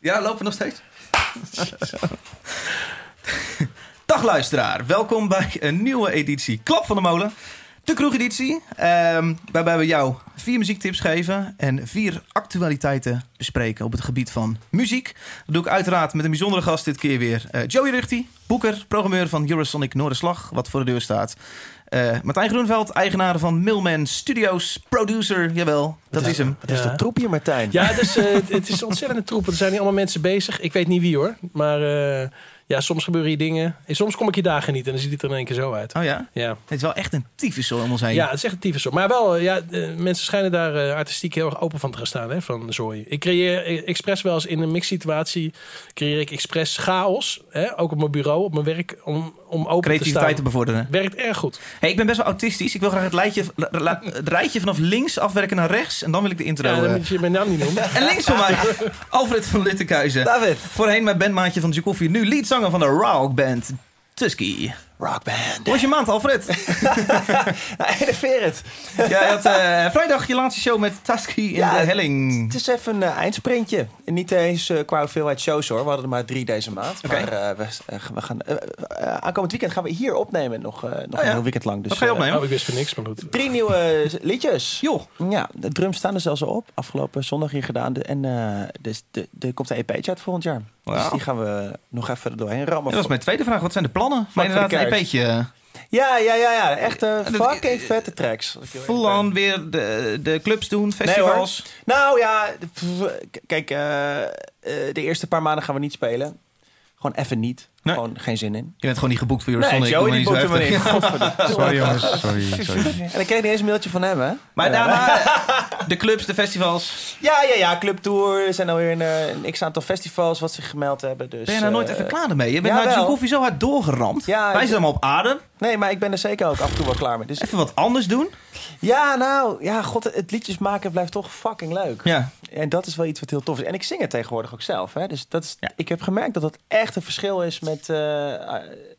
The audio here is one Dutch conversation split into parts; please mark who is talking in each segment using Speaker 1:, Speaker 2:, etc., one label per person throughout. Speaker 1: Ja, lopen we nog steeds? Dag luisteraar, welkom bij een nieuwe editie Klap van de Molen. De kroegeditie, ehm, waarbij we jou vier muziektips geven en vier actualiteiten bespreken op het gebied van muziek. Dat doe ik uiteraard met een bijzondere gast dit keer weer. eh, Joey Ruchti, boeker, programmeur van Eurosonic Noorderslag, wat voor de deur staat. Eh, Martijn Groenveld, eigenaar van Millman Studios, producer, jawel, dat is hem.
Speaker 2: Het is
Speaker 3: Ja.
Speaker 2: de troep hier, Martijn.
Speaker 3: Ja, het is, eh, het- het is een ontzettende troep. Er zijn hier allemaal mensen bezig. Ik weet niet wie hoor. Maar eh, ja, soms gebeuren hier dingen. En soms kom ik hier dagen niet en dan ziet het er in één keer zo uit.
Speaker 1: Oh ja?
Speaker 3: Ja.
Speaker 1: Het is wel echt een tyfus zo om ons heen.
Speaker 3: Ja, het is echt een tyfus. Maar wel, eh, ja, eh, mensen schijnen daar eh, artistiek heel erg open van te gaan staan, hè, van zooi. Ik creëer eh, expres wel eens in een mixsituatie, creëer ik expres chaos, hè, ook op mijn bureau, op mijn werk, om, om open te
Speaker 1: Creativiteit te
Speaker 3: staan.
Speaker 1: bevorderen.
Speaker 3: Werkt erg goed.
Speaker 1: Hey, ik ben best wel autistisch. Ik wil graag het, lijntje, la- la- het rijtje vanaf links afwerken naar rechts. En dan wil ik de intro.
Speaker 3: Ja, dan
Speaker 1: eh.
Speaker 3: moet je mijn naam niet noemen.
Speaker 1: En links van mij, Alfred van Littenkuizen.
Speaker 2: David.
Speaker 1: Voorheen mijn bandmaatje van Jacoffie. Nu leadzanger van de rock band Tusky.
Speaker 2: Rockband.
Speaker 1: Hoe was je maand, Alfred?
Speaker 2: Enerverend.
Speaker 1: ja, je had eh, vrijdag je laatste show met Tusky in
Speaker 2: Ja,
Speaker 1: de
Speaker 2: Het
Speaker 1: helling.
Speaker 2: is even een eh, eindsprintje. Niet eens eh, qua hoeveelheid shows hoor. We hadden er maar drie deze maand.
Speaker 1: Oké.
Speaker 2: Maar eh, we, eh, we gaan, eh, eh, aankomend weekend gaan we hier opnemen. Nog, eh, nog
Speaker 1: Oh ja.
Speaker 2: een heel weekend lang. Dus,
Speaker 1: Wat ga je
Speaker 2: eh,
Speaker 1: opnemen?
Speaker 3: Oh, ik wist van niks, maar goed.
Speaker 2: Drie nieuwe eh, liedjes.
Speaker 1: Joh,
Speaker 2: Ja, de drums staan er zelfs al op. Afgelopen zondag hier gedaan. De- en eh, dus de, er komt een EP'tje uit volgend jaar.
Speaker 1: Wauw.
Speaker 2: Dus die gaan we nog even er doorheen
Speaker 1: dat
Speaker 2: rammen.
Speaker 1: was mijn tweede vraag. Wat zijn de plannen? Maar
Speaker 2: de
Speaker 1: inderdaad, een
Speaker 2: kerk.
Speaker 1: EP'tje. eh,
Speaker 2: Ja, ja, ja, ja. Echt eh,
Speaker 1: dat- eh,
Speaker 2: fucking vette tracks.
Speaker 1: Full on weer de, de clubs doen, festivals.
Speaker 2: Nou ja, de- pff, k- kijk, eh, eh, de eerste paar maanden gaan we niet spelen. Gewoon even niet.
Speaker 1: Nee.
Speaker 2: Gewoon geen zin in.
Speaker 1: je bent gewoon niet geboekt voor
Speaker 2: Nee,
Speaker 1: Eurosonic.
Speaker 2: Joey
Speaker 1: doe
Speaker 2: die
Speaker 1: maar niet
Speaker 2: boekt hem
Speaker 1: zo
Speaker 2: maar in.
Speaker 1: heftig.
Speaker 2: Godverdomme.
Speaker 4: Sorry jongens, sorry, sorry.
Speaker 2: En ik kreeg niet eens een mailtje van hem, hè?
Speaker 1: Maar daarna eh, de clubs, de festivals.
Speaker 2: Ja, ja, ja. Club Tour. Er zijn alweer een, eh, een x-aantal festivals wat zich gemeld hebben. Dus,
Speaker 1: Ben je daar nooit
Speaker 2: eh,
Speaker 1: even klaar mee? Je bent
Speaker 2: jawel.
Speaker 1: nou de koffie zo hard doorgeramd.
Speaker 2: Ja,
Speaker 1: Wij
Speaker 2: ik-
Speaker 1: zijn allemaal op adem.
Speaker 2: Nee, maar ik ben er zeker ook af en toe wel klaar mee. Dus,
Speaker 1: Even wat anders doen.
Speaker 2: ja, nou, ja, god, het liedjes maken blijft toch fucking leuk.
Speaker 1: Ja.
Speaker 2: En dat is wel iets wat heel tof is. En ik zing het tegenwoordig ook zelf. Hè? Dus dat is,
Speaker 1: Ja.
Speaker 2: ik heb gemerkt dat dat echt een verschil is met, eh, eh,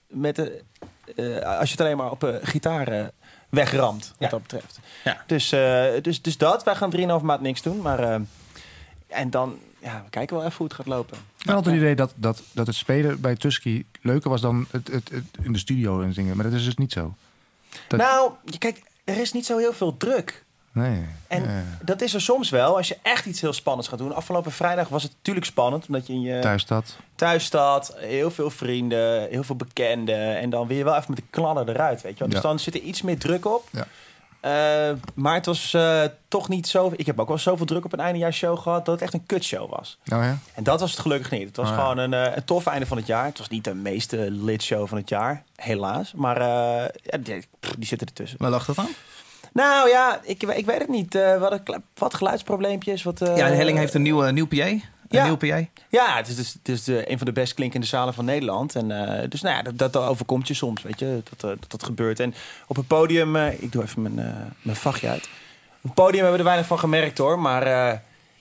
Speaker 2: met eh, eh, als je het alleen maar op eh, gitaar eh, wegramt, wat
Speaker 1: Ja.
Speaker 2: dat betreft.
Speaker 1: Ja.
Speaker 2: Dus, eh, dus, dus dat, wij gaan 3,5 maand niks doen. Maar, eh, en dan, ja, we kijken wel even hoe het gaat lopen.
Speaker 4: Ik had het idee dat, dat, dat het spelen bij Tusky leuker was dan het, het, het in de studio en zingen. Maar dat is dus niet zo. Dat-
Speaker 2: Nou, je- kijk, er is niet zo heel veel druk.
Speaker 4: Nee.
Speaker 2: En
Speaker 4: Ja.
Speaker 2: dat is er soms wel, als je echt iets heel spannends gaat doen. Afgelopen vrijdag was het natuurlijk spannend, omdat je in je...
Speaker 4: Thuis dat.
Speaker 2: thuisstad, heel veel vrienden, heel veel bekenden. En dan wil je wel even met de kladder eruit, weet je wel. Dus
Speaker 4: Ja.
Speaker 2: dan zit er iets meer druk op.
Speaker 4: Ja.
Speaker 2: Eh, maar het was eh, toch niet zo... Ik heb ook wel zoveel druk op een eindejaarshow gehad... dat het echt een kutshow was.
Speaker 4: Nou ja.
Speaker 2: En dat was het gelukkig niet. Het was
Speaker 4: Oh ja.
Speaker 2: gewoon een, eh, een tof einde van het jaar. Het was niet de meeste lid show van het jaar, helaas. Maar eh, ja, die, pff, die zitten ertussen.
Speaker 1: Waar lag dat aan?
Speaker 2: Nou ja, ik, ik weet het niet. Eh, we hadden kle- wat geluidsprobleempjes. Wat, eh,
Speaker 1: ja, de Helling heeft een nieuwe, nieuw PA. Een
Speaker 2: Ja.
Speaker 1: nieuw PA.
Speaker 2: Ja, het is, dus- het is de, een van de best klinkende zalen van Nederland. En, eh, dus nou ja, dat, dat overkomt je soms, weet je, dat, eh, dat dat gebeurt. En op het podium, eh, ik doe even mijn, eh, mijn vachtje uit. Op het podium hebben we er weinig van gemerkt hoor, maar eh,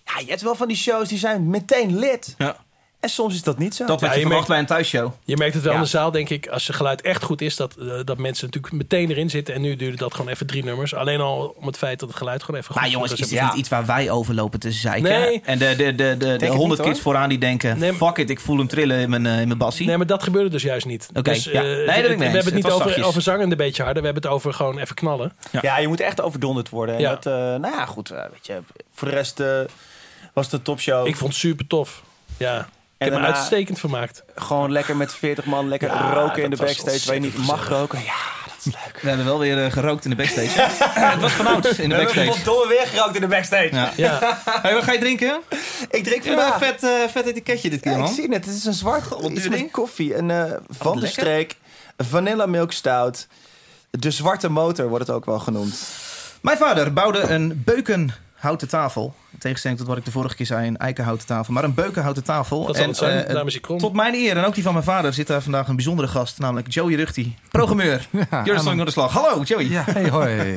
Speaker 2: ja, je hebt wel van die shows die zijn meteen lid.
Speaker 1: Ja.
Speaker 2: En soms is dat niet zo.
Speaker 1: Dat wat
Speaker 3: Ja,
Speaker 1: je,
Speaker 3: je
Speaker 1: verwacht
Speaker 3: merkt-
Speaker 1: bij een thuisshow.
Speaker 3: Je merkt het wel
Speaker 2: Ja.
Speaker 3: in de zaal, denk ik, als het geluid echt goed is, dat, eh, dat mensen natuurlijk meteen erin zitten. En nu duurde dat gewoon even drie nummers. Alleen al om het feit dat het geluid gewoon even goed Dus
Speaker 1: Maar jongens, is
Speaker 3: was.
Speaker 1: dit
Speaker 2: Ja.
Speaker 1: niet iets waar wij over lopen te zeiken?
Speaker 3: Nee.
Speaker 1: En de, de, de, de, de
Speaker 2: het
Speaker 1: 100
Speaker 2: niet,
Speaker 1: kids
Speaker 2: hoor.
Speaker 1: vooraan die denken...
Speaker 3: Nee, maar-
Speaker 1: fuck it, ik voel hem trillen in mijn, eh, in mijn bassie.
Speaker 3: Nee, maar dat gebeurde dus juist niet.
Speaker 1: Oké,
Speaker 3: dus,
Speaker 1: ja.
Speaker 3: eh,
Speaker 1: Nee, dat ben ik mee eens.
Speaker 3: we hebben het
Speaker 1: Het
Speaker 3: niet
Speaker 1: was
Speaker 3: over,
Speaker 1: zachtjes.
Speaker 3: over zangend een beetje harder. We hebben het over gewoon even knallen.
Speaker 2: ja. je moet echt overdonderd worden. En
Speaker 3: Ja.
Speaker 2: dat, eh, nou ja, goed, eh, weet je, voor de rest eh, was het een
Speaker 1: Oh.
Speaker 2: topshow.
Speaker 3: Ik vond het super tof. Ja. Ik heb me
Speaker 1: eh,
Speaker 2: daarna-
Speaker 3: uitstekend vermaakt.
Speaker 2: Gewoon lekker met 40 man, lekker
Speaker 3: Ja,
Speaker 2: roken in de
Speaker 3: dat was
Speaker 2: backstage waar je niet
Speaker 3: ontzettend
Speaker 2: mag roken. Ja, dat is leuk.
Speaker 1: We hebben wel weer eh, gerookt in de backstage. het was vanouds in de backstage.
Speaker 2: domme weer gerookt in de backstage.
Speaker 1: Ja.
Speaker 3: Ja,
Speaker 1: Hey, wat ga je drinken?
Speaker 2: Ik drink
Speaker 1: Ja,
Speaker 2: vandaag.
Speaker 1: vet, eh, vet etiketje dit keer,
Speaker 2: Ja,
Speaker 1: man.
Speaker 2: ik zie het. Het is een zwart
Speaker 1: duur
Speaker 2: iets met
Speaker 1: ding.
Speaker 2: koffie. Een eh van de
Speaker 1: lekker.
Speaker 2: streek. Vanilla milk stout. De zwarte motor wordt het ook wel genoemd.
Speaker 1: Mijn vader bouwde een beukenhouten tafel. In tegenstelling tot wat ik de vorige keer zei, een eikenhouten tafel. Maar een beukenhouten tafel.
Speaker 3: dat zal het zijn.
Speaker 1: eh,
Speaker 3: Dames en heren.
Speaker 1: tot mijn eer en ook die van mijn vader zit daar vandaag een bijzondere gast. Namelijk Joey Ruchti, programmeur.
Speaker 4: Ja,
Speaker 1: Joris Lang
Speaker 4: aan-
Speaker 1: door de slag. Hallo Joey.
Speaker 4: ja hey hoi.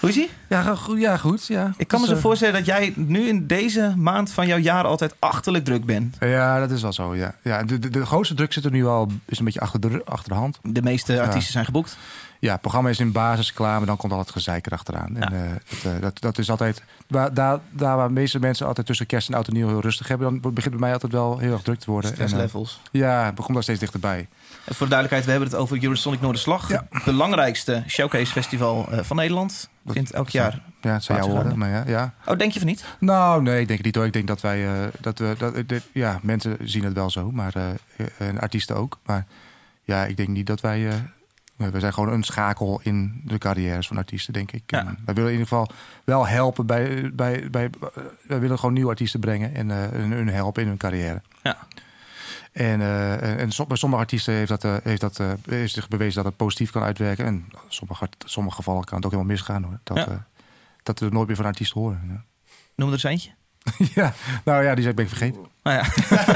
Speaker 1: Hoe is ie?
Speaker 4: Ja, ga goed, ja, goed. Ja.
Speaker 1: Ik kan me
Speaker 4: Dus,
Speaker 1: zo
Speaker 4: eh,
Speaker 1: voorstellen dat jij nu in deze maand van jouw jaar altijd achterlijk druk bent.
Speaker 4: Ja, dat is wel zo. Ja. Ja, de, de, de grootste druk zit er nu al is een beetje achter de, achter de hand.
Speaker 1: De meeste artiesten zijn geboekt.
Speaker 4: Ja, het programma is in basis klaar, maar dan komt al het gezeik erachteraan. En, eh, dat, eh, dat, dat is altijd. Waar, daar, daar waar de meeste mensen altijd tussen kerst en oud en nieuw heel rustig hebben, dan be- begint bij mij altijd wel heel erg druk te worden. En, eh,
Speaker 1: Stresslevels.
Speaker 4: ja, het komt daar steeds dichterbij.
Speaker 1: En Eh, voor de duidelijkheid, we hebben het over Eurosonic Noorderslag. Het belangrijkste showcase festival eh, van Nederland.
Speaker 4: Dat-
Speaker 1: Vindt elk jaar.
Speaker 4: Ja, het zou jou
Speaker 1: Laten we
Speaker 4: horen, maar ja, ja.
Speaker 1: Oh, denk je van niet?
Speaker 4: Nou, nee, ik denk het niet hoor. Ik denk dat wij. eh, dat we, dat, eh, dit- ja, mensen zien het wel zo, maar. eh, en artiesten ook. Maar ja, ik denk niet dat wij. eh, we zijn gewoon een schakel in de carrières van artiesten, denk ik.
Speaker 1: Ja.
Speaker 4: En wij willen in ieder geval wel helpen bij. bij, bij eh, wij willen gewoon nieuwe artiesten brengen en eh, hun, hun helpen in hun carrière.
Speaker 1: Ja.
Speaker 4: En, eh, en, en som- bij sommige artiesten heeft, dat, eh, heeft, dat, eh, heeft zich bewezen dat het positief kan uitwerken. En sommige, art- sommige gevallen kan het ook helemaal misgaan hoor. Dat,
Speaker 1: Ja.
Speaker 4: eh, dat we nooit meer van een artiest horen. ja.
Speaker 1: Noem er eens eentje.
Speaker 4: Ja, nou ja, die zijn ben ik vergeten.
Speaker 1: Nou ja.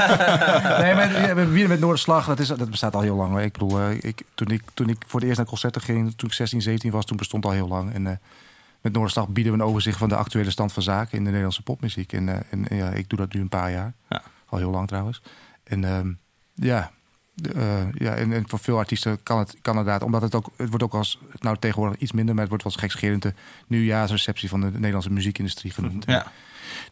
Speaker 4: Nee, maar ja, we beginnen met Noorderslag. Dat, is, dat bestaat al heel lang. hoor. Ik bedoel, eh, ik, toen, ik, toen ik voor het eerst naar concerten ging, toen ik 16, 17 was, toen bestond het al heel lang. En eh, met Noorderslag bieden we een overzicht van de actuele stand van zaken in de Nederlandse popmuziek. En, eh, en eh, ja, ik doe dat nu een paar jaar.
Speaker 1: Ja.
Speaker 4: Al heel lang trouwens. En ehm, ja, de, eh, ja en, en voor veel artiesten kan het, kan inderdaad, omdat het ook, het wordt ook als, nou tegenwoordig iets minder, maar het wordt wel eens gekscherend de nieuwjaarsreceptie van de Nederlandse muziekindustrie genoemd.
Speaker 1: ja.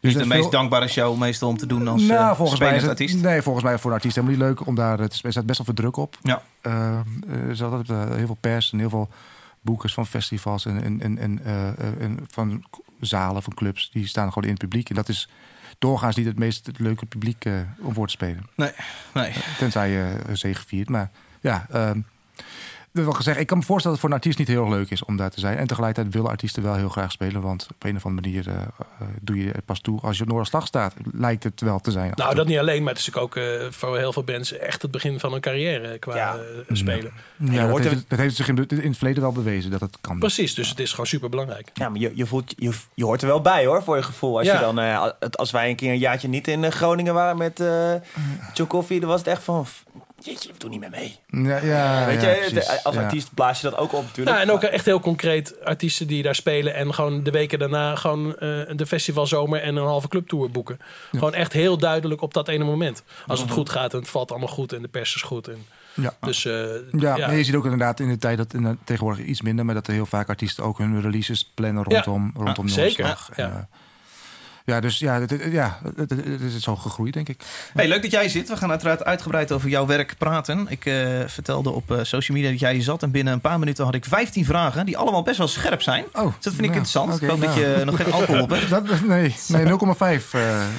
Speaker 4: Dus
Speaker 1: niet de
Speaker 4: dat
Speaker 1: meest
Speaker 4: veel-
Speaker 1: dankbare show meestal om te doen als
Speaker 4: nou,
Speaker 1: eh,
Speaker 4: volgens mij
Speaker 1: spelend
Speaker 4: is het,
Speaker 1: artiest.
Speaker 4: Nee, volgens mij voor een artiest helemaal niet leuk om daar. eh, Het is- er staat best wel veel druk op.
Speaker 1: Ja.
Speaker 4: Eh, er is altijd eh, heel veel pers en heel veel boekers van festivals en, en, en, en, eh, eh, en van k- zalen, van clubs. Die staan gewoon in het publiek. En dat is doorgaans niet het meest leuke publiek eh, om voor te spelen.
Speaker 1: Nee.
Speaker 4: Tenzij je eh, een zege viert. Maar ja, ehm dat wil gezegd, ik kan me voorstellen dat het voor een artiest niet heel erg leuk is om daar te zijn. En tegelijkertijd willen artiesten wel heel graag spelen. Want op een of andere manier eh, eh, doe je het pas toe als je op Noorderslag staat. Lijkt het wel te zijn.
Speaker 3: Nou, dat niet alleen, maar het is natuurlijk ook eh, voor heel veel bands echt het begin van een carrière qua
Speaker 2: Ja.
Speaker 3: eh, spelen.
Speaker 2: je
Speaker 4: Ja, dat
Speaker 2: hoort
Speaker 4: heeft,
Speaker 2: het-
Speaker 4: dat heeft zich in, be- in het verleden wel bewezen dat het kan.
Speaker 3: Precies, dus het is gewoon super belangrijk.
Speaker 2: Ja, maar je, je, voelt, je, je hoort er wel bij hoor, voor je gevoel. Als,
Speaker 3: Ja.
Speaker 2: je dan, eh, het- als wij een keer een jaartje niet in eh, Groningen waren met eh John Coffee, dan was het echt van... f- Jeetje, we doen niet meer mee.
Speaker 4: Ja,
Speaker 3: Ah,
Speaker 4: ja,
Speaker 2: Weet
Speaker 4: ja,
Speaker 2: je,
Speaker 4: precies.
Speaker 2: de- als
Speaker 4: Ja.
Speaker 2: artiest blaas je dat ook op natuurlijk.
Speaker 3: Nou, en ook echt heel concreet artiesten die daar spelen en gewoon de weken daarna gewoon eh, de festivalzomer en een halve clubtour boeken. Gewoon echt heel duidelijk op dat ene moment. Als het goed gaat en het valt allemaal goed en de pers is goed. En,
Speaker 4: Ja.
Speaker 3: dus eh,
Speaker 4: Ja,
Speaker 3: ja, ja.
Speaker 4: maar je ziet ook inderdaad in de tijd dat in, tegenwoordig iets minder, maar dat er heel vaak artiesten ook hun releases plannen
Speaker 3: Ja.
Speaker 4: rondom, rondom
Speaker 3: zeker.
Speaker 4: Noorderslag.
Speaker 3: Ja.
Speaker 4: En, eh, ja, dus ja, het, het- ja het, het- het is zo gegroeid, denk ik.
Speaker 1: Hey, leuk dat jij zit. We gaan uiteraard uitgebreid over jouw werk praten. Ik eh, vertelde op eh, social media dat jij hier zat. En binnen een paar minuten had ik 15 vragen. Die allemaal best wel scherp zijn.
Speaker 4: Oh,
Speaker 1: Dus dat vind ik interessant.
Speaker 4: oké,
Speaker 1: ik hoop dat
Speaker 4: nou.
Speaker 1: je eh, nog geen alcohol op hebt.
Speaker 4: Dat, nee, nee 0,5. eh,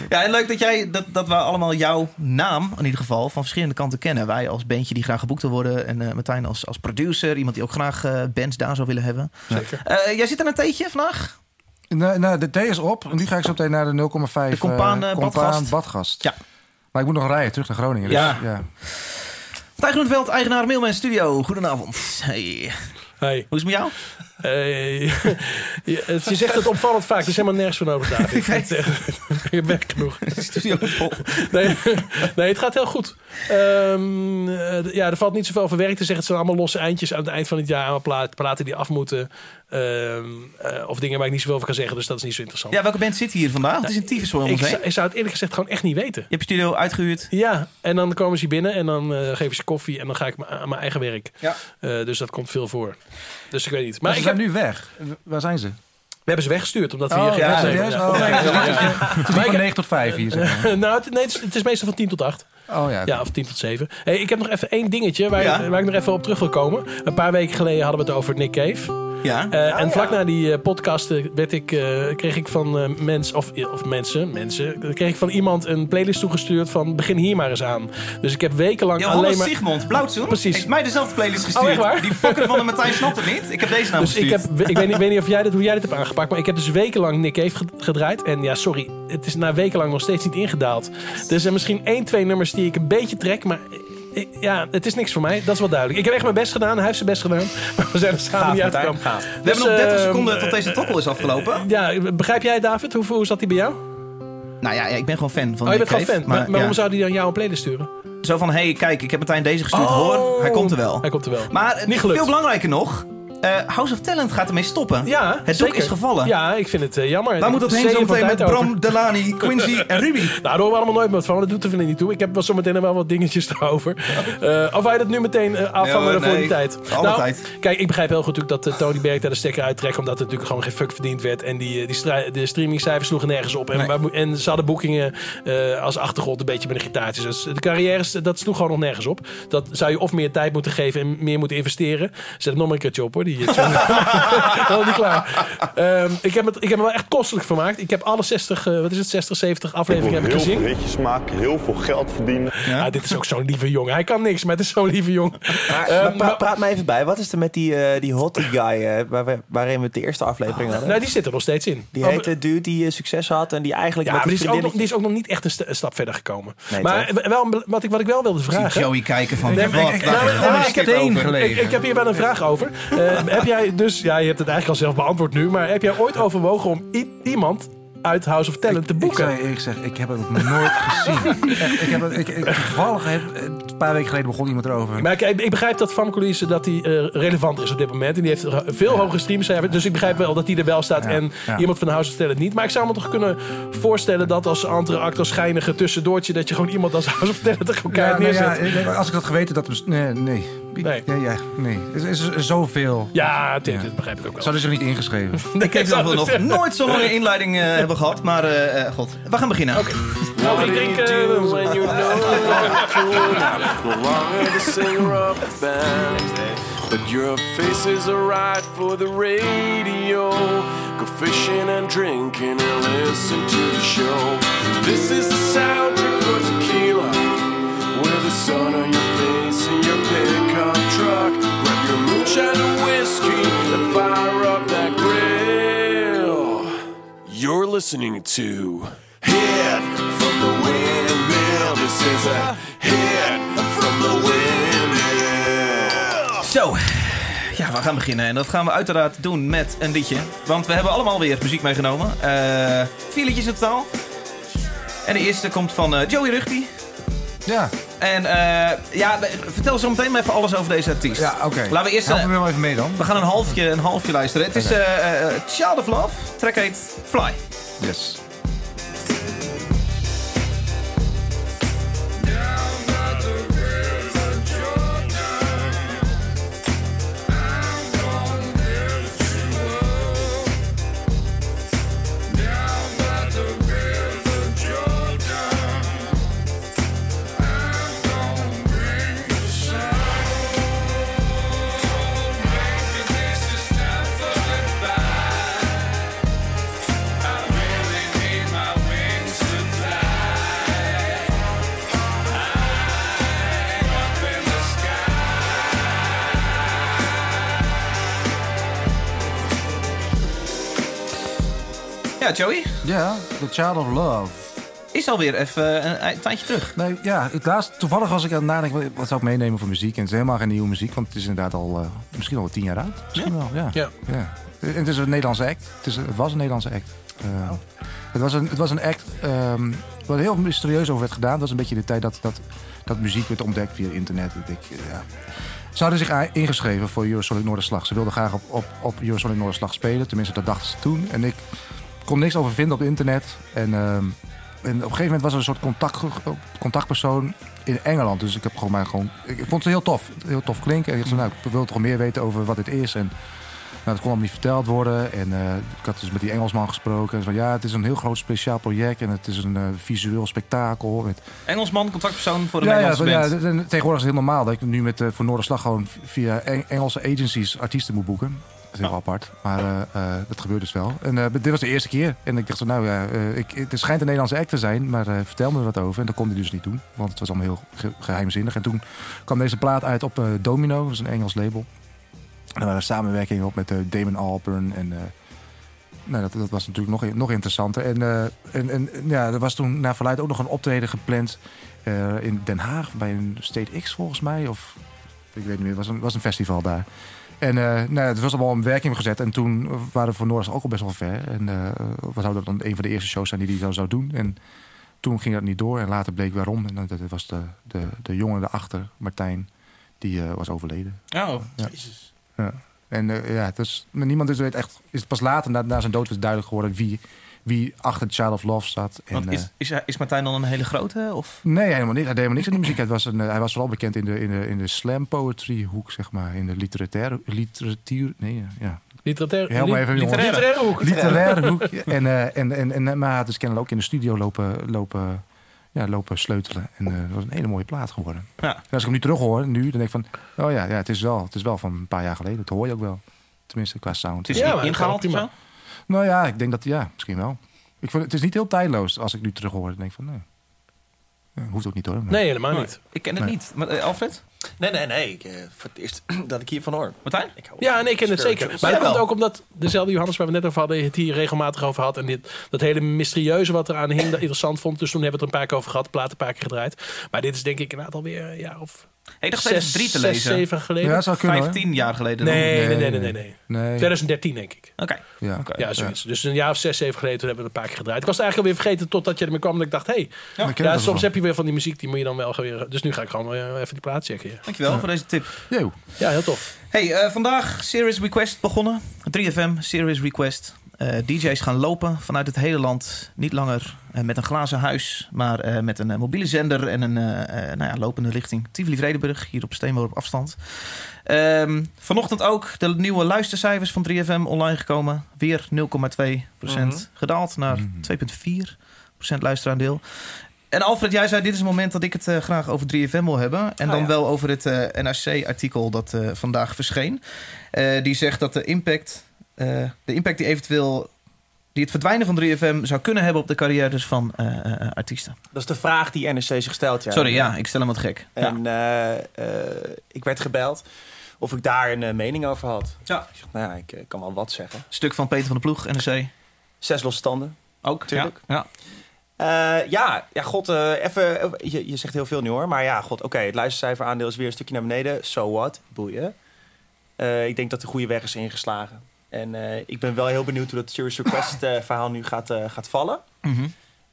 Speaker 1: Ja, en leuk dat, jij, dat, dat we allemaal jouw naam in ieder geval van verschillende kanten kennen. Wij als bandje die graag geboekt wil worden. En eh, Martijn als, als producer. Iemand die ook graag eh, bands daar zou willen hebben.
Speaker 3: zeker.
Speaker 1: Eh, jij zit aan een theetje vandaag?
Speaker 4: nou, nou, de thee is op en die ga ik zo meteen naar de 0,5.
Speaker 1: De compaan,
Speaker 4: eh,
Speaker 1: eh,
Speaker 4: compaan
Speaker 1: badgast.
Speaker 4: badgast.
Speaker 1: Ja.
Speaker 4: Maar ik moet nog rijden terug naar Groningen. Dus,
Speaker 1: Ja.
Speaker 4: ja.
Speaker 1: Martijn Groeneveld, eigenaar Mailman Studio. Goedenavond. Hey.
Speaker 3: Hey.
Speaker 1: Hoe is het met jou?
Speaker 3: Hey. je, het- je zegt het opvallend vaak, er is helemaal nergens voor nodig, David. Het, eh, je bent genoeg.
Speaker 1: Studio vol.
Speaker 3: Nee, nee, het gaat heel goed. Ehm, eh, d- ja, er valt niet zoveel over werk te zeggen. Het zijn allemaal losse eindjes aan het eind van het jaar. Allemaal pla- platen die af moeten. Ehm, eh, of dingen waar ik niet zoveel over kan zeggen. Dus dat is niet zo interessant.
Speaker 1: Ja, welke band zit hier vandaag? Het is een tyfus voor ons
Speaker 3: ik,
Speaker 1: heen.
Speaker 3: zou, ik zou het eerlijk gezegd gewoon echt niet weten.
Speaker 1: Je hebt je studio uitgehuurd.
Speaker 3: Ja, en dan komen ze binnen en dan eh, geven ze koffie. En dan ga ik m- aan mijn eigen werk.
Speaker 1: Ja.
Speaker 3: Eh, dus dat komt veel voor. Dus ik weet niet. Maar,
Speaker 4: Maar ze
Speaker 3: ik
Speaker 4: zijn
Speaker 3: heb-
Speaker 4: nu weg. Waar zijn ze?
Speaker 3: we hebben ze weggestuurd omdat we
Speaker 4: Oh,
Speaker 3: hier geen
Speaker 4: ja,
Speaker 3: tijd hebben.
Speaker 4: serieus? Oh, nee, het is niet- het is niet van 9 tot 5 hier. zeg maar.
Speaker 3: nou, het, nee, het is, het is meestal van 10 tot 8.
Speaker 4: Oh ja.
Speaker 3: Ja, of 10 tot 7. Hey, ik heb nog even één dingetje waar,
Speaker 1: Ja.
Speaker 3: waar ik nog even op terug wil komen. Een paar weken geleden hadden we het over Nick Cave.
Speaker 1: Oh, Ja.
Speaker 3: Eh, en vlak na die eh, podcast eh, werd ik, eh, kreeg ik van eh, mens, of, of mensen, mensen, eh, kreeg ik van iemand een playlist toegestuurd van begin hier maar eens aan. Dus ik heb wekenlang
Speaker 1: Johannes
Speaker 3: alleen maar...
Speaker 1: Sigmond, Blauwtsoen,
Speaker 3: Precies.
Speaker 1: heeft mij dezelfde playlist
Speaker 3: Oh,
Speaker 1: gestuurd.
Speaker 3: echt waar?
Speaker 1: Die fucker van de Matthijs snapt het niet. Ik heb deze naam
Speaker 3: Dus ik,
Speaker 1: gestuurd.
Speaker 3: heb, ik, weet, niet- ik weet niet of jij dit, hoe jij dit hebt aangepakt, maar ik heb dus wekenlang Nick Cave ged- gedraaid. En ja, sorry, het is na wekenlang nog steeds niet ingedaald. Dus Er zijn misschien één, twee nummers die ik een beetje trek, maar ik- ja, het is niks voor mij. Dat is wel duidelijk. Ik heb echt mijn best gedaan, hij heeft zijn best gedaan, maar we zijn er samen
Speaker 2: Gaaf,
Speaker 3: niet
Speaker 2: Martijn,
Speaker 3: uitgekomen.
Speaker 2: gaaf.
Speaker 1: We hebben nog 30
Speaker 3: ehm,
Speaker 1: seconden tot deze tokkel is afgelopen.
Speaker 3: Ja, begrijp jij David? Hoe, hoe zat die bij jou?
Speaker 1: Nou ja, ja, ik ben gewoon fan van
Speaker 3: Oh, je
Speaker 1: Nick
Speaker 3: bent gewoon
Speaker 1: Cave,
Speaker 3: fan. Maar, maar
Speaker 1: ja.
Speaker 3: waarom zou die dan jou een playlist sturen?
Speaker 1: Zo van, hé, hey, kijk, ik heb Martijn deze gestuurd. Hoor, hij komt er wel.
Speaker 3: Oh. Hij komt er wel.
Speaker 1: Maar eh,
Speaker 3: Niet gelukt.
Speaker 1: veel belangrijker nog... eh, Eh, House of Talent gaat ermee stoppen.
Speaker 3: Ja,
Speaker 1: het doek
Speaker 3: zeker.
Speaker 1: is gevallen.
Speaker 3: Ja, ik vind het eh, jammer.
Speaker 1: Waar moet dat heen
Speaker 3: Zee
Speaker 1: zo
Speaker 3: van
Speaker 1: meteen met
Speaker 3: tijd over.
Speaker 1: Bram, Delani, Quincy en Ruby?
Speaker 3: Nou, daar horen we allemaal nooit meer wat van. Dat doet er verder niet toe. Ik heb wel zometeen wel wat dingetjes erover. Eh, of wij dat nu meteen eh afvangen
Speaker 1: Nee,
Speaker 3: voor
Speaker 1: nee.
Speaker 3: die tijd.
Speaker 1: Alle
Speaker 3: nou,
Speaker 1: tijd.
Speaker 3: Kijk, ik begrijp heel goed natuurlijk dat eh, Tony Berg daar de stekker uittrekt. Omdat het natuurlijk gewoon geen fuck verdiend werd. En die, eh, die stra- de streamingcijfers sloegen nergens op. En,
Speaker 1: Nee.
Speaker 3: waar moet- en ze hadden boekingen eh, als achtergrond een beetje met een gitaartje. Dus de carrières, dat sloeg gewoon nog nergens op. Dat zou je of meer tijd moeten geven en meer moeten investeren. Zet hem nog maar een keertje op hoor. Die, Dan is die klaar. Ehm, ik, heb het, ik heb me wel echt kostelijk vermaakt. Ik heb alle 60, eh, wat is het, 60, 70
Speaker 5: Ik
Speaker 3: afleveringen
Speaker 5: wil
Speaker 3: heb ik
Speaker 5: heel
Speaker 3: gezien.
Speaker 5: veel ritjes maken, heel veel geld verdienen.
Speaker 3: Ah, dit is ook zo'n lieve jongen. Hij kan niks, maar het is zo'n lieve jongen.
Speaker 2: Maar,
Speaker 3: Eh,
Speaker 2: maar pra-
Speaker 3: maar-
Speaker 2: praat me even bij. Wat is er met die, eh, die hottie guy eh, waar we- waarin we het de eerste aflevering hadden?
Speaker 3: nou, die zit er nog steeds in.
Speaker 2: die
Speaker 3: Oh,
Speaker 2: heette dude die eh, succes had en die eigenlijk
Speaker 3: ja,
Speaker 2: met
Speaker 3: maar die
Speaker 2: een
Speaker 3: is, ook nog, die
Speaker 2: vriendinnetje-
Speaker 3: is ook nog niet echt een, st- een stap verder gekomen.
Speaker 2: Nee,
Speaker 3: maar eh,
Speaker 2: toch?
Speaker 3: wel, een- wat, ik, wat ik wel wilde
Speaker 1: Ik zie
Speaker 3: vragen.
Speaker 1: Joey kijken van,
Speaker 3: Nee,
Speaker 1: wat,
Speaker 3: maar ik- ik-
Speaker 1: daar
Speaker 3: nou,
Speaker 1: is gewoon
Speaker 3: nou,
Speaker 1: een
Speaker 3: ik heb
Speaker 1: steen
Speaker 3: één
Speaker 1: gelegen.
Speaker 3: Ik, ik heb hier wel een vraag over. Eh, heb jij dus, ja, je hebt het eigenlijk al zelf beantwoord nu, maar heb jij ooit overwogen om i- iemand uit House of Talent te
Speaker 4: Ik zou
Speaker 3: boeken?
Speaker 4: je eerlijk zeggen, ik heb het nog nooit gezien. Echt, ik heb het, ik, ik, toevallig, heb- een paar weken geleden begon iemand erover.
Speaker 3: Maar ik, ik begrijp dat Famke Louise dat die, eh, relevanter is op dit moment. En die heeft een veel hogere streamcijfers. Dus ik begrijp wel dat die er wel staat.
Speaker 4: Ja,
Speaker 3: En
Speaker 4: ja.
Speaker 3: iemand van de House of Talent niet. Maar ik zou me toch kunnen voorstellen dat als andere act, als schijnige tussendoortje... dat je gewoon iemand als House of Talent er gewoon
Speaker 4: Ja,
Speaker 3: keihard
Speaker 4: nou ja,
Speaker 3: neerzet.
Speaker 4: ik- als ik had geweten dat... bes- Nee, nee.
Speaker 3: Nee.
Speaker 4: Ja, ja, nee. Er is, er is zoveel.
Speaker 3: Ja, dit, dit begrijp ik ook wel.
Speaker 4: Ze hadden zich niet ingeschreven.
Speaker 1: Ik heb zelf nog nooit zo'n lange inleiding eh, hebben gehad, maar eh, eh, god. We gaan beginnen.
Speaker 3: Oh, ik drink... eh,
Speaker 6: No longer the singer of the band, but your face is alright for the radio. Go fishing and drinking and listen to the show. This is the soundtrack for tequila. With the sun on your face and your pickup truck, grab your moonshine and whiskey and fire up that grill. You're listening to Hit from the Windmill. This is a hit from the windmill.
Speaker 1: Zo. Ja, we gaan beginnen. En dat gaan we uiteraard doen met een liedje. Want we hebben allemaal weer muziek meegenomen. Eh, vier liedjes in totaal. En de eerste komt van eh, Joey Ruchti.
Speaker 4: Ja,
Speaker 1: En eh, ja, we- vertel zo meteen maar even alles over deze artiest.
Speaker 4: ja oké.
Speaker 1: Laten we eerst...
Speaker 4: Help
Speaker 1: eh,
Speaker 4: me wel even mee dan.
Speaker 1: we gaan een halfje, een halfje luisteren. Het is eh, eh, Child of Love. Track heet Fly.
Speaker 4: Yes.
Speaker 1: Ja, Joey.
Speaker 4: Ja, The Child of Love.
Speaker 1: Is alweer even eh, een, een tijdje terug.
Speaker 4: Nee, ja, het laatste, toevallig was ik aan het nadenken, wat- wat zou ik meenemen voor muziek? En het is helemaal geen nieuwe muziek, want het is inderdaad al, eh, misschien al tien jaar oud. Misschien wel, ja.
Speaker 3: Ja.
Speaker 4: En het is een Nederlandse act. Het, is, het was een Nederlandse act. Eh, het, was een, het was een act ehm waar heel mysterieus over werd gedaan. Dat was een beetje de tijd dat, dat, dat muziek werd ontdekt via internet. Ik denk, eh, ja. Ze hadden zich a- ingeschreven voor Eurosonic Noorderslag. Ze wilden graag op, op, op Eurosonic Noorderslag spelen. Tenminste, dat dachten ze toen. En ik kon niks over vinden op internet. En, ehm, en op een gegeven moment was er een soort contact, contactpersoon in Engeland. Dus ik heb gewoon maar gewoon... Ik, ik vond ze heel tof. Heel tof klinken. En ik dacht, nou, ik wil toch meer weten over wat dit is. En nou, dat kon allemaal niet verteld worden. En eh, ik had dus met die Engelsman gesproken. En ze van, ja, het is een heel groot speciaal project. En het is een eh, visueel spektakel. Met
Speaker 1: Engelsman, contactpersoon voor de
Speaker 4: ja, ja,
Speaker 1: Nederlandse
Speaker 4: van- ja,
Speaker 1: band.
Speaker 4: dat- en tegenwoordig is het heel normaal dat ik nu met, eh, voor Noorderslag gewoon via Eng- Engelse agencies artiesten moet boeken. Dat is heel
Speaker 1: Oh.
Speaker 4: apart, maar eh, eh, dat gebeurt dus wel. En eh, dit was de eerste keer. En ik dacht zo, nou ja, eh, ik, het schijnt een Nederlandse act te zijn, maar eh, vertel me er wat over. En dat kon hij dus niet doen, want het was allemaal heel ge- geheimzinnig. En toen kwam deze plaat uit op eh, Domino, dat is een Engels label. En er waren samenwerkingen op met eh, Damon Albarn en... eh, nou, dat, dat was natuurlijk nog, nog interessanter. En, eh, en, en ja, er was toen naar verluid ook nog een optreden gepland eh, in Den Haag bij een State X volgens mij. Of ik weet niet meer, het was een, was een festival daar. En eh nou, ja, het was allemaal in werking gezet. En toen eh, waren we voor Noordes ook al best wel ver. En eh wat zou dat dan een van de eerste shows zijn die hij dan zou doen? En toen ging dat niet door en later bleek waarom. En dat, dat was de, de, de jongen daarachter, Martijn, die eh, was overleden.
Speaker 1: Oh,
Speaker 4: Ja.
Speaker 1: jezus.
Speaker 4: Ja. En eh, ja, dus, maar niemand is, weet echt, is het pas later, na, na zijn dood, is duidelijk geworden wie, wie achter Child of Love zat. En,
Speaker 1: Want
Speaker 4: eh,
Speaker 1: is, is, hij- is Martijn dan een hele grote? Of?
Speaker 4: Nee, helemaal niet. Hij deed helemaal niks aan die muziek. Hij was, een, eh, hij was vooral bekend in de, in de, in de slam poetry hoek, zeg maar. In de literaire literatuur. Nee, ja, ja.
Speaker 3: Literatair,
Speaker 4: Help me
Speaker 3: li-
Speaker 4: even, jongens.
Speaker 3: literaire. Oh, literaire hoek.
Speaker 4: Literaire hoek. En, eh, en, en, en, maar hij had dus kennelijk ook in de studio lopen, lopen, ja, lopen sleutelen. En eh, dat was een hele mooie plaat geworden.
Speaker 1: Ja.
Speaker 4: En als ik hem nu terug hoor, nu, dan denk ik van... Oh ja, ja het, is wel, het is wel van een paar jaar geleden. Dat hoor je ook wel. Tenminste, qua sound.
Speaker 1: Het is
Speaker 3: Ja,
Speaker 1: in-
Speaker 3: maar
Speaker 1: ingehaald of
Speaker 3: prima.
Speaker 1: zo?
Speaker 4: Nou ja, ik denk dat, ja, misschien wel. Ik vond, het is niet heel tijdloos als ik nu terug hoor. Dan denk ik van, nee. Ja, hoeft ook niet hoor. maar-
Speaker 3: Nee, helemaal niet.
Speaker 1: Ik ken het
Speaker 4: Nee.
Speaker 1: niet. Maar, eh, Alfred?
Speaker 2: Nee, nee, nee. Ik, eh, voor het eerst dat ik hiervan hoor.
Speaker 1: Martijn?
Speaker 2: Ik hou
Speaker 3: Ja,
Speaker 2: van
Speaker 3: nee, ik ken het zeker.
Speaker 2: spirituals.
Speaker 3: Maar dat
Speaker 1: Jawel.
Speaker 3: komt ook omdat dezelfde Johannes waar we net over hadden... het hier regelmatig over had. En dit, dat hele mysterieuze wat eraan hing, dat interessant vond. Dus toen hebben we het er een paar keer over gehad. Plaat een paar keer gedraaid. Maar dit is denk ik inderdaad alweer een jaar of
Speaker 1: Hey, ik dacht
Speaker 3: zes,
Speaker 1: even drie te
Speaker 3: zes,
Speaker 1: lezen.
Speaker 3: zeven geleden.
Speaker 4: Ja, dat zou kunnen hoor.
Speaker 1: 15 jaar geleden. dan.
Speaker 3: nee, nee, nee, nee,
Speaker 4: nee.
Speaker 3: nee, nee.
Speaker 4: Nee.
Speaker 3: 2013 denk ik.
Speaker 1: Oké.
Speaker 4: Ja.
Speaker 1: Oké.
Speaker 3: Ja, zoiets. Dus een jaar of zes, zeven geleden toen hebben we het een paar keer gedraaid. Ik was het eigenlijk alweer vergeten totdat je ermee kwam. En ik dacht, hé, hey,
Speaker 4: Maar ik ken
Speaker 3: ja,
Speaker 4: het
Speaker 3: soms
Speaker 4: ervan.
Speaker 3: heb je weer van die muziek, die moet je dan wel weer... Dus nu ga ik gewoon eh, even die plaat checken. Ja,
Speaker 1: Dankjewel voor deze tip.
Speaker 4: Yo.
Speaker 3: ja heel tof.
Speaker 1: Hey, eh, vandaag Serious Request begonnen. 3FM Serious Request. Eh, DJ's gaan lopen vanuit het hele land. Niet langer eh, met een glazen huis, maar eh, met een eh, mobiele zender en een eh, eh, nou ja, lopende richting Tivoli-Vredenburg, hier op Steenworp afstand. Ehm, vanochtend ook de nieuwe luistercijfers van 3FM online gekomen. Weer 0,2%
Speaker 2: Mhm.
Speaker 1: gedaald naar 2,4% luisteraandeel. En Alfred, jij zei dit is het moment dat ik het eh, graag over 3FM wil hebben. En
Speaker 2: Ah,
Speaker 1: dan
Speaker 2: ja.
Speaker 1: wel over het eh, NRC-artikel dat eh, vandaag verscheen. Eh, die zegt dat de impact, eh, de impact die eventueel die het verdwijnen van 3FM zou kunnen hebben op de carrières van eh, eh, eh, artiesten.
Speaker 2: Dat is de vraag die NRC zich stelt. Ja.
Speaker 1: Sorry, ja, ik stel hem wat gek. Ja.
Speaker 2: En eh, eh, ik werd gebeld of ik daar een eh, mening over had.
Speaker 1: Ja.
Speaker 2: Ik zeg, nou ja, ik eh, kan wel wat zeggen.
Speaker 1: Stuk van Peter van de Ploeg, NRC.
Speaker 2: Zes losse tanden.
Speaker 1: Ook,
Speaker 2: tuurlijk.
Speaker 1: Ja. Ja.
Speaker 2: Eh, ja, ja, god, eh, even, je, je zegt heel veel nu hoor. Maar ja, god, oké, het luistercijferaandeel is weer een stukje naar beneden. So what, boeien. Eh, ik denk dat de goede weg is ingeslagen. En eh, ik ben wel heel benieuwd hoe dat Serious Request eh, verhaal nu gaat, eh, gaat vallen.
Speaker 1: Mhm.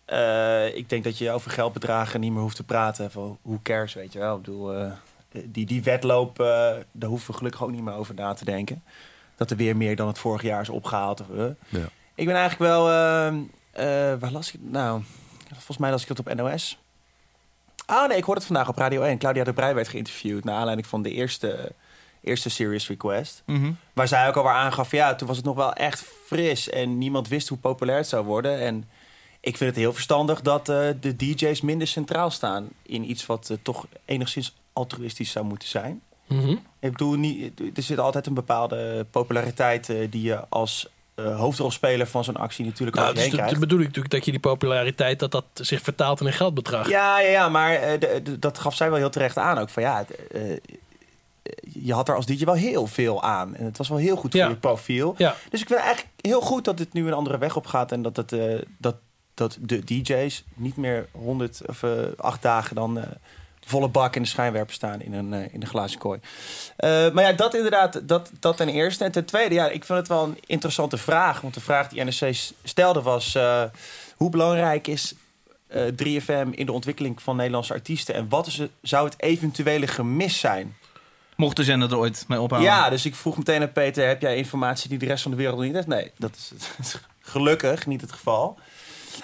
Speaker 2: Eh, ik denk dat je over geldbedragen niet meer hoeft te praten. Van, who cares, weet je wel. Ik bedoel, eh, die, die wedloop, eh, daar hoeven we gelukkig ook niet meer over na te denken. Dat er weer meer dan het vorig jaar is opgehaald. Of, eh.
Speaker 4: Ja.
Speaker 2: Ik ben eigenlijk wel... ehm, eh, waar las ik het? Nou, volgens mij las ik het op NOS. Ah nee, ik hoorde het vandaag op Radio 1. Claudia de Brij werd geïnterviewd... naar aanleiding van de eerste, eerste Serious Request.
Speaker 1: Mhm.
Speaker 2: Waar zij ook al waar aangaf, ja, toen was het nog wel echt fris en niemand wist hoe populair het zou worden. En ik vind het heel verstandig dat eh, de DJ's minder centraal staan in iets wat eh, toch enigszins altruïstisch zou moeten zijn.
Speaker 3: Mhm.
Speaker 2: Ik bedoel, niet, er zit altijd een bepaalde populariteit eh, die je als eh, hoofdrolspeler van zo'n actie natuurlijk
Speaker 3: Nou,
Speaker 2: over je
Speaker 3: dus
Speaker 2: heen
Speaker 3: dat
Speaker 2: krijgt.
Speaker 3: dat bedoel ik natuurlijk dat je die populariteit, dat dat zich vertaalt in een geldbedrag.
Speaker 2: Ja, ja, ja maar eh, de- de- dat gaf zij wel heel terecht aan ook. Van, ja, het, eh, eh, je had er als DJ wel heel veel aan. En het was wel heel goed voor
Speaker 3: Ja.
Speaker 2: je profiel.
Speaker 3: Ja.
Speaker 2: Dus ik vind eigenlijk heel goed dat dit nu een andere weg op gaat. En dat, het, eh, dat, dat de DJ's niet meer 100 of eh, acht dagen dan eh, volle bak in de schijnwerper staan in een, eh, in een glazen kooi. Eh, maar ja, dat inderdaad, dat, dat ten eerste. En ten tweede, ja, ik vind het wel een interessante vraag. Want de vraag die NRC s- stelde was: eh, hoe belangrijk is eh, 3FM in de ontwikkeling van Nederlandse artiesten? En wat is het, zou het eventuele gemis zijn?
Speaker 1: Mocht de zender er ooit mee ophouden.
Speaker 2: Ja, dus ik vroeg meteen aan Peter: heb jij informatie die de rest van de wereld niet heeft? Nee, dat is gelukkig niet het geval.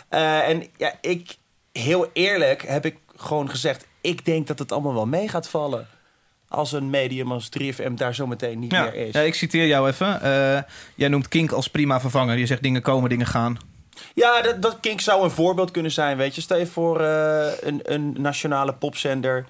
Speaker 2: Eh, en ja, ik, heel eerlijk heb ik gewoon gezegd: ik denk dat het allemaal wel mee gaat vallen. Als een medium als 3FM daar zometeen niet
Speaker 1: Ja.
Speaker 2: meer is.
Speaker 1: Ja, ik citeer jou even. Eh, jij noemt Kink als prima vervanger. Je zegt dingen komen, dingen gaan.
Speaker 2: Ja, dat, dat Kink zou een voorbeeld kunnen zijn, weet je. Stel je voor eh, een, een nationale popzender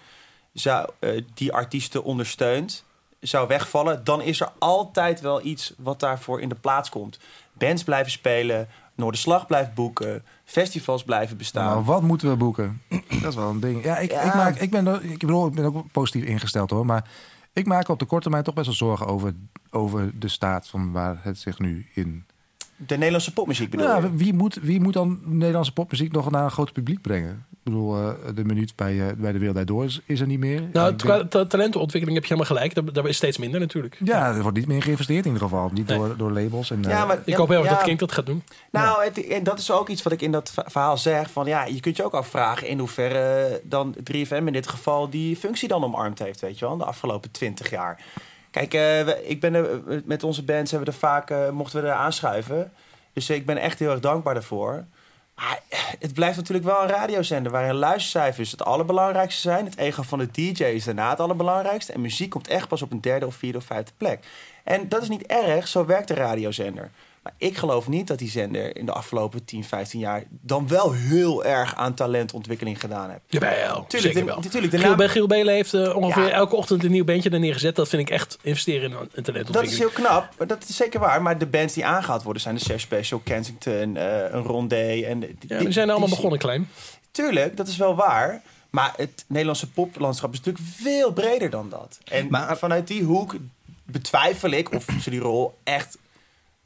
Speaker 2: zou, eh, die artiesten ondersteunt, zou wegvallen. Dan is er altijd wel iets wat daarvoor in de plaats komt. Bands blijven spelen, Noorderslag blijft boeken, festivals blijven bestaan.
Speaker 4: Nou, wat moeten we boeken? Dat is wel een ding. Ja, ik,
Speaker 2: Ja.
Speaker 4: Ik, maak, ik, ben, er- ik, bedoel, ik ben ook positief ingesteld hoor. Maar ik maak op de korte termijn toch best wel zorgen over, over de staat van waar het zich nu in.
Speaker 2: De Nederlandse popmuziek bedoel
Speaker 4: Ja,
Speaker 2: je?
Speaker 4: wie, moet, wie moet dan Nederlandse popmuziek nog naar een groot publiek brengen? Ik bedoel, eh, de minuut bij, eh, bij de Wereld Draait Door is, is er niet meer.
Speaker 3: Nou,
Speaker 4: Ik
Speaker 3: qua
Speaker 4: denk-
Speaker 3: ta- talentenontwikkeling heb je helemaal gelijk. Daar, daar is steeds minder natuurlijk.
Speaker 4: ja, er wordt niet meer geïnvesteerd in ieder geval. Niet
Speaker 3: Nee.
Speaker 4: door, door labels. En, eh,
Speaker 2: maar-
Speaker 3: Ik hoop heel erg
Speaker 2: ja,
Speaker 3: dat Kink dat gaat doen.
Speaker 2: Nou, het, en dat is ook iets wat ik in dat va- verhaal zeg. Van ja, je kunt je ook afvragen in hoeverre dan 3FM in dit geval die functie dan omarmd heeft, weet je wel, de afgelopen 20 jaar. Kijk, eh, we- ik ben er, eh, met onze bands hebben we er vaak, eh, mochten we er aanschuiven. Dus eh, ik ben echt heel erg dankbaar daarvoor. Maar eh, het blijft natuurlijk wel een radiozender waarin luistercijfers het allerbelangrijkste zijn. Het ego van de DJ is daarna het allerbelangrijkste. En muziek komt echt pas op een derde of vierde of vijfde plek. En dat is niet erg, zo werkt de radiozender. Maar ik geloof niet dat die zender in de afgelopen 10, 15 jaar dan wel heel erg aan talentontwikkeling gedaan heeft.
Speaker 3: Jawel,
Speaker 2: Tuurlijk,
Speaker 3: zeker
Speaker 2: de-
Speaker 3: wel.
Speaker 2: natuurlijk, de
Speaker 3: Giel,
Speaker 2: naam-
Speaker 3: Be- Giel Belen heeft eh, ongeveer
Speaker 2: Ja.
Speaker 3: elke ochtend een nieuw bandje er neergezet. Dat vind ik echt investeren in een talentontwikkeling.
Speaker 2: Dat is heel knap, maar dat is zeker waar. Maar de bands die aangehaald worden zijn de Sesh Special, Kensington, eh, een Rondé. En die,
Speaker 3: Ja, die zijn allemaal
Speaker 2: die-
Speaker 3: begonnen klein.
Speaker 2: Tuurlijk, dat is wel waar. Maar het Nederlandse poplandschap is natuurlijk veel breder dan dat. En
Speaker 1: Maar-
Speaker 2: vanuit die hoek betwijfel ik of ze die rol echt,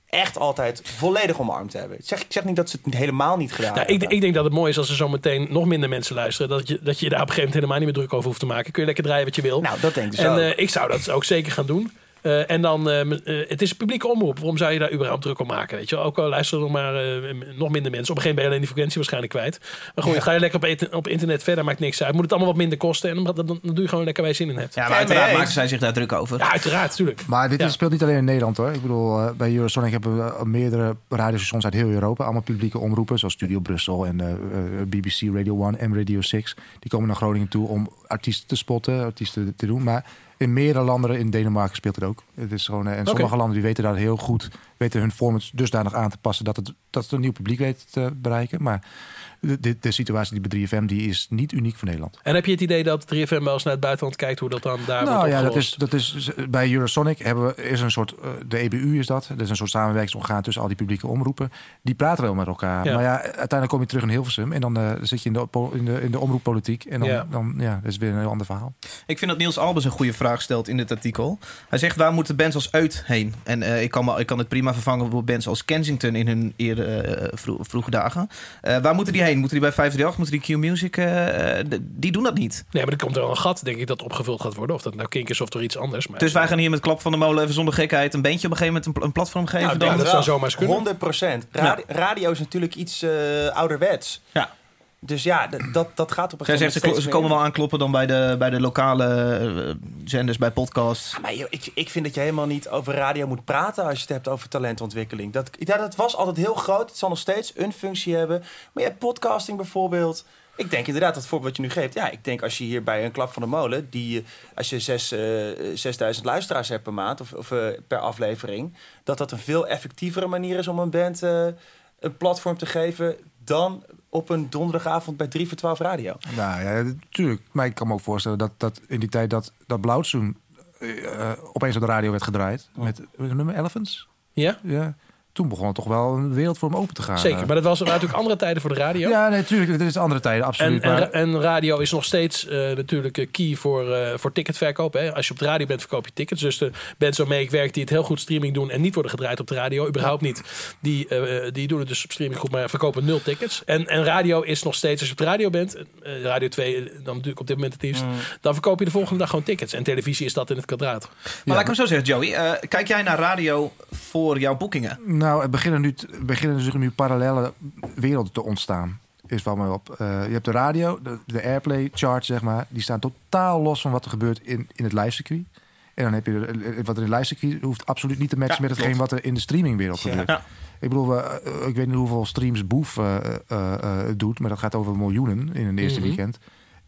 Speaker 2: echt altijd volledig omarmd hebben. Ik zeg, ik zeg niet dat ze het niet- helemaal niet gedaan
Speaker 3: Nou, ik,
Speaker 2: hebben.
Speaker 3: ik denk dat het mooi is als er zo meteen nog minder mensen luisteren. Dat je, dat je daar op een gegeven moment helemaal niet meer druk over hoeft te maken. Kun je lekker draaien wat je wil.
Speaker 2: Nou, dat denk ik dus
Speaker 3: en
Speaker 2: ook.
Speaker 3: eh, ik zou dat ook zeker gaan doen. Eh, en dan, eh, m- eh, het is een publieke omroep. Waarom zou je daar überhaupt druk op maken? Weet je? wel? Ook al luisteren er maar eh, m- nog minder mensen. Op een gegeven moment ben je alleen die frequentie waarschijnlijk kwijt. Maar goed, ga je lekker op, eten- op internet verder, maakt niks uit. Moet het allemaal wat minder kosten. En dan, dan, dan doe je gewoon lekker waar je zin in hebt. Ja,
Speaker 1: Ja, maar uiteraard
Speaker 2: eens.
Speaker 1: maken zij zich daar druk over.
Speaker 3: uiteraard, natuurlijk.
Speaker 4: Maar dit
Speaker 3: Ja.
Speaker 4: speelt niet alleen in Nederland hoor. Ik bedoel, eh, bij Eurosonic hebben we eh, meerdere radiostations uit heel Europa. Allemaal publieke omroepen, zoals Studio Brussel en eh, eh, BBC Radio 1 en Radio 6. Die komen naar Groningen toe om artiesten te spotten, artiesten te doen. Maar in meerdere landen, in Denemarken speelt het ook. Het is gewoon, eh, en sommige landen die weten daar heel goed, weten hun format dusdanig aan te passen dat het, dat het een nieuw publiek weet te bereiken. Maar de, de, de situatie die bij 3FM die is niet uniek voor Nederland.
Speaker 3: En heb je het idee dat 3FM wel eens naar het buitenland kijkt, hoe dat dan daar
Speaker 4: Nou
Speaker 3: wordt
Speaker 4: ja, dat
Speaker 3: opgelost?
Speaker 4: is, dat is bij Eurosonic hebben we, is een soort, eh, de EBU is dat, dat is een soort samenwerkingsorgaan tussen al die publieke omroepen. Die praten wel met elkaar.
Speaker 3: Ja.
Speaker 4: Maar ja, uiteindelijk kom je terug in Hilversum en dan eh, zit je in de, po- in de, in de omroeppolitiek. En dan,
Speaker 3: Ja.
Speaker 4: dan ja, dat is weer een heel ander verhaal.
Speaker 1: Ik vind dat Niels Albers een goede vraag stelt in dit artikel. Hij zegt, waar moeten bands als Uit heen? En eh, ik, kan me, ik kan het prima vervangen door bands als Kensington in hun eer, eh, vro- vroege dagen. Eh, waar moeten die heen? Moeten die bij 538? Moeten die Q-Music? eh, eh, d- die doen dat niet.
Speaker 3: Nee, maar er komt wel een gat, denk ik, dat opgevuld gaat worden. Of dat nou kink is of door iets anders. Maar...
Speaker 1: Dus wij gaan hier met Klap van de Molen even zonder gekheid... een bandje op een gegeven moment een, pl- een platform geven.
Speaker 3: Nou,
Speaker 1: dan...
Speaker 3: ja, dat zou zomaar eens kunnen. Nou.
Speaker 2: 100 procent. Radio is natuurlijk iets eh, ouderwets.
Speaker 1: Ja.
Speaker 2: Dus ja, d- dat, dat gaat op een
Speaker 1: Zij
Speaker 2: gegeven
Speaker 1: zegt,
Speaker 2: moment
Speaker 1: ze,
Speaker 2: steeds
Speaker 1: klo- ze
Speaker 2: meer
Speaker 1: komen
Speaker 2: in.
Speaker 1: wel aankloppen dan bij de, bij de lokale eh, zenders, bij podcasts.
Speaker 2: Maar joh, ik, ik vind dat je helemaal niet over radio moet praten als je het hebt over talentontwikkeling. Dat, ja, dat was altijd heel groot. Het zal nog steeds een functie hebben. Maar je hebt podcasting bijvoorbeeld. Ik denk inderdaad, dat voorbeeld wat je nu geeft. Ja, ik denk als je hier bij een klap van de molen, die, eh, als je zes, eh, 6000 luisteraars hebt per maand of, of eh, per aflevering, dat dat een veel effectievere manier is om een band eh, een platform te geven dan op een donderdagavond bij 3 voor 12 radio.
Speaker 4: Nou ja, natuurlijk. Maar ik kan me ook voorstellen dat, dat in die tijd dat, dat Blauwzoen eh, opeens op de radio werd gedraaid. Met eh, nummer Elephants.
Speaker 3: Ja,
Speaker 4: Ja. Toen begon het toch wel een wereld voor hem open te gaan. eh.
Speaker 3: zeker. Maar dat was, waren natuurlijk andere tijden voor de radio.
Speaker 4: Ah, nou. ja, natuurlijk. dit is andere tijden,
Speaker 3: En,
Speaker 4: absoluut.
Speaker 3: en,
Speaker 4: maar-
Speaker 3: ra- en radio is nog steeds eh, natuurlijk eh, key voor, eh, voor ticketverkoop. Hè. Als je op de radio bent, verkoop je tickets. Dus de bands waarmee ik werk die het heel goed streaming doen... en niet worden gedraaid op de radio, überhaupt niet... die, eh, die doen het dus op streaming goed, maar verkopen nul tickets. En, en radio is nog steeds, als je op de radio bent... eh, radio 2 dan natuurlijk op dit moment het
Speaker 4: Mm.
Speaker 3: liefst... dan verkoop je de volgende dag gewoon tickets. En televisie is dat in het kwadraat.
Speaker 1: Maar laat ik hem zo zeggen, Joey. eh, kijk jij naar radio voor jouw boekingen?
Speaker 4: Nou, er beginnen, nu, er beginnen natuurlijk nu parallele werelden te ontstaan. Is wat mij op. Eh, je hebt de radio, de, de airplay chart, zeg maar. Die staan totaal los van wat er gebeurt in, in het livecircuit. En dan heb je de- eh, wat er in het livecircuit hoeft absoluut niet te matchen met hetgeen wat er in de streamingwereld gebeurt. Ik bedoel, we, eh, ik weet niet hoeveel streams Boef eh, eh, eh, doet, maar dat gaat over miljoenen in een eerste
Speaker 3: Mhm.
Speaker 4: weekend.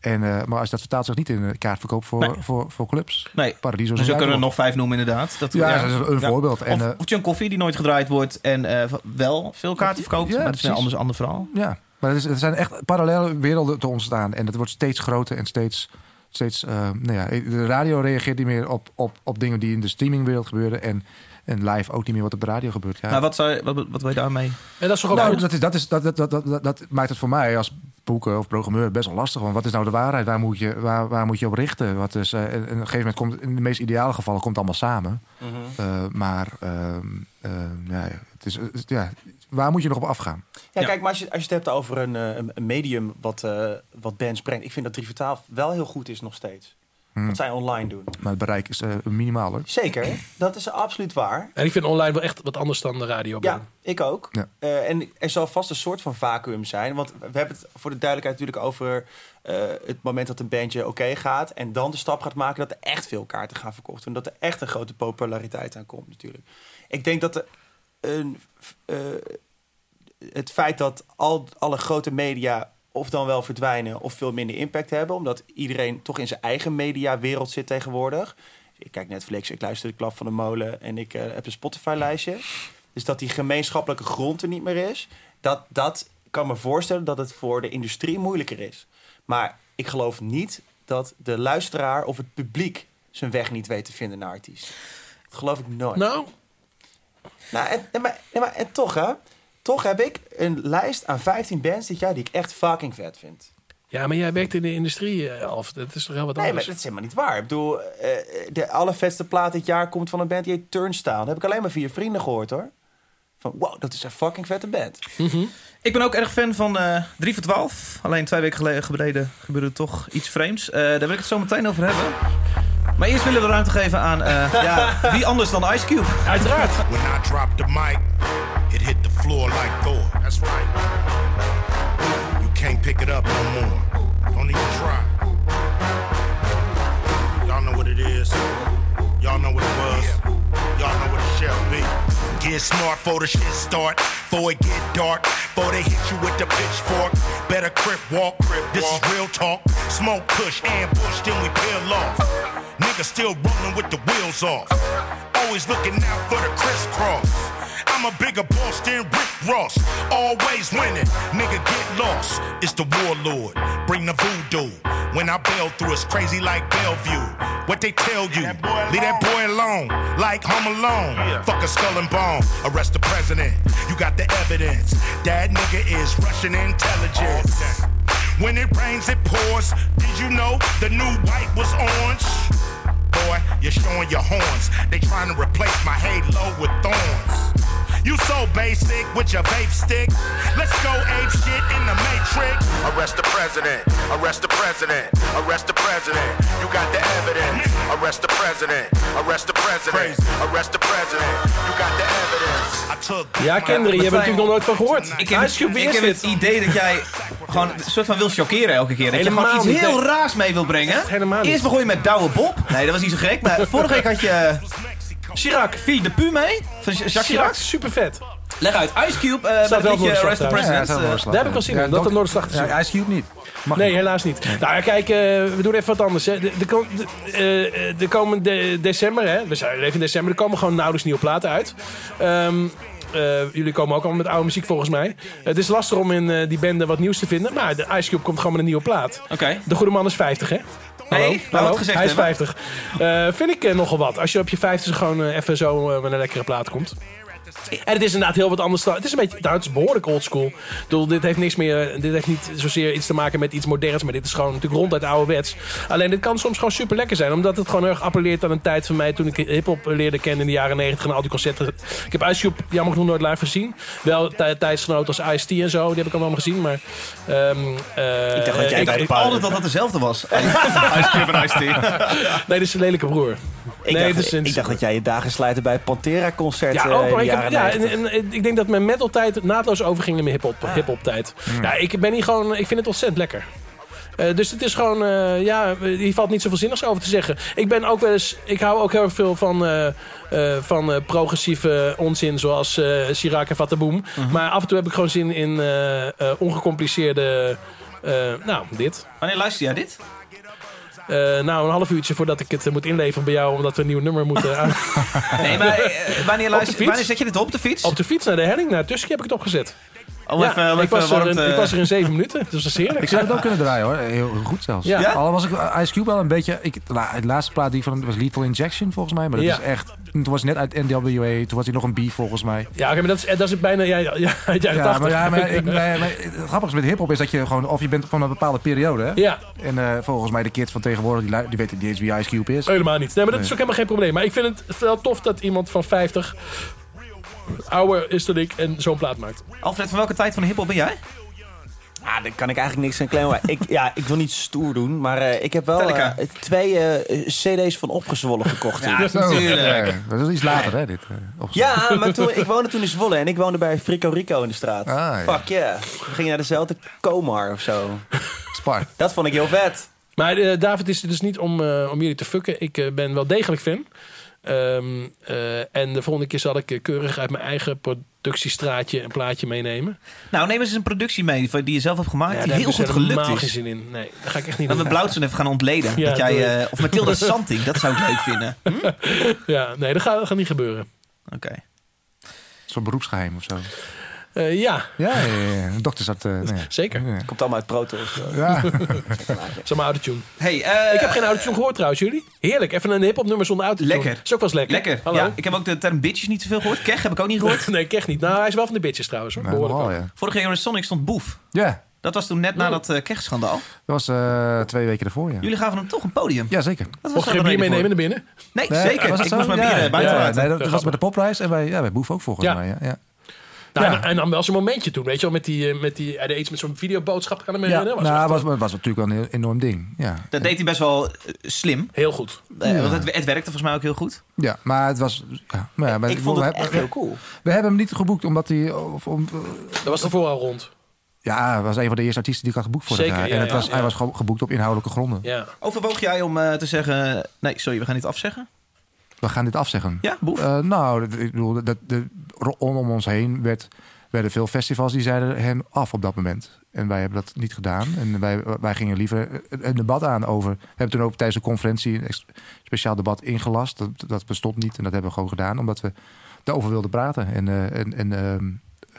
Speaker 4: En, eh, maar als dat vertaalt zich niet in eh, kaartverkoop voor,
Speaker 1: Nee.
Speaker 4: voor, voor clubs.
Speaker 1: Nee.
Speaker 4: Paradiso
Speaker 1: Dus we
Speaker 4: zijn
Speaker 1: kunnen er
Speaker 4: nog.
Speaker 1: nog vijf noemen inderdaad. Dat,
Speaker 4: Ja, dat is een
Speaker 1: Ja.
Speaker 4: voorbeeld. En, eh,
Speaker 1: of, of John Coffee die nooit gedraaid wordt en eh, wel veel kaarten verkoopt.
Speaker 4: Ja,
Speaker 1: maar dat is een anders,
Speaker 4: precies.
Speaker 1: ander verhaal.
Speaker 4: Ja, maar het is- er zijn echt parallele werelden te ontstaan. En dat wordt steeds groter en steeds. steeds eh, nou ja, de radio reageert niet meer op, op, op dingen die in de streamingwereld gebeuren. En, en live ook niet meer wat op de radio gebeurt. Ja.
Speaker 1: Maar Nou, wat, zou, wat, wat wil je daarmee?
Speaker 3: En dat is toch ook
Speaker 4: nou,
Speaker 3: goed?
Speaker 4: dat, is, dat, is, dat, dat, dat, dat, dat maakt het voor mij als boeken of programmeur best wel lastig. Want wat is nou de waarheid? Waar moet je, waar, waar moet je op richten? Wat is, eh, en, en op een gegeven moment komt in de meest ideale gevallen komt het allemaal samen.
Speaker 1: Mhm.
Speaker 4: Eh, maar ehm, ehm, ja, het is, het is- ja, waar moet je nog op afgaan?
Speaker 2: Ja,
Speaker 1: Ja.
Speaker 2: kijk, maar als je, als je het hebt over een, eh, een- een medium wat, eh, wat bands brengt... ik vind dat 3 voor 12 wel heel goed is nog steeds. wat zij online doen.
Speaker 4: Maar het bereik is eh, minimaal hoor.
Speaker 2: Zeker, dat is absoluut waar.
Speaker 3: En ik vind online wel echt wat anders dan de radio.
Speaker 2: Ja, ik ook.
Speaker 4: Ja.
Speaker 2: Eh, en er zal vast een soort van vacuüm zijn. Want we hebben het voor de duidelijkheid natuurlijk over eh, het moment dat een bandje oké gaat. En dan de stap gaat maken dat er echt veel kaarten gaan verkocht worden. Dat er echt een grote populariteit aan komt natuurlijk. Ik denk dat er een, eh, het feit dat al, alle grote media of dan wel verdwijnen of veel minder impact hebben. Omdat iedereen toch in zijn eigen mediawereld zit tegenwoordig. Ik kijk Netflix, ik luister de klap van de molen en ik eh, heb een Spotify-lijstje. Dus dat die gemeenschappelijke grond er niet meer is. Dat, dat kan me voorstellen dat het voor de industrie moeilijker is. Maar ik geloof niet dat de luisteraar of het publiek zijn weg niet weet te vinden naar artiest. Dat geloof ik nooit.
Speaker 3: Nou,
Speaker 2: Nou, en, en, maar, en, maar- en toch, hè? Toch heb ik een lijst aan 15 bands dit jaar die ik echt fucking vet vind.
Speaker 3: ja, maar jij werkt in de industrie, eh, Alf. Dat is toch heel wat
Speaker 2: Nee, maar
Speaker 3: anders?
Speaker 2: dat is helemaal niet waar. Ik bedoel, eh, de allervetste plaat dit jaar komt van een band die heet Turnstile. Dat heb ik alleen maar via vrienden gehoord, hoor. Van, wow, dat is een fucking vette band.
Speaker 1: Ik ben ook erg fan van eh 3 voor 12. Alleen twee weken geleden gebreden, gebeurde toch iets vreemds. Eh, daar wil ik het zo meteen over hebben. Maar eerst willen we ruimte geven aan eh, ja, wie anders dan Ice Cube.
Speaker 3: Uiteraard.
Speaker 7: When I dropped the mic, it hit the floor like Thor. That's right. You can't pick it up no more. Don't even try. Y'all know what it is. Y'all know what it was. Y'all know what it shall be. Get smart for the shit start. Before it get dark. Before they hit you with the pitchfork. Better crip walk. This is real talk. Smoke push, ambush, then we peel off. Niggas still rolling with the wheels off. Always looking out for the crisscross. I'm a bigger boss than Rick Ross. Always winning. Nigga get lost. It's the warlord. Bring the voodoo. When I bail through, it's crazy like Bellevue. What they tell you. Leave that boy alone. Like Home Alone. Fuck a skull and bone. Arrest the president. You got the evidence. That nigga is Russian intelligence. When it rains, it pours. Did you know the new white was orange? Boy, you're showing your horns. They trying to replace my halo with thorns. You so basic with your vape stick. Let's go ape shit in the matrix. Arrest the president. Arrest the president. Arrest the president. You got the evidence. Arrest the president. Arrest the president. Arrest the president. You got the evidence. I took.
Speaker 3: Ja, kinderen, je hebt er natuurlijk nog nooit van gehoord.
Speaker 1: Ik heb,
Speaker 3: Ice Cube, wie
Speaker 1: ik
Speaker 3: is
Speaker 1: heb het
Speaker 3: dit?
Speaker 1: idee dat jij gewoon een soort van wil chockeren elke keer. Dat je
Speaker 3: Helemaal
Speaker 1: gewoon iets
Speaker 3: niet,
Speaker 1: heel
Speaker 3: nee.
Speaker 1: raars mee wil brengen.
Speaker 3: Echt helemaal niet.
Speaker 1: Eerst begon je met Douwe Bob. Nee, dat was niet zo gek. Maar vorige week had je
Speaker 3: Chirac.
Speaker 1: Phil de Pu mee. Van Jacques
Speaker 3: Chirac,
Speaker 1: Chirac.
Speaker 3: super vet.
Speaker 1: Leg uit. Ice Cube eh met
Speaker 3: wel
Speaker 1: het
Speaker 3: voor de
Speaker 1: liedje Arrest the
Speaker 3: slagtuig.
Speaker 4: Ja,
Speaker 1: President.
Speaker 4: dat is
Speaker 1: eh,
Speaker 4: wel een slag.
Speaker 3: Daar heb ik wel zin in, dat
Speaker 4: Doc-
Speaker 3: de Noorderslag te zien.
Speaker 4: Ja, Ice Cube niet. Mag
Speaker 3: Nee,
Speaker 4: niet.
Speaker 3: helaas niet. Nou, ja, kijk, eh, we doen even wat anders. Hè. De, de, kom- de, eh, eh, de komende december, hè, we zijn we leven in december, er komen gewoon nauwelijks nieuwe platen uit. Ehm, eh, jullie komen ook allemaal met oude muziek volgens mij. Het is lastig om in eh, die bende wat nieuws te vinden, maar de Ice Cube komt gewoon met een nieuwe plaat.
Speaker 1: Oké.
Speaker 3: De goede man is 50, hè?
Speaker 1: Nee,
Speaker 3: Hallo?
Speaker 1: laat
Speaker 3: Hallo?
Speaker 1: het Nou, gezegd
Speaker 3: Hij is
Speaker 1: hebben.
Speaker 3: 50. Eh, vind ik eh, nogal wat. Als je op je 50 gewoon eh, even zo eh, met een lekkere plaat komt. En het is inderdaad heel wat anders. dan- Het is een beetje, nou, het is behoorlijk oldschool. Ik bedoel, Dit heeft niks meer, eh, dit heeft niet zozeer iets te maken met iets moderns, maar dit is gewoon natuurlijk ronduit ouderwets. Alleen dit kan soms gewoon super lekker zijn, omdat het gewoon heel erg appelleert aan een tijd van mij toen ik hip-hop leerde kennen in de jaren 90 en al die concerten. Ik heb Ice Cube jammer genoeg nooit live gezien. Wel tij- tijdsgenoten als Ice-T en zo, die heb ik allemaal gezien, maar. ehm, eh,
Speaker 2: dacht dat jij
Speaker 3: ik-
Speaker 2: bij de
Speaker 3: ik-
Speaker 2: pa-
Speaker 1: Altijd dat dat dezelfde was. Ice Cube en Ice Tea.
Speaker 3: Nee, dit is een lelijke broer.
Speaker 2: Ik,
Speaker 3: nee,
Speaker 2: dacht,
Speaker 3: dit is een-
Speaker 2: ik dacht dat jij je dagen slijten bij het Pantera-concert.
Speaker 3: Ja,
Speaker 2: eh,
Speaker 3: ook,
Speaker 2: in
Speaker 3: maar
Speaker 2: de
Speaker 3: ik, heb,
Speaker 2: jaren
Speaker 3: ja
Speaker 2: 90.
Speaker 3: en, en, en ik denk dat mijn metal tijd naadloos overging naar mijn hip-hop
Speaker 2: Ah.
Speaker 3: hip tijd.
Speaker 2: Hmm.
Speaker 3: Ja, ik ben hier gewoon, ik vind het ontzettend lekker. Eh, dus het is gewoon, eh, ja, hier valt niet zoveel zinnigs over te zeggen. Ik ben ook wel eens, ik hou ook heel erg veel van, eh, eh, van eh, progressieve onzin zoals eh Chirac en Fataboom.
Speaker 2: Mhm.
Speaker 3: Maar af en toe heb ik gewoon zin in eh, eh, ongecompliceerde, eh, nou, dit.
Speaker 1: Wanneer luister jij dit?
Speaker 3: Eh, nou, een half uurtje voordat ik het eh, moet inleveren bij jou, omdat we een nieuw nummer moeten aan-
Speaker 1: Nee, maar eh, wanneer, luister,
Speaker 3: fiets?
Speaker 1: wanneer zet je dit op, op de fiets?
Speaker 3: Op de fiets naar de helling, naar Tuskje heb ik het opgezet.
Speaker 1: Om
Speaker 3: Ja,
Speaker 1: even, om even
Speaker 3: ik,
Speaker 1: eh,
Speaker 3: was er
Speaker 1: warmte-
Speaker 3: in, ik was er in zeven minuten. Dus dat is
Speaker 4: Ik
Speaker 3: heerlijk.
Speaker 4: zou het ook kunnen draaien hoor. Heel goed zelfs.
Speaker 3: Ja. Ja?
Speaker 4: Al was ik eh, Ice Cube wel een beetje... Ik, nou, de laatste plaat die ik van hem- was Lethal Injection volgens mij. Maar dat
Speaker 3: Ja.
Speaker 4: is echt... Toen was hij net uit NWA. Toen was hij nog een B volgens mij.
Speaker 3: Ja, oké, maar dat is, dat is bijna... Ja, ja, ja, uit de jaren
Speaker 4: Ja,
Speaker 3: 80.
Speaker 4: maar, ja, maar, ik, nee, maar het grappige met hiphop is dat je gewoon... Of je bent van een bepaalde periode. hè?
Speaker 3: Ja,
Speaker 4: En eh, volgens mij de kids van tegenwoordig, die, lu- die weten niet eens wie Ice Cube is.
Speaker 3: helemaal niet. Nee, maar dat is ook helemaal geen probleem. Maar ik vind het wel tof dat iemand van 50 ouder is dan ik en zo'n plaat maakt.
Speaker 1: Alfred, van welke tijd van de hiphop ben jij?
Speaker 2: Ah, daar kan ik eigenlijk niks aan claimen. Maar ik, ja, ik wil niet stoer doen, maar eh, ik heb wel
Speaker 1: Metallica.
Speaker 2: eh, twee eh, cd's van Opgezwollen gekocht. ja.
Speaker 4: Zo,
Speaker 1: natuurlijk.
Speaker 4: ja, dat is iets later, hè, dit. eh, opzet.
Speaker 2: maar toen, ik woonde toen in Zwolle en ik woonde bij Frico Rico in de straat.
Speaker 4: Ah, ja.
Speaker 2: Fuck yeah. We gingen naar dezelfde Komar of zo.
Speaker 4: Spar.
Speaker 2: Dat vond ik heel vet.
Speaker 3: Maar eh, David is het dus niet om, eh, om jullie te fucken. Ik eh, ben wel degelijk fan. Ehm, eh, en de volgende keer zal ik eh, keurig uit mijn eigen productiestraatje een plaatje meenemen.
Speaker 1: Nou, neem eens een productie mee van- die je zelf hebt gemaakt. die heel
Speaker 3: daar heb ik
Speaker 1: goed
Speaker 3: dus
Speaker 1: gelukt
Speaker 3: helemaal geen
Speaker 1: is.
Speaker 3: zin in. Nee, dat ga ik echt niet
Speaker 1: Dat we
Speaker 3: doen.
Speaker 1: Blauwtsen even gaan ontleden.
Speaker 3: Ja,
Speaker 1: dat jij,
Speaker 3: doe ik.
Speaker 1: eh, of Mathilde Santing, dat zou ik leuk vinden. Hm? Oké.
Speaker 3: Ja, nee, dat gaat, dat gaat niet gebeuren.
Speaker 4: Een soort beroepsgeheim of zo.
Speaker 3: Eh, ja,
Speaker 4: Ja, ja, ja, ja. Een doktersarts. eh, nou ja.
Speaker 3: zeker.
Speaker 4: Ja.
Speaker 2: Komt allemaal uit Proto. of zo.
Speaker 4: Ja.
Speaker 3: Dat is allemaal autotune.
Speaker 1: Hey, eh,
Speaker 3: Ik heb geen autotune gehoord trouwens, jullie. Heerlijk, even een hip-hop nummer zonder autotune.
Speaker 1: Lekker.
Speaker 3: Is ook wel eens lekker.
Speaker 1: Lekker.
Speaker 3: Hallo.
Speaker 1: Ja, ik heb ook de term bitches niet zoveel gehoord. Kech heb ik ook niet gehoord.
Speaker 3: Nee, ik echt niet. Nou, hij is wel van de bitches trouwens. Hoor.
Speaker 4: Nou,
Speaker 3: Behoorlijk
Speaker 4: wel,
Speaker 3: ook.
Speaker 4: ja.
Speaker 1: Vorige jaar in Sonic stond Boef.
Speaker 4: Ja,
Speaker 1: Dat was toen net na dat eh Kech-schandaal.
Speaker 4: dat was eh, twee weken ervoor, ja.
Speaker 1: Jullie gaven hem toch een podium.
Speaker 4: Ja, zeker.
Speaker 1: Wat was
Speaker 3: Mocht
Speaker 1: daar
Speaker 3: je
Speaker 1: de
Speaker 3: een bier
Speaker 1: reden voor?
Speaker 3: meenemen naar binnen?
Speaker 1: Nee,
Speaker 4: Nee,
Speaker 1: zeker.
Speaker 4: was dat
Speaker 1: ik
Speaker 4: zo?
Speaker 1: moest mijn bieren
Speaker 4: Ja,
Speaker 1: buiten
Speaker 4: ja,
Speaker 1: laten.
Speaker 4: nee, dat, dat was bij de popprijs en bij, ja, bij Boef ook volgens
Speaker 3: Ja.
Speaker 4: mij. Ja, ja.
Speaker 3: Nou,
Speaker 4: Ja.
Speaker 3: en- En dan wel zo'n momentje toen, weet je wel, met die, eh, met die, hij deed iets met zo'n videoboodschap, kan ik me
Speaker 4: Ja,
Speaker 3: herinneren.
Speaker 4: nou,
Speaker 3: Was echt
Speaker 4: was, was, was natuurlijk wel een enorm ding. Ja.
Speaker 1: Dat deed hij best wel eh, slim.
Speaker 3: Heel goed.
Speaker 1: Eh, Want het, het werkte volgens mij ook heel goed.
Speaker 4: ja, maar het was... Ja, maar ja, maar
Speaker 2: Ik vond het
Speaker 4: we, hebben-
Speaker 2: echt
Speaker 4: we-
Speaker 2: heel cool.
Speaker 4: we hebben hem niet geboekt omdat hij... Of, om,
Speaker 3: Dat was de vooral rond.
Speaker 4: ja, hij was een van de eerste artiesten die ik had geboekt vorig
Speaker 3: Zeker,
Speaker 4: jaar.
Speaker 3: ja,
Speaker 4: en het was,
Speaker 3: ja,
Speaker 4: hij
Speaker 3: ja.
Speaker 4: was gewoon geboekt op inhoudelijke gronden.
Speaker 3: Ja.
Speaker 1: Overwoog jij om eh, te zeggen... Nee, sorry, we gaan dit afzeggen?
Speaker 4: We gaan dit afzeggen.
Speaker 1: Ja, boef.
Speaker 4: Eh, nou, dat- ik bedoel, dat, de, rondom ons heen werd, werden veel festivals die zeiden hem af op dat moment. En wij hebben dat niet gedaan. En wij, wij gingen liever eh, een debat aan over. We hebben toen ook tijdens een conferentie een ex- speciaal debat ingelast. Dat, dat bestond niet en dat hebben we gewoon gedaan omdat we daarover wilden praten. En, eh, en, en ehm,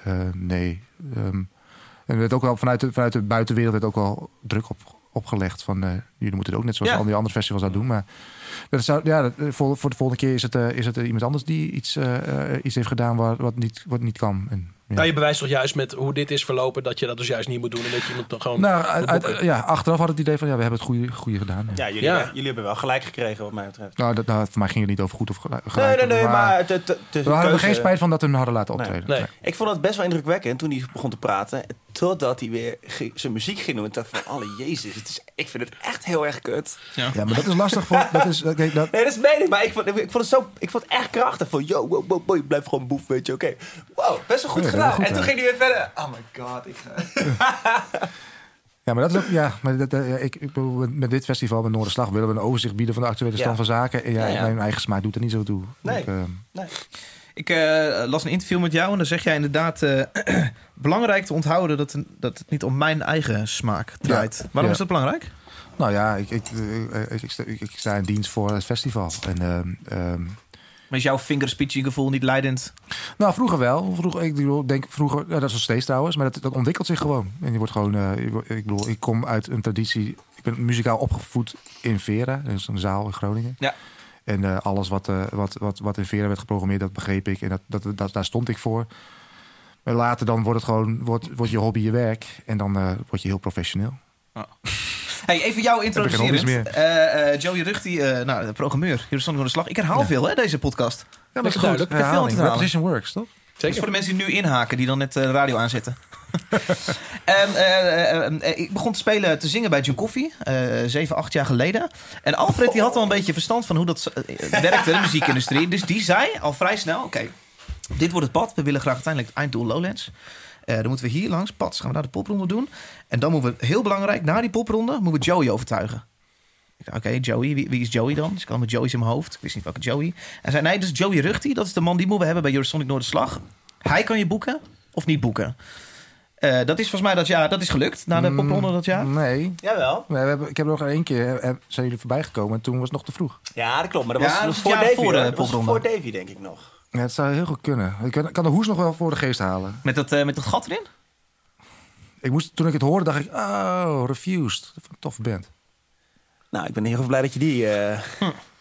Speaker 4: eh, nee. ehm, en er werd ook wel vanuit de, vanuit de buitenwereld werd ook wel druk op, opgelegd. Van eh, jullie moeten het ook net zoals
Speaker 1: Ja.
Speaker 4: al die andere festivals dat doen. Maar dat zou, ja, dat, eh, voor, voor de volgende keer is het, eh, is het eh, iemand anders die iets, eh, eh, iets heeft gedaan wat, wat, niet, wat niet kan. En, ja.
Speaker 3: Nou, je bewijst toch juist met hoe dit is verlopen dat je dat dus juist niet moet doen en dat je iemand dan gewoon.
Speaker 4: Nou, uit- uit- ja, achteraf had ik het idee van ja, we hebben het goede, goede gedaan.
Speaker 2: Ja, jullie,
Speaker 3: Ja.
Speaker 2: eh, jullie hebben wel gelijk gekregen wat mij betreft.
Speaker 4: Nou, dat, nou, voor mij ging het niet over goed of gelu-
Speaker 2: Nee,
Speaker 4: gelijk.
Speaker 2: nee, nee, maar... het- het- het- de
Speaker 4: we hadden er
Speaker 2: keuze-
Speaker 4: geen spijt van dat we hem hadden laten
Speaker 2: Nee.
Speaker 4: optreden.
Speaker 3: nee.
Speaker 2: Ik vond het best wel indrukwekkend toen hij begon te praten. Totdat hij weer ge- zijn muziek ging doen. Ik dacht van, alle jezus, het is, ik vind het echt heel erg kut.
Speaker 4: Ja, maar dat is lastig voor. Dat is, oké, dat,
Speaker 2: Nee, dat is meen ik, maar ik vond, ik vond het zo, ik vond het echt krachtig. Van, yo, wow, wow, wow, je blijft gewoon boef, weet je, oké. Wow, best wel goed
Speaker 4: Ja,
Speaker 2: gedaan.
Speaker 4: heel goed,
Speaker 2: en toen
Speaker 4: hè.
Speaker 2: ging hij weer verder. Oh my god, ik ga...
Speaker 4: Ja, maar dat is ook, ja, maar dat, eh, ik, ik, bedoel, met- met dit festival, met Noorderslag, willen we een overzicht bieden van de actuele
Speaker 2: Ja.
Speaker 4: stand van zaken. En ja,
Speaker 2: Ja, ja.
Speaker 4: mijn eigen smaak doet er niet zo toe.
Speaker 2: Nee.
Speaker 4: Ik, eh,
Speaker 2: Nee.
Speaker 1: Ik eh, las een interview met jou en dan zeg jij inderdaad... eh, belangrijk te onthouden dat, dat het niet om mijn eigen smaak draait. Waarom
Speaker 4: Ja.
Speaker 1: is dat belangrijk?
Speaker 4: nou ja, ik, ik, eh, ik, ik, sta- ik- ik sta in dienst voor het festival. En, ehm, ehm,
Speaker 1: Maar is jouw fingerspeeching gevoel niet leidend?
Speaker 4: nou, vroeger wel. Vroeger, ik bedoel, denk vroeger, nou, dat is nog steeds trouwens, maar dat, dat ontwikkelt zich gewoon. En je wordt gewoon, eh, je wordt- ik bedoel, ik kom uit een traditie, ik ben muzikaal opgevoed in Vera, dus een zaal in Groningen.
Speaker 1: Ja.
Speaker 4: En eh, alles wat, eh, wat, wat, wat in Vera werd geprogrammeerd, dat begreep ik. En dat, dat, dat, daar stond ik voor. Maar later dan wordt het gewoon, wordt, wordt je hobby je werk. En dan eh, word je heel professioneel.
Speaker 1: Hey, even jou introduceren.
Speaker 4: Heb ik geen hobby's
Speaker 1: Eh, eh, Joey Rucht, die, eh, nou, de programmeur, hier stond ik aan de slag. Ik herhaal veel, hè, deze podcast.
Speaker 4: Ja,
Speaker 3: dat is duidelijk.
Speaker 1: Ik heb veel aan te halen.
Speaker 4: Repetition works, toch?
Speaker 1: Dat is
Speaker 3: Zeker.
Speaker 1: voor de mensen die nu inhaken, die dan net eh, de radio aanzetten. en, eh, eh, eh, eh, ik begon te spelen, te zingen bij Joe Coffee, eh zeven, acht jaar geleden. En Alfred die had al een beetje verstand van hoe dat eh, eh, werkte, de muziekindustrie. Dus die zei al vrij snel, oké, dit wordt het pad. We willen graag uiteindelijk het einddoel Lowlands. Eh, dan moeten we hier langs, pats, gaan we naar de popronde doen. En dan moeten we, heel belangrijk, na die popronde, moeten we Joey overtuigen. Ik dacht, Oké, Joey, wie, wie is Joey dan? Dus ik had met Joey's in mijn hoofd. Ik wist niet welke Joey. En zei, nee, dus Joey Ruchti. Dat is de man die moeten we hebben bij Eurosonic Noorderslag. Hij kan je boeken of niet boeken. Eh, dat is volgens mij dat jaar, dat is gelukt. Na de
Speaker 4: Mm,
Speaker 1: popronde dat jaar.
Speaker 4: Nee.
Speaker 2: Jawel.
Speaker 4: We hebben, ik heb er nog één keer, eh, eh, zijn jullie voorbij gekomen en toen was het nog te vroeg.
Speaker 2: Ja, dat klopt, maar dat
Speaker 1: Ja,
Speaker 2: was,
Speaker 1: dat
Speaker 2: dat
Speaker 1: was
Speaker 2: voor eh,
Speaker 1: het jaar
Speaker 2: Davy.
Speaker 1: voor
Speaker 2: hoor.
Speaker 1: de
Speaker 2: Dat was
Speaker 1: popronde.
Speaker 2: voor Davy, denk ik nog.
Speaker 4: Ja, het zou heel goed kunnen. Ik kan, kan de hoes nog wel voor de geest halen.
Speaker 1: Met dat, eh, met dat gat erin.
Speaker 4: Ik moest, toen ik het hoorde dacht ik, oh, Refused. Dat vond ik een toffe band.
Speaker 2: Nou, ik ben heel erg blij dat je die, eh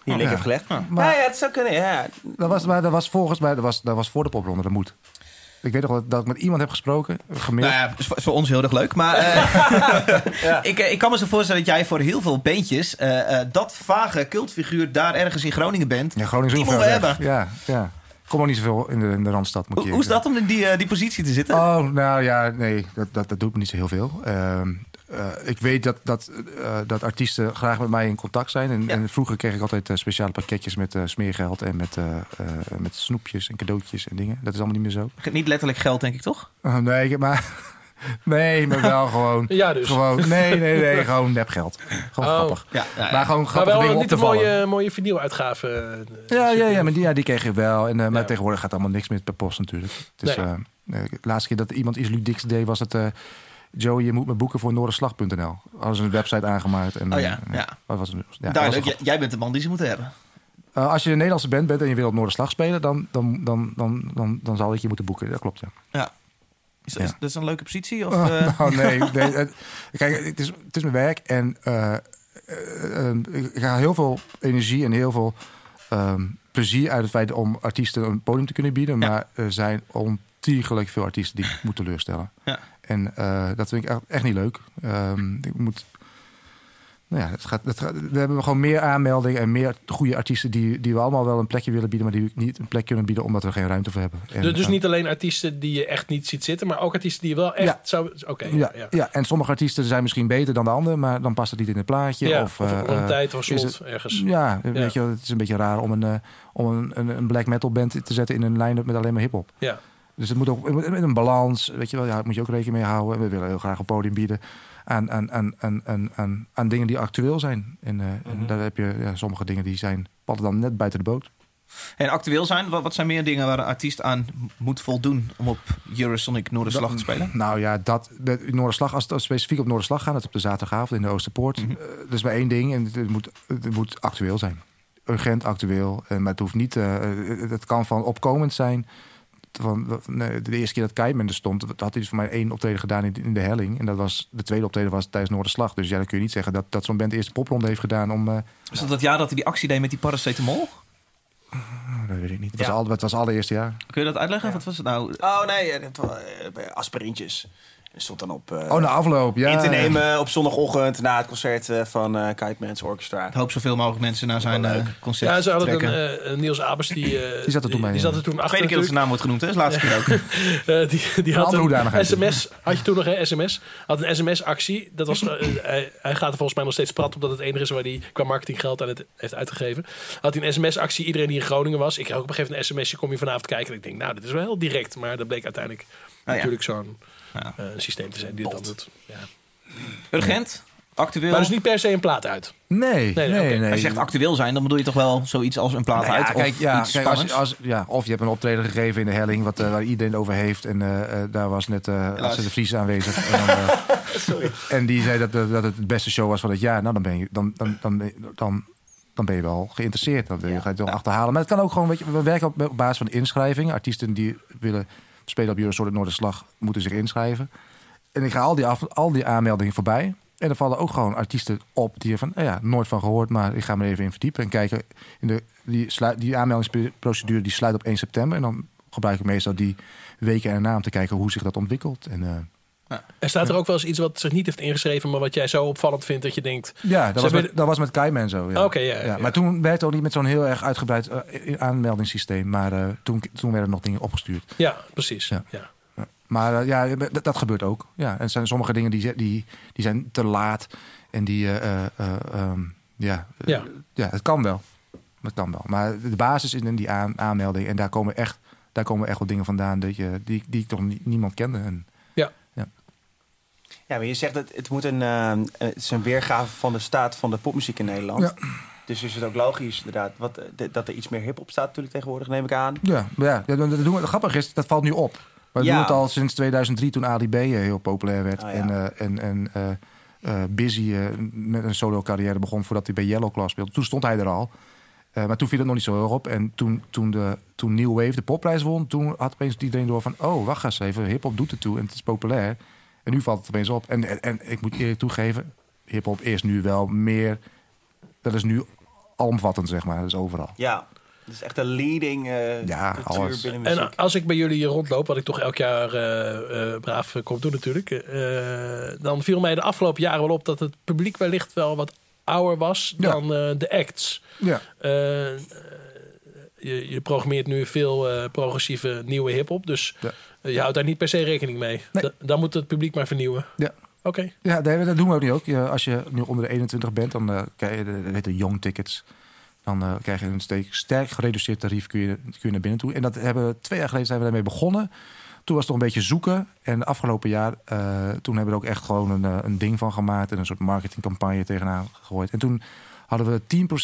Speaker 2: die link
Speaker 4: Ja.
Speaker 2: hebt gelegd. Maar,
Speaker 4: Hm. Maar-
Speaker 2: ja, het zou kunnen, ja.
Speaker 4: Dat was, maar dat was volgens mij, dat was, dat was voor de popronde, dat moet. Ik weet nog wel dat ik met iemand heb gesproken, gemaild.
Speaker 1: Nou ja, is voor, is voor ons heel erg leuk. Maar eh, ik, eh, ik kan me zo voorstellen dat jij voor heel veel bandjes... eh, eh, dat vage cultfiguur daar ergens in Groningen bent.
Speaker 4: Ja, Groningen is
Speaker 1: Die
Speaker 4: heel
Speaker 1: moeten we
Speaker 4: ver weg. Ja, ja. Kom ook niet zoveel in de, in de Randstad, moet
Speaker 1: Hoe,
Speaker 4: je
Speaker 1: hoe is
Speaker 4: eerlijk
Speaker 1: dat om in die, eh, die positie te zitten?
Speaker 4: Oh, nou ja, nee, dat, dat, dat doet me niet zo heel veel. Ehm, eh, ik weet dat, dat, eh, dat artiesten graag met mij in contact zijn. En, en vroeger kreeg ik altijd eh, speciale pakketjes met eh, smeergeld en met, eh, eh, met snoepjes en cadeautjes en dingen. Dat is allemaal niet meer zo.
Speaker 1: Niet letterlijk geld, denk ik, toch?
Speaker 4: Oh, nee, ik heb maar. Nee, maar wel gewoon.
Speaker 3: Ja, dus.
Speaker 4: Gewoon, nee, nee, nee, gewoon nepgeld. Gewoon
Speaker 3: Oh.
Speaker 4: grappig.
Speaker 1: Ja, ja, ja.
Speaker 4: Maar gewoon
Speaker 3: Maar
Speaker 4: grappige
Speaker 3: wel
Speaker 4: dingen op
Speaker 3: niet
Speaker 4: te
Speaker 3: een
Speaker 4: vallen.
Speaker 3: mooie, mooie vinyl-uitgave. eh,
Speaker 4: Ja, ja,
Speaker 3: super.
Speaker 4: ja, maar die, ja, die kreeg ik wel. En, eh, maar
Speaker 3: Ja.
Speaker 4: tegenwoordig gaat allemaal niks meer per post natuurlijk. Het is,
Speaker 3: Nee.
Speaker 4: eh, eh, de laatste keer dat iemand iets ludiks deed was het... eh Joe, je moet me boeken voor noorderslag.nl. Hadden ze een website aangemaakt. En,
Speaker 1: Oh
Speaker 4: eh,
Speaker 1: ja, ja.
Speaker 4: Wat was het? Ja, dat
Speaker 1: Duidelijk,
Speaker 4: was
Speaker 1: J- jij bent de man die ze moeten hebben.
Speaker 4: een- Eh, als je een Nederlandse band bent en je wil op Noorderslag spelen... Dan, dan, dan, dan, dan, dan zal ik je moeten boeken. Dat klopt, ja.
Speaker 1: Is,
Speaker 4: Ja.
Speaker 1: is dat is een leuke positie? Of,
Speaker 4: Oh,
Speaker 1: eh,
Speaker 4: nou, nee. nee het- kijk, het is, het is mijn werk en eh, eh, ehm, ik ik haal heel veel energie en heel veel ehm, plezier uit het feit om artiesten een podium te kunnen bieden.
Speaker 1: Ja.
Speaker 4: Maar er zijn ontiegelijk veel artiesten die ik moet teleurstellen.
Speaker 1: Ja.
Speaker 4: En eh, dat vind ik echt, echt niet leuk. Ehm, ik moet. Nou ja, het gaat, het gaat- we hebben gewoon meer aanmeldingen en meer goede artiesten die, die we allemaal wel een plekje willen bieden, maar die we niet een plek kunnen bieden omdat we geen ruimte voor hebben. En,
Speaker 3: Dus, dus
Speaker 4: eh,
Speaker 3: niet alleen artiesten die je echt niet ziet zitten, maar ook artiesten die je wel echt
Speaker 4: Ja.
Speaker 3: zou. Oké,
Speaker 4: ja,
Speaker 3: ja,
Speaker 4: ja. en sommige artiesten zijn misschien beter dan de anderen, maar dan past het niet in het plaatje.
Speaker 3: Ja,
Speaker 4: of
Speaker 3: of
Speaker 4: eh,
Speaker 3: op een
Speaker 4: eh,
Speaker 3: tijdhorizon
Speaker 4: is het-
Speaker 3: ergens.
Speaker 4: Ja, weet
Speaker 3: Ja.
Speaker 4: je, wel, het is een beetje raar om een, eh, om een, een, een black metal band te zetten in een line-up met alleen maar hip-hop.
Speaker 3: Ja.
Speaker 4: Dus het moet ook het moet met een balans, weet je wel, ja, daar moet je ook rekening mee houden. We willen heel graag een podium bieden aan, aan, aan, aan, aan, aan, aan dingen die actueel zijn. En, eh,
Speaker 3: Mhm.
Speaker 4: en daar heb je ja, sommige dingen die zijn, padden dan net buiten de boot.
Speaker 1: En actueel zijn, wat, wat zijn meer dingen waar een artiest aan moet voldoen om op Eurosonic Noorderslag te spelen?
Speaker 4: Nou ja, dat, dat Noorderslag, als het als we specifiek op Noorderslag gaan, dat is op de zaterdagavond in de Oosterpoort. eh, dat is maar één ding en het, het moet, het moet actueel zijn. Urgent actueel, en, maar het hoeft niet, eh, het, het kan van opkomend zijn. Van, wat- nee, de eerste keer dat Keimen er stond, dat had hij dus voor mij één optreden gedaan in, de- in de helling. En dat was, de tweede optreden was tijdens Noorderslag. Dus ja, dan kun je niet zeggen dat, dat zo'n band de eerste popronde heeft gedaan om... eh,
Speaker 1: Is dat dat jaar dat hij die actie deed met die paracetamol?
Speaker 4: dat weet ik niet. Het
Speaker 1: Ja.
Speaker 4: was, al, het was allereerste jaar.
Speaker 1: Kun je dat uitleggen? Wat was het nou?
Speaker 2: Oh nee, eh, dat wa- eh, bij aspirintjes. En stond dan op eh,
Speaker 4: Oh, na afloop, ja.
Speaker 2: in te nemen op zondagochtend na het concert eh, van eh Kite Man's Orchestra.
Speaker 1: Ik hoop zoveel mogelijk mensen naar zijn eh, concert
Speaker 3: Ja,
Speaker 1: te
Speaker 3: ze hadden
Speaker 1: trekken.
Speaker 3: een eh, Niels Abers die. eh,
Speaker 4: Die zat er toen bij,
Speaker 3: Die
Speaker 4: ja.
Speaker 3: zat er toen achter.
Speaker 1: Tweede keer dat zijn naam wordt genoemd, hè? Is de laatste keer ook.
Speaker 3: Eh, die, die had
Speaker 4: andere
Speaker 3: een
Speaker 4: hoedanigheid.
Speaker 3: sms. Had je toen nog een sms? Had een sms-actie. Dat was, eh, hij, hij gaat er volgens mij nog steeds prat op dat het enige is waar hij qua marketinggeld aan het heeft uitgegeven. Had hij een sms-actie. Iedereen die in Groningen was. Ik kreeg ook op een gegeven moment een sms'je. Kom je vanavond kijken? En ik denk, nou, dit is wel heel direct. Maar dat bleek uiteindelijk
Speaker 1: Ah, ja.
Speaker 3: natuurlijk zo'n
Speaker 1: Ja.
Speaker 3: eh, systeem te zijn die het dan doet. Ja.
Speaker 1: Urgent, actueel.
Speaker 3: Maar dus niet per se een plaat uit. nee,
Speaker 4: Nee, nee, nee.
Speaker 3: oké.
Speaker 1: Als je zegt actueel zijn, dan bedoel je toch wel zoiets als een plaat
Speaker 4: Nou
Speaker 1: uit
Speaker 4: ja,
Speaker 1: of
Speaker 4: kijk, ja,
Speaker 1: iets
Speaker 4: kijk, als,
Speaker 1: spannends?
Speaker 4: als, ja, of je hebt een optreden gegeven in de helling, wat, eh, waar iedereen het over heeft. En eh, eh, daar was net eh Lasse de Vries aanwezig. en, dan, eh, en die zei dat, eh, dat het de beste show was van het jaar. Nou, dan ben je, dan, dan, dan, ben je- dan, dan ben je wel geïnteresseerd. Dan wil je, ga je het wel achterhalen. Maar het kan ook gewoon, weet je, we werken op, op basis van inschrijving. Artiesten die willen spelen op Eurosort Noorderslag moeten zich inschrijven. En ik ga al die, af, al die aanmeldingen voorbij. En er vallen ook gewoon artiesten op die er van, nou ja, nooit van gehoord, maar ik ga me er even in verdiepen en kijken. In de, die, sluit, die aanmeldingsprocedure die sluit op 1 september. En dan gebruik ik meestal die weken erna om te kijken hoe zich dat ontwikkelt. En, eh,
Speaker 3: Er staat er ook wel eens iets wat zich niet heeft ingeschreven. Maar wat jij zo opvallend vindt dat je denkt.
Speaker 4: ja,
Speaker 3: Ze
Speaker 4: dat was,
Speaker 3: hebben-
Speaker 4: met, dat was met Kaiman zo. Ja.
Speaker 3: Oké, ja, ja.
Speaker 4: Maar toen werd het ook niet met zo'n heel erg uitgebreid eh, aanmeldingssysteem. Maar eh, toen, toen werden nog dingen opgestuurd.
Speaker 3: Ja, precies.
Speaker 4: Ja.
Speaker 3: ja.
Speaker 4: Maar eh, ja, dat, dat gebeurt ook. Ja, en er zijn sommige dingen die, ze- die, die zijn te laat. En die, eh, eh, eh, ehm, ja, eh,
Speaker 3: Ja.
Speaker 4: ja, het kan wel. Het kan wel. Maar de basis is in die aan, aanmelding. En daar komen echt, daar komen echt wel dingen vandaan dat je, die, die ik toch ni- niemand kende. En,
Speaker 3: Ja.
Speaker 2: Ja, maar je zegt dat het moet een, eh, eh, het is een weergave van de staat van de popmuziek in Nederland. Dus is het ook logisch inderdaad wat, eh, d- dat er iets meer hip-hop staat natuurlijk tegenwoordig, neem ik aan.
Speaker 4: ja, maar ja, dat, dat doen we, grappig is, dat valt nu op. Maar we
Speaker 2: Ja.
Speaker 4: doen het al sinds 2003 toen Ali B eh, heel populair werd.
Speaker 2: Ah, ja.
Speaker 4: En, eh, en, en eh, eh, Busy eh, met een solo carrière begon voordat hij bij Yellow Claw speelde. Toen stond hij er al. Eh, maar toen viel het nog niet zo heel erg op. En toen, toen, de, toen New Wave de popprijs won, toen had opeens iedereen door van... oh, wacht eens even, hip-hop doet het toe en het is populair. En nu valt het opeens op. En, en, en ik moet eerlijk toegeven, hip-hop is nu wel meer... dat is nu alomvattend, zeg maar. Dat is overal.
Speaker 2: Ja, dat is echt een leading eh
Speaker 4: Ja,
Speaker 2: cultuur
Speaker 4: alles.
Speaker 2: binnen muziek.
Speaker 3: En eh, als ik bij jullie hier rondloop, wat ik toch elk jaar eh, eh, braaf eh, kom doen natuurlijk, eh, dan viel mij de afgelopen jaren wel op dat het publiek wellicht wel wat ouder was
Speaker 4: Ja.
Speaker 3: dan eh, de acts.
Speaker 4: Ja.
Speaker 3: Eh, eh, je, je programmeert nu veel eh, progressieve nieuwe hip-hop. Dus
Speaker 4: Ja.
Speaker 3: eh, je houdt daar niet per se rekening mee.
Speaker 4: Nee.
Speaker 3: Da- dan moet het publiek maar vernieuwen.
Speaker 4: Ja.
Speaker 3: Oké.
Speaker 4: Ja, nee, dat doen we ook nu ook. Je- Als je nu onder de 21 bent, dan eh, krijg je de- dat heet de young tickets. Dan eh, krijg je een steek- sterk gereduceerd tarief kun je, kun je naar binnen toe. En dat hebben we twee jaar geleden zijn we daarmee begonnen. Toen was het nog een beetje zoeken. En afgelopen jaar, eh, toen hebben we er ook echt gewoon een, eh, een ding van gemaakt. En een soort marketingcampagne tegenaan gegooid. En toen hadden we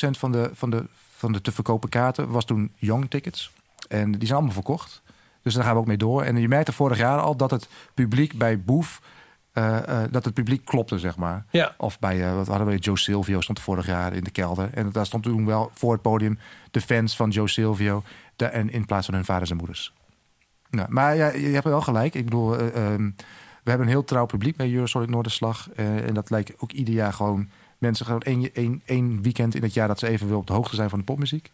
Speaker 4: 10% van de, van, de, van de te verkopen kaarten was toen young tickets. En die zijn allemaal verkocht. Dus daar gaan we ook mee door. En je merkte vorig jaar al dat het publiek bij Boef... eh, eh, dat het publiek klopte, zeg maar.
Speaker 3: Ja.
Speaker 4: Of bij, eh, wat hadden we, Joe Silvio stond vorig jaar in de kelder. En daar stond toen wel voor het podium de fans van Joe Silvio. De, en in plaats van hun vaders en moeders. Nou, maar ja, je hebt wel gelijk. Ik bedoel, eh, ehm, we hebben een heel trouw publiek bij Eurosonic Noorderslag. Eh, en dat lijkt ook ieder jaar gewoon mensen gewoon één, één, één weekend in het jaar dat ze even wil op de hoogte zijn van de popmuziek.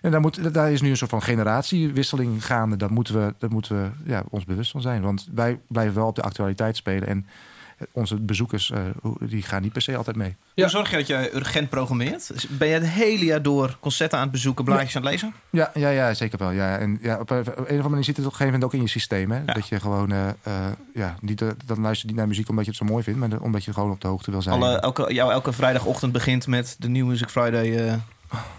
Speaker 4: En daar, moet, daar is nu een soort van generatiewisseling gaande. Daar moeten we, dat moeten we ja, ons bewust van zijn. Want wij blijven wel op de actualiteit spelen. En onze bezoekers eh, hoe- die gaan niet per se altijd mee.
Speaker 3: Ja.
Speaker 1: Hoe zorg je dat jij urgent programmeert? Dus Ben je het hele jaar door concerten aan het bezoeken, blaadjes aan het lezen?
Speaker 4: Ja, ja, ja zeker wel. Ja. En ja, op, een- op een of andere manier zit het op een gegeven moment ook in je systeem. Hè? Dat je gewoon, eh, eh, ja, niet, eh, dan luister je niet naar muziek omdat je het zo mooi vindt, maar omdat je gewoon op de hoogte wil zijn.
Speaker 1: Alle, elke, jou elke vrijdagochtend begint met de New Music Friday eh,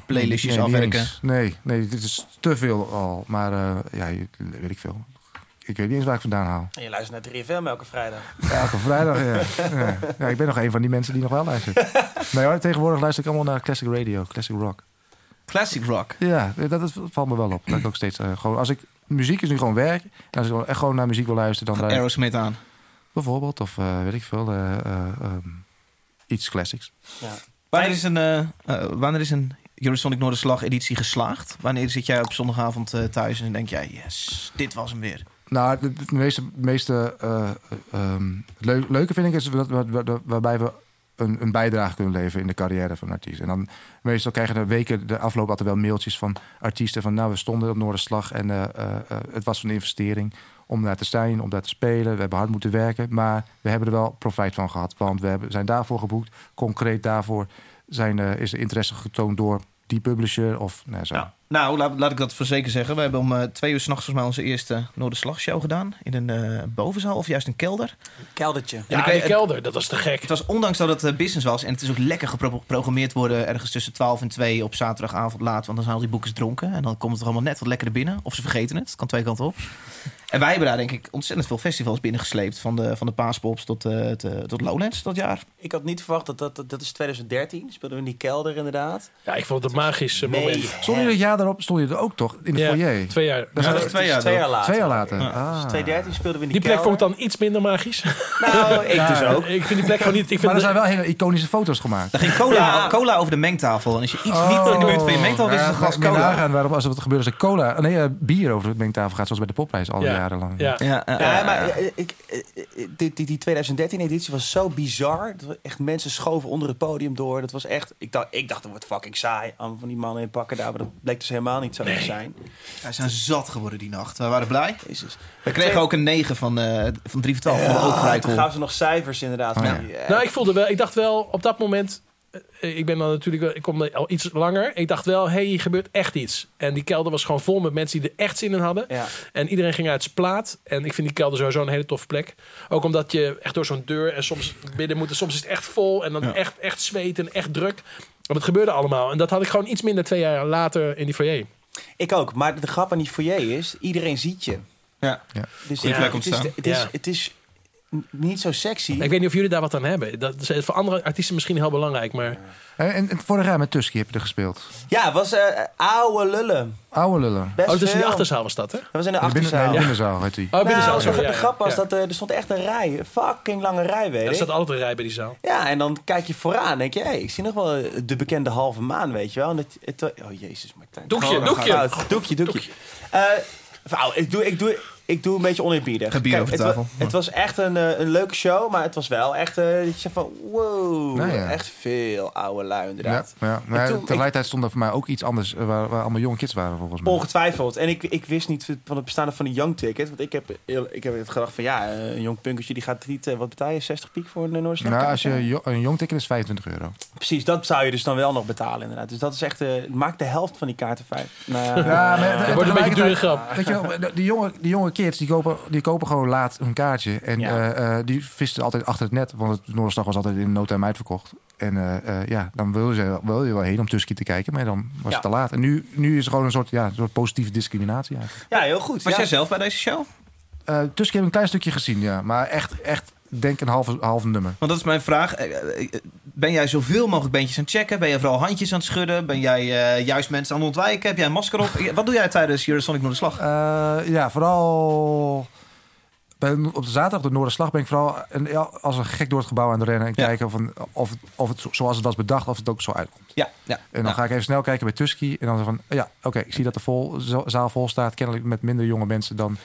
Speaker 1: playlistjes
Speaker 4: Nee, niet
Speaker 1: afwerken.
Speaker 4: eens. Nee, nee, dit is te veel al. Maar eh, ja, je- weet ik veel. Ik weet niet eens waar ik vandaan haal.
Speaker 2: En je luistert naar 3FM elke vrijdag.
Speaker 4: Elke vrijdag, ja. ja. Ja, Ik ben nog een van die mensen die nog wel luistert. Nee hoor, tegenwoordig luister ik allemaal naar classic radio, classic rock.
Speaker 1: Classic rock.
Speaker 4: Ja, dat, dat valt me wel op. Dat ik ook steeds, eh, gewoon, als ik, muziek is nu gewoon werk. En als ik wel echt gewoon naar muziek wil luisteren, dan... luister ik-
Speaker 1: Aerosmith aan.
Speaker 4: Bijvoorbeeld, of eh, weet ik veel, eh, eh, ehm, iets classics.
Speaker 1: Wanneer is een, eh eh wanneer is een Eurosonic Noorderslag editie geslaagd? Wanneer zit jij op zondagavond eh, thuis en denk jij, yes, dit was hem weer.
Speaker 4: Nou, de, de meeste, de meeste eh, ehm, leuk, leuke vind ik is dat, waar- waar- waarbij we een, een bijdrage kunnen leveren in de carrière van een artiest. En dan meestal krijgen de weken de afloop altijd wel mailtjes van artiesten van nou, we stonden op Noorderslag en eh, eh, eh, het was een investering om daar te zijn, om daar te spelen. We hebben hard moeten werken, maar we hebben er wel profijt van gehad. Want we hebben, zijn daarvoor geboekt, concreet daarvoor zijn, eh, is er interesse getoond door die publisher of nou, zo.
Speaker 1: Ja. Nou, laat, laat ik dat voor zeker zeggen. We hebben om eh, twee uur s'nachts volgens mij onze eerste Noorderslagshow gedaan. In een eh, bovenzaal of juist een kelder.
Speaker 2: Keldertje.
Speaker 3: Ja,
Speaker 1: ik weet-
Speaker 3: die kelder, dat was te gek.
Speaker 1: Het was ondanks dat het eh, business was en het is ook lekker gepro- geprogrammeerd worden ergens tussen 12 en 2 op zaterdagavond laat. Want dan zijn al die boekers dronken en dan komt het er allemaal net wat lekkerder binnen. Of ze vergeten het, kan twee kanten op. En wij hebben daar denk ik ontzettend veel festivals binnengesleept. Van de, van de Paaspops tot, eh, te- tot Lowlands dat jaar.
Speaker 2: Ik had niet verwacht dat dat, dat, dat is 2013. Speelden we in die kelder inderdaad.
Speaker 3: Ja, ik vond het een magisch eh, moment.
Speaker 2: Nee.
Speaker 4: Stond je het jaar daarop, stond je er ook toch in de
Speaker 3: Ja,
Speaker 4: foyer?
Speaker 3: Twee jaar.
Speaker 4: Dat is
Speaker 1: Ja,
Speaker 4: wel-
Speaker 1: dat is twee jaar.
Speaker 2: Twee jaar
Speaker 1: dan.
Speaker 2: later.
Speaker 4: Twee jaar later.
Speaker 2: Dus
Speaker 4: Ah.
Speaker 2: 2013 speelden we in
Speaker 3: Die
Speaker 2: die,
Speaker 3: plek vond ik
Speaker 2: kelder.
Speaker 3: dan iets minder magisch.
Speaker 2: Nou, ik dus ook.
Speaker 3: Ik vind die plek gewoon niet... Ik vind
Speaker 4: Maar er
Speaker 3: de-
Speaker 4: zijn wel hele iconische foto's gemaakt.
Speaker 1: Daar ging cola,
Speaker 2: Ja. Oh.
Speaker 1: cola over de mengtafel. En als je iets niet eh, in de buurt van
Speaker 4: Oh.
Speaker 1: je mengtafel is, is het een glas cola.
Speaker 4: Nagaan waarom als er wat gebeurt als er cola, nee, eh, bier over de mengtafel gaat, zoals bij de popprijs al die
Speaker 3: Ja.
Speaker 4: jaren lang.
Speaker 3: Ja.
Speaker 1: Ja, eh,
Speaker 2: Ja,
Speaker 1: eh,
Speaker 2: maar eh, ik, eh, eh, die, die, die 2013-editie was zo bizar. Dat we echt mensen schoven onder het podium door. Dat was echt. Ik dacht, ik dacht dat wordt fucking saai. Allemaal van die mannen in pakken daar. Maar dat bleek dus helemaal niet zo te zijn.
Speaker 1: Wij zijn zat geworden die nacht. We waren blij.
Speaker 2: Jezus.
Speaker 1: We kregen ook een 9 van, eh van 3 voor 12 van de
Speaker 2: Ah, toen
Speaker 1: oogrijkel.
Speaker 2: gaven ze nog cijfers inderdaad.
Speaker 4: ja.
Speaker 2: Van die, eh,
Speaker 3: Nou, ik voelde wel, ik dacht wel op dat moment. eh, Ik ben dan natuurlijk, wel- ik kom er al iets langer. Ik dacht wel, hé, hey, hier gebeurt echt iets. En die kelder was gewoon vol met mensen die er echt zin in hadden.
Speaker 2: ja.
Speaker 3: En iedereen ging uit zijn plaat. En ik vind die kelder sowieso een hele toffe plek. Ook omdat je echt door zo'n deur en soms binnen moet. En soms is het echt vol. En dan echt, echt zweet en echt druk. Maar het gebeurde allemaal. En dat had ik gewoon iets minder twee jaar later in die foyer.
Speaker 2: Ik ook. Maar de grap aan die foyer is: iedereen ziet je.
Speaker 1: Ja.
Speaker 2: Dus
Speaker 1: Goeie
Speaker 2: ja,
Speaker 1: plek om
Speaker 2: het,
Speaker 1: te
Speaker 2: is,
Speaker 1: staan.
Speaker 2: het, is,
Speaker 3: Ja.
Speaker 2: het is n- niet zo sexy.
Speaker 3: Ik weet niet of jullie daar wat aan hebben. Dat is voor andere artiesten misschien heel belangrijk. Maar
Speaker 4: En, Eh, en, en vorig jaar met Tusky heb je er gespeeld.
Speaker 2: Ja, het was eh oude lullen.
Speaker 4: Oude lullen.
Speaker 2: Best
Speaker 3: oh, dus in de
Speaker 2: veel.
Speaker 3: achterzaal was dat, hè?
Speaker 2: Dat was in de
Speaker 4: In de binnen,
Speaker 2: achterzaal.
Speaker 4: nee, de binnenzaal heet die.
Speaker 3: Oh,
Speaker 2: Nou,
Speaker 3: binnenzaal.
Speaker 2: zo,
Speaker 3: sorry. Ja,
Speaker 2: de grap
Speaker 3: ja.
Speaker 2: was dat eh, er stond echt een rij. Een fucking lange rij, weet
Speaker 3: Ja,
Speaker 2: ik.
Speaker 3: er staat altijd een rij bij die zaal.
Speaker 2: Ja, en dan kijk je vooraan. Denk je, hé, ik zie nog wel eh, de bekende halve maan, weet je wel. En het, het, oh, jezus, Martijn.
Speaker 3: Doekje,
Speaker 2: Corona
Speaker 3: doekje.
Speaker 2: gaat uit. Doekje, doekje. Eh, nou, ik doe, ik doe, ik doe een beetje oneerbiedig.
Speaker 1: Geen bier over
Speaker 2: het,
Speaker 1: de
Speaker 2: wa-
Speaker 1: tafel.
Speaker 2: het was echt een, eh, een leuke show, maar het was wel echt... eh, dat je zegt van, wow,
Speaker 4: Nou ja.
Speaker 2: echt veel oude lui
Speaker 4: Ja,
Speaker 2: inderdaad.
Speaker 4: ja. Maar
Speaker 2: toen-
Speaker 4: tegelijkertijd stond er voor mij ook iets anders eh, waar, waar allemaal jonge kids waren volgens mij.
Speaker 2: Ongetwijfeld. En ik, ik wist niet van het bestaan van een young ticket. Want ik heb, heel- ik heb het gedacht van ja, eh, een jong punkertje die gaat niet... eh, Wat betaal je? 60 piek voor een Noorse
Speaker 4: Nou, als je jo- een jong ticket is 25 euro.
Speaker 2: Precies, dat zou je dus dan wel nog betalen inderdaad. Dus dat is echt... eh, maakt de helft van die kaarten fijn. Nou,
Speaker 4: Ja, maar
Speaker 3: Het wordt een beetje dure grap.
Speaker 4: Weet je wel, de- die jonge, die jonge kids die kopen, die kopen gewoon laat hun kaartje. En
Speaker 2: Ja.
Speaker 4: eh, eh, die visten altijd achter het net, want het Noorderslag was altijd in no time uitverkocht. En eh, eh, ja, dan wil je, wil je wel heen om Tusky te kijken, maar dan was
Speaker 2: Ja.
Speaker 4: het te laat. En nu, nu is het gewoon een soort, ja, een soort positieve discriminatie eigenlijk.
Speaker 2: Ja, heel goed.
Speaker 1: Was
Speaker 2: ja.
Speaker 1: jij zelf bij deze show?
Speaker 4: Eh Tusky heb ik een klein stukje gezien, ja. Maar echt, echt denk een half, half nummer.
Speaker 1: Want dat is mijn vraag. Eh, eh, eh, Ben jij zoveel mogelijk bandjes aan het checken? Ben je vooral handjes aan het schudden? Ben jij eh, juist mensen aan het ontwijken? Heb jij een masker op? Eh, Wat doe jij tijdens Eurosonic Noorderslag?
Speaker 4: Eh, ja, vooral bij, op de zaterdag de Noorderslag ben ik vooral een, ja, als een gek door het gebouw aan het rennen. En
Speaker 1: Ja.
Speaker 4: kijken of, een- of, of het zo- zoals het was bedacht, of het ook zo uitkomt.
Speaker 1: Ja, ja.
Speaker 4: En dan
Speaker 1: Nou,
Speaker 4: ga ik even snel kijken bij Tusky. En dan van, ja, oké, ik zie dat de vol, za- zaal vol staat. Kennelijk met minder jonge mensen dan,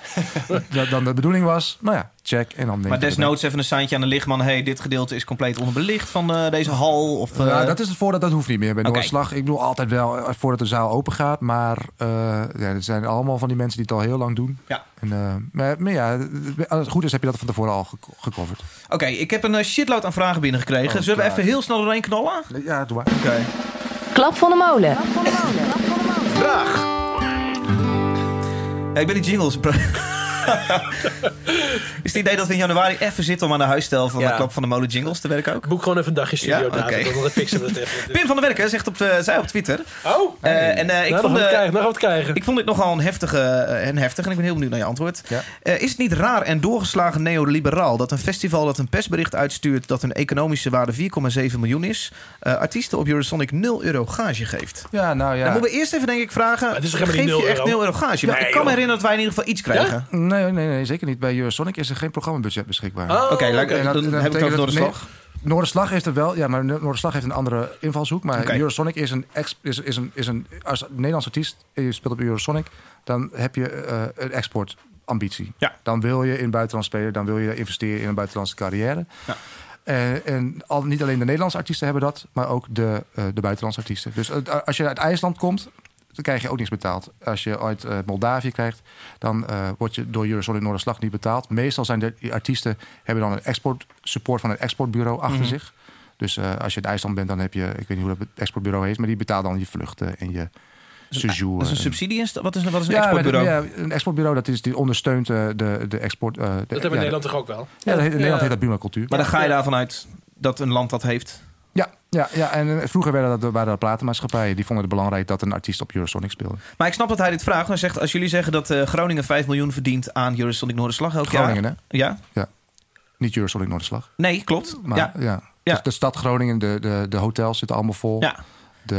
Speaker 4: dan, dan de bedoeling was. Nou ja, check. En dan neem
Speaker 1: Maar
Speaker 4: ik het erbij.
Speaker 1: desnoods even een seintje aan de lichtman. hey, dit gedeelte is compleet onderbelicht van eh, deze hal. Of, eh,
Speaker 4: Ja, dat is het voordeel, dat hoeft niet meer bij
Speaker 1: Oké.
Speaker 4: Noordslag. Ik bedoel altijd wel eh, voordat de zaal open gaat. Maar eh, ja, er zijn allemaal van die mensen die het al heel lang doen.
Speaker 1: Ja.
Speaker 4: En, eh, maar, maar ja, eh, als het goed is heb je dat van tevoren al geco- gecoverd.
Speaker 1: Oké, ik heb een eh, shitload aan vragen binnengekregen.
Speaker 4: Oh,
Speaker 1: Zullen we
Speaker 4: klaar.
Speaker 1: even heel snel doorheen knallen?
Speaker 4: Ja, doe maar.
Speaker 1: Oké.
Speaker 8: Klap van de molen.
Speaker 1: Vraag. Ja, ik ben die jingles. bro. is het idee dat we in januari even zitten om aan de huisstijl van
Speaker 2: Ja.
Speaker 1: de klap van de molen jingles te werken ook?
Speaker 3: Boek gewoon even een dagje studio,
Speaker 1: Ja,
Speaker 3: David.
Speaker 1: oké.
Speaker 3: want Dan fixen we het even.
Speaker 1: Pim van der Werken zegt op, de- zei op Twitter. eh,
Speaker 3: Oh,
Speaker 1: en eh, ik
Speaker 3: nou, dan gaan
Speaker 1: vond
Speaker 3: we
Speaker 1: de-
Speaker 3: het krijgen. Dan gaan we het krijgen.
Speaker 1: Ik vond dit nogal een heftige eh, en heftig en ik ben heel benieuwd naar je antwoord.
Speaker 4: Ja.
Speaker 1: Eh, is het niet raar en doorgeslagen neoliberaal dat een festival dat een persbericht uitstuurt dat hun economische waarde 4,7 miljoen is, eh, artiesten op Eurosonic 0 euro gage geeft?
Speaker 4: Ja, nou ja.
Speaker 1: Dan moeten we eerst even denk ik vragen,
Speaker 3: het is toch
Speaker 1: geef
Speaker 3: helemaal niet
Speaker 1: je
Speaker 3: 0
Speaker 1: echt
Speaker 3: euro?
Speaker 1: 0 euro gage? Want
Speaker 3: Nee,
Speaker 1: ik kan me
Speaker 3: joh.
Speaker 1: herinneren dat wij in ieder geval iets krijgen.
Speaker 4: Nee, nee, nee, zeker niet. Bij Eurosonic is er geen programmabudget beschikbaar.
Speaker 3: Oh,
Speaker 1: Oké, laat ik-
Speaker 4: En dat-
Speaker 1: dan
Speaker 4: dat
Speaker 1: heb ik het
Speaker 4: betekent
Speaker 1: over de
Speaker 4: dat- nee,
Speaker 1: slag.
Speaker 4: Noorderslag heeft er wel, ja, maar Noor- Noorderslag heeft een andere invalshoek. Maar
Speaker 1: Oké.
Speaker 4: Eurosonic is een, ex, is, is een, is een, als Nederlands artiest, eh, je speelt op Eurosonic, dan heb je eh, een exportambitie.
Speaker 1: Ja.
Speaker 4: Dan wil je in het buitenland spelen, dan wil je investeren in een buitenlandse carrière.
Speaker 1: Ja.
Speaker 4: Eh, en al, niet alleen de Nederlandse artiesten hebben dat, maar ook de, eh, de buitenlandse artiesten. Dus eh, als je uit IJsland komt, dan krijg je ook niks betaald. Als je uit eh, Moldavië krijgt, dan eh, word je door Eurosonic Noorderslag niet betaald. Meestal zijn de die artiesten hebben dan een export support van het exportbureau achter
Speaker 1: Mhm.
Speaker 4: zich. Dus eh, als je in IJsland bent, dan heb je, ik weet niet hoe dat exportbureau heet, maar die betaalt dan je vluchten en je sejour.
Speaker 1: Dat is een
Speaker 4: en-
Speaker 1: subsidie, is dat- wat is, wat is een
Speaker 4: Ja,
Speaker 1: exportbureau?
Speaker 4: maar dat- ja, een exportbureau dat is, die ondersteunt eh, de, de export. eh, de,
Speaker 3: Dat
Speaker 4: ja,
Speaker 3: hebben we in Nederland toch ook wel?
Speaker 4: Ja, dat heet- in Nederland
Speaker 3: Ja.
Speaker 4: heet dat Buma Cultuur.
Speaker 1: Maar dan ga je daarvan uit dat een land dat heeft.
Speaker 4: Ja, ja, ja, en eh, vroeger werden dat, waren dat platenmaatschappijen. Die vonden het belangrijk dat een artiest op Eurosonic speelde.
Speaker 1: Maar ik snap dat hij dit vraagt. Hij zegt, als jullie zeggen dat eh, Groningen 5 miljoen verdient aan Eurosonic Noorderslag elk jaar.
Speaker 4: Groningen, hè?
Speaker 1: Ja?
Speaker 4: Niet Eurosonic Noorderslag.
Speaker 1: Nee, klopt.
Speaker 4: Maar
Speaker 1: ja.
Speaker 4: ja,
Speaker 1: Ja.
Speaker 4: Dus de stad Groningen, de, de, de hotels zitten allemaal vol.
Speaker 1: Ja.
Speaker 4: De,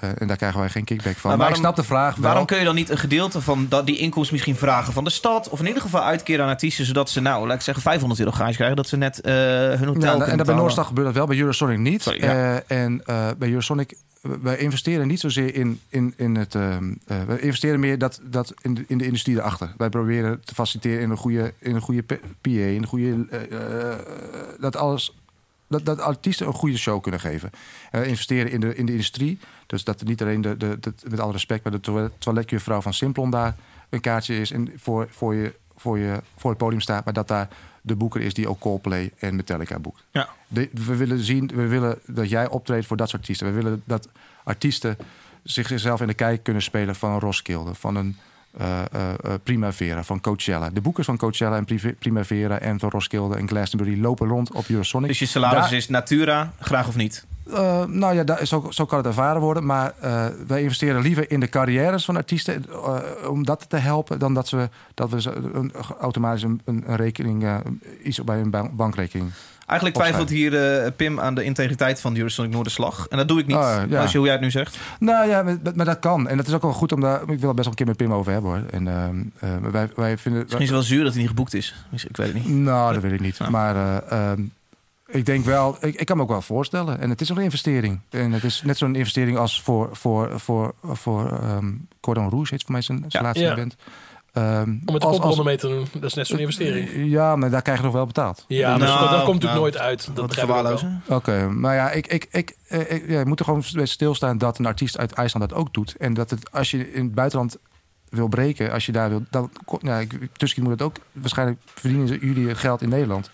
Speaker 4: eh, en daar krijgen wij geen kickback van.
Speaker 1: Maar
Speaker 4: Maar,
Speaker 1: waarom-
Speaker 4: ik snap de vraag wel.
Speaker 1: Waarom kun je dan niet een gedeelte van dat, die inkomsten misschien vragen van de stad? Of in ieder geval uitkeren aan artiesten, zodat ze nou, laat ik zeggen, 500 euro gage krijgen. Dat ze net eh, hun hotel
Speaker 4: Ja, en-
Speaker 1: kunnen
Speaker 4: en dat bij
Speaker 1: betalen.
Speaker 4: Noorstag gebeurt dat wel, bij Eurosonic niet.
Speaker 1: Sorry, ja.
Speaker 4: Eh, en eh, bij Eurosonic, eh, wij investeren niet zozeer in, in, in het... eh, eh, wij investeren meer dat, dat in, de, in de industrie erachter. Wij proberen te faciliteren in een goede, in een goede P- PA, in een goede... eh, eh, dat alles... Dat, dat artiesten een goede show kunnen geven. Eh, investeren in de, in de industrie. Dus dat niet alleen, de, de, dat- met alle respect, maar de toilet, toiletjuffrouw van Simplon daar een kaartje is. En voor, voor, je, voor, je, voor het podium staat. Maar dat daar de boeker is die ook Coldplay en Metallica boekt.
Speaker 1: Ja.
Speaker 4: De- we willen zien, we willen dat jij optreedt voor dat soort artiesten. We willen dat artiesten zichzelf in de kijk kunnen spelen van een Roskilde, van een eh, eh, eh, Primavera, van Coachella. De boekers van Coachella en Prive- Primavera en van Roskilde en Glastonbury lopen rond op Eurosonic.
Speaker 1: Dus je salaris
Speaker 4: Daar-
Speaker 1: is Natura, graag of niet.
Speaker 4: eh, nou ja, daar, zo, zo kan het ervaren worden. Maar eh, wij investeren liever in de carrières van artiesten eh, om dat te helpen, dan dat, ze, dat we ze een, automatisch een, een een rekening, eh, iets bij een ban- bankrekening.
Speaker 1: Eigenlijk twijfelt hier eh, Pim aan de integriteit van Eurosonic Noorderslag. En dat doe ik niet,
Speaker 4: Ah, ja.
Speaker 1: als je hoe jij het nu zegt.
Speaker 4: Nou ja, maar, maar dat kan. En dat is ook wel goed om daar. Ik wil het best wel een keer met Pim over hebben hoor. En ehm, eh, wij, wij vinden.
Speaker 1: Misschien is het wel zuur dat hij niet geboekt is. Dus Ik weet het niet.
Speaker 4: Nou, dat weet ik niet.
Speaker 1: Nou.
Speaker 4: Maar eh, ehm, ik denk wel, ik, ik kan me ook wel voorstellen. En het is wel een investering. En het is net zo'n investering als voor, voor, voor, voor ehm Cordon Rouge, heet voor mij zijn,
Speaker 1: Ja.
Speaker 4: zijn laatste
Speaker 3: Ja.
Speaker 4: event. Ehm,
Speaker 3: Om met de
Speaker 4: als-
Speaker 3: kopronde
Speaker 4: als-
Speaker 3: mee te doen. Dat is net zo'n investering.
Speaker 4: Ja, maar daar krijg je nog wel betaald.
Speaker 3: Ja, maar
Speaker 1: Nou,
Speaker 3: dat, dat komt natuurlijk
Speaker 1: nou,
Speaker 3: nooit uit. Dat
Speaker 1: Wat
Speaker 3: begrijp ik ook wel.
Speaker 1: gewaarlozen.
Speaker 4: Oké, maar ja, ik, ik, ik, eh, ik- ja, je moet er gewoon bij stilstaan dat een artiest uit IJsland dat ook doet. En dat het, als je in het buitenland wil breken, als je daar wil... Dan, ko- nou, ik- Tusky moet het ook... Waarschijnlijk verdienen ze jullie geld in Nederland.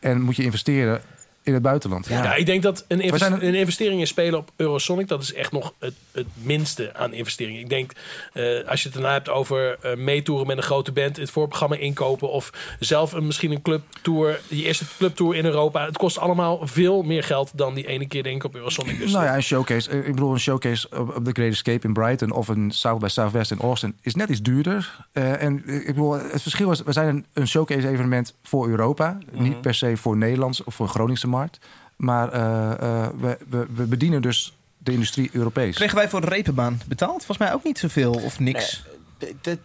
Speaker 4: En moet je investeren in het buitenland.
Speaker 3: Ja. ik denk dat een, invest-
Speaker 4: zijn er-
Speaker 3: een investering in spelen op Eurosonic... dat is echt nog het, het minste aan investeringen. Ik denk, eh, als je het daarna hebt over eh meetoeren met een grote band... het voorprogramma inkopen of zelf een, misschien een clubtour... je eerste clubtour in Europa. Het kost allemaal veel meer geld dan die ene keer denk ik op Eurosonic. Dus
Speaker 4: Nou ja, een showcase. eh, Ik bedoel, een showcase op, op de Great Escape in Brighton of een South by Southwest in Austin is net iets duurder. Eh, en eh, ik bedoel, het verschil is, we zijn een, een showcase evenement voor Europa,
Speaker 3: Mhm.
Speaker 4: niet per se voor Nederlands of voor Groningse markt. Maar eh, eh, we, we, we bedienen dus de industrie Europees.
Speaker 1: Kregen wij voor de repenbaan betaald? Volgens mij ook niet zoveel of niks.
Speaker 2: Dat,
Speaker 1: Ja,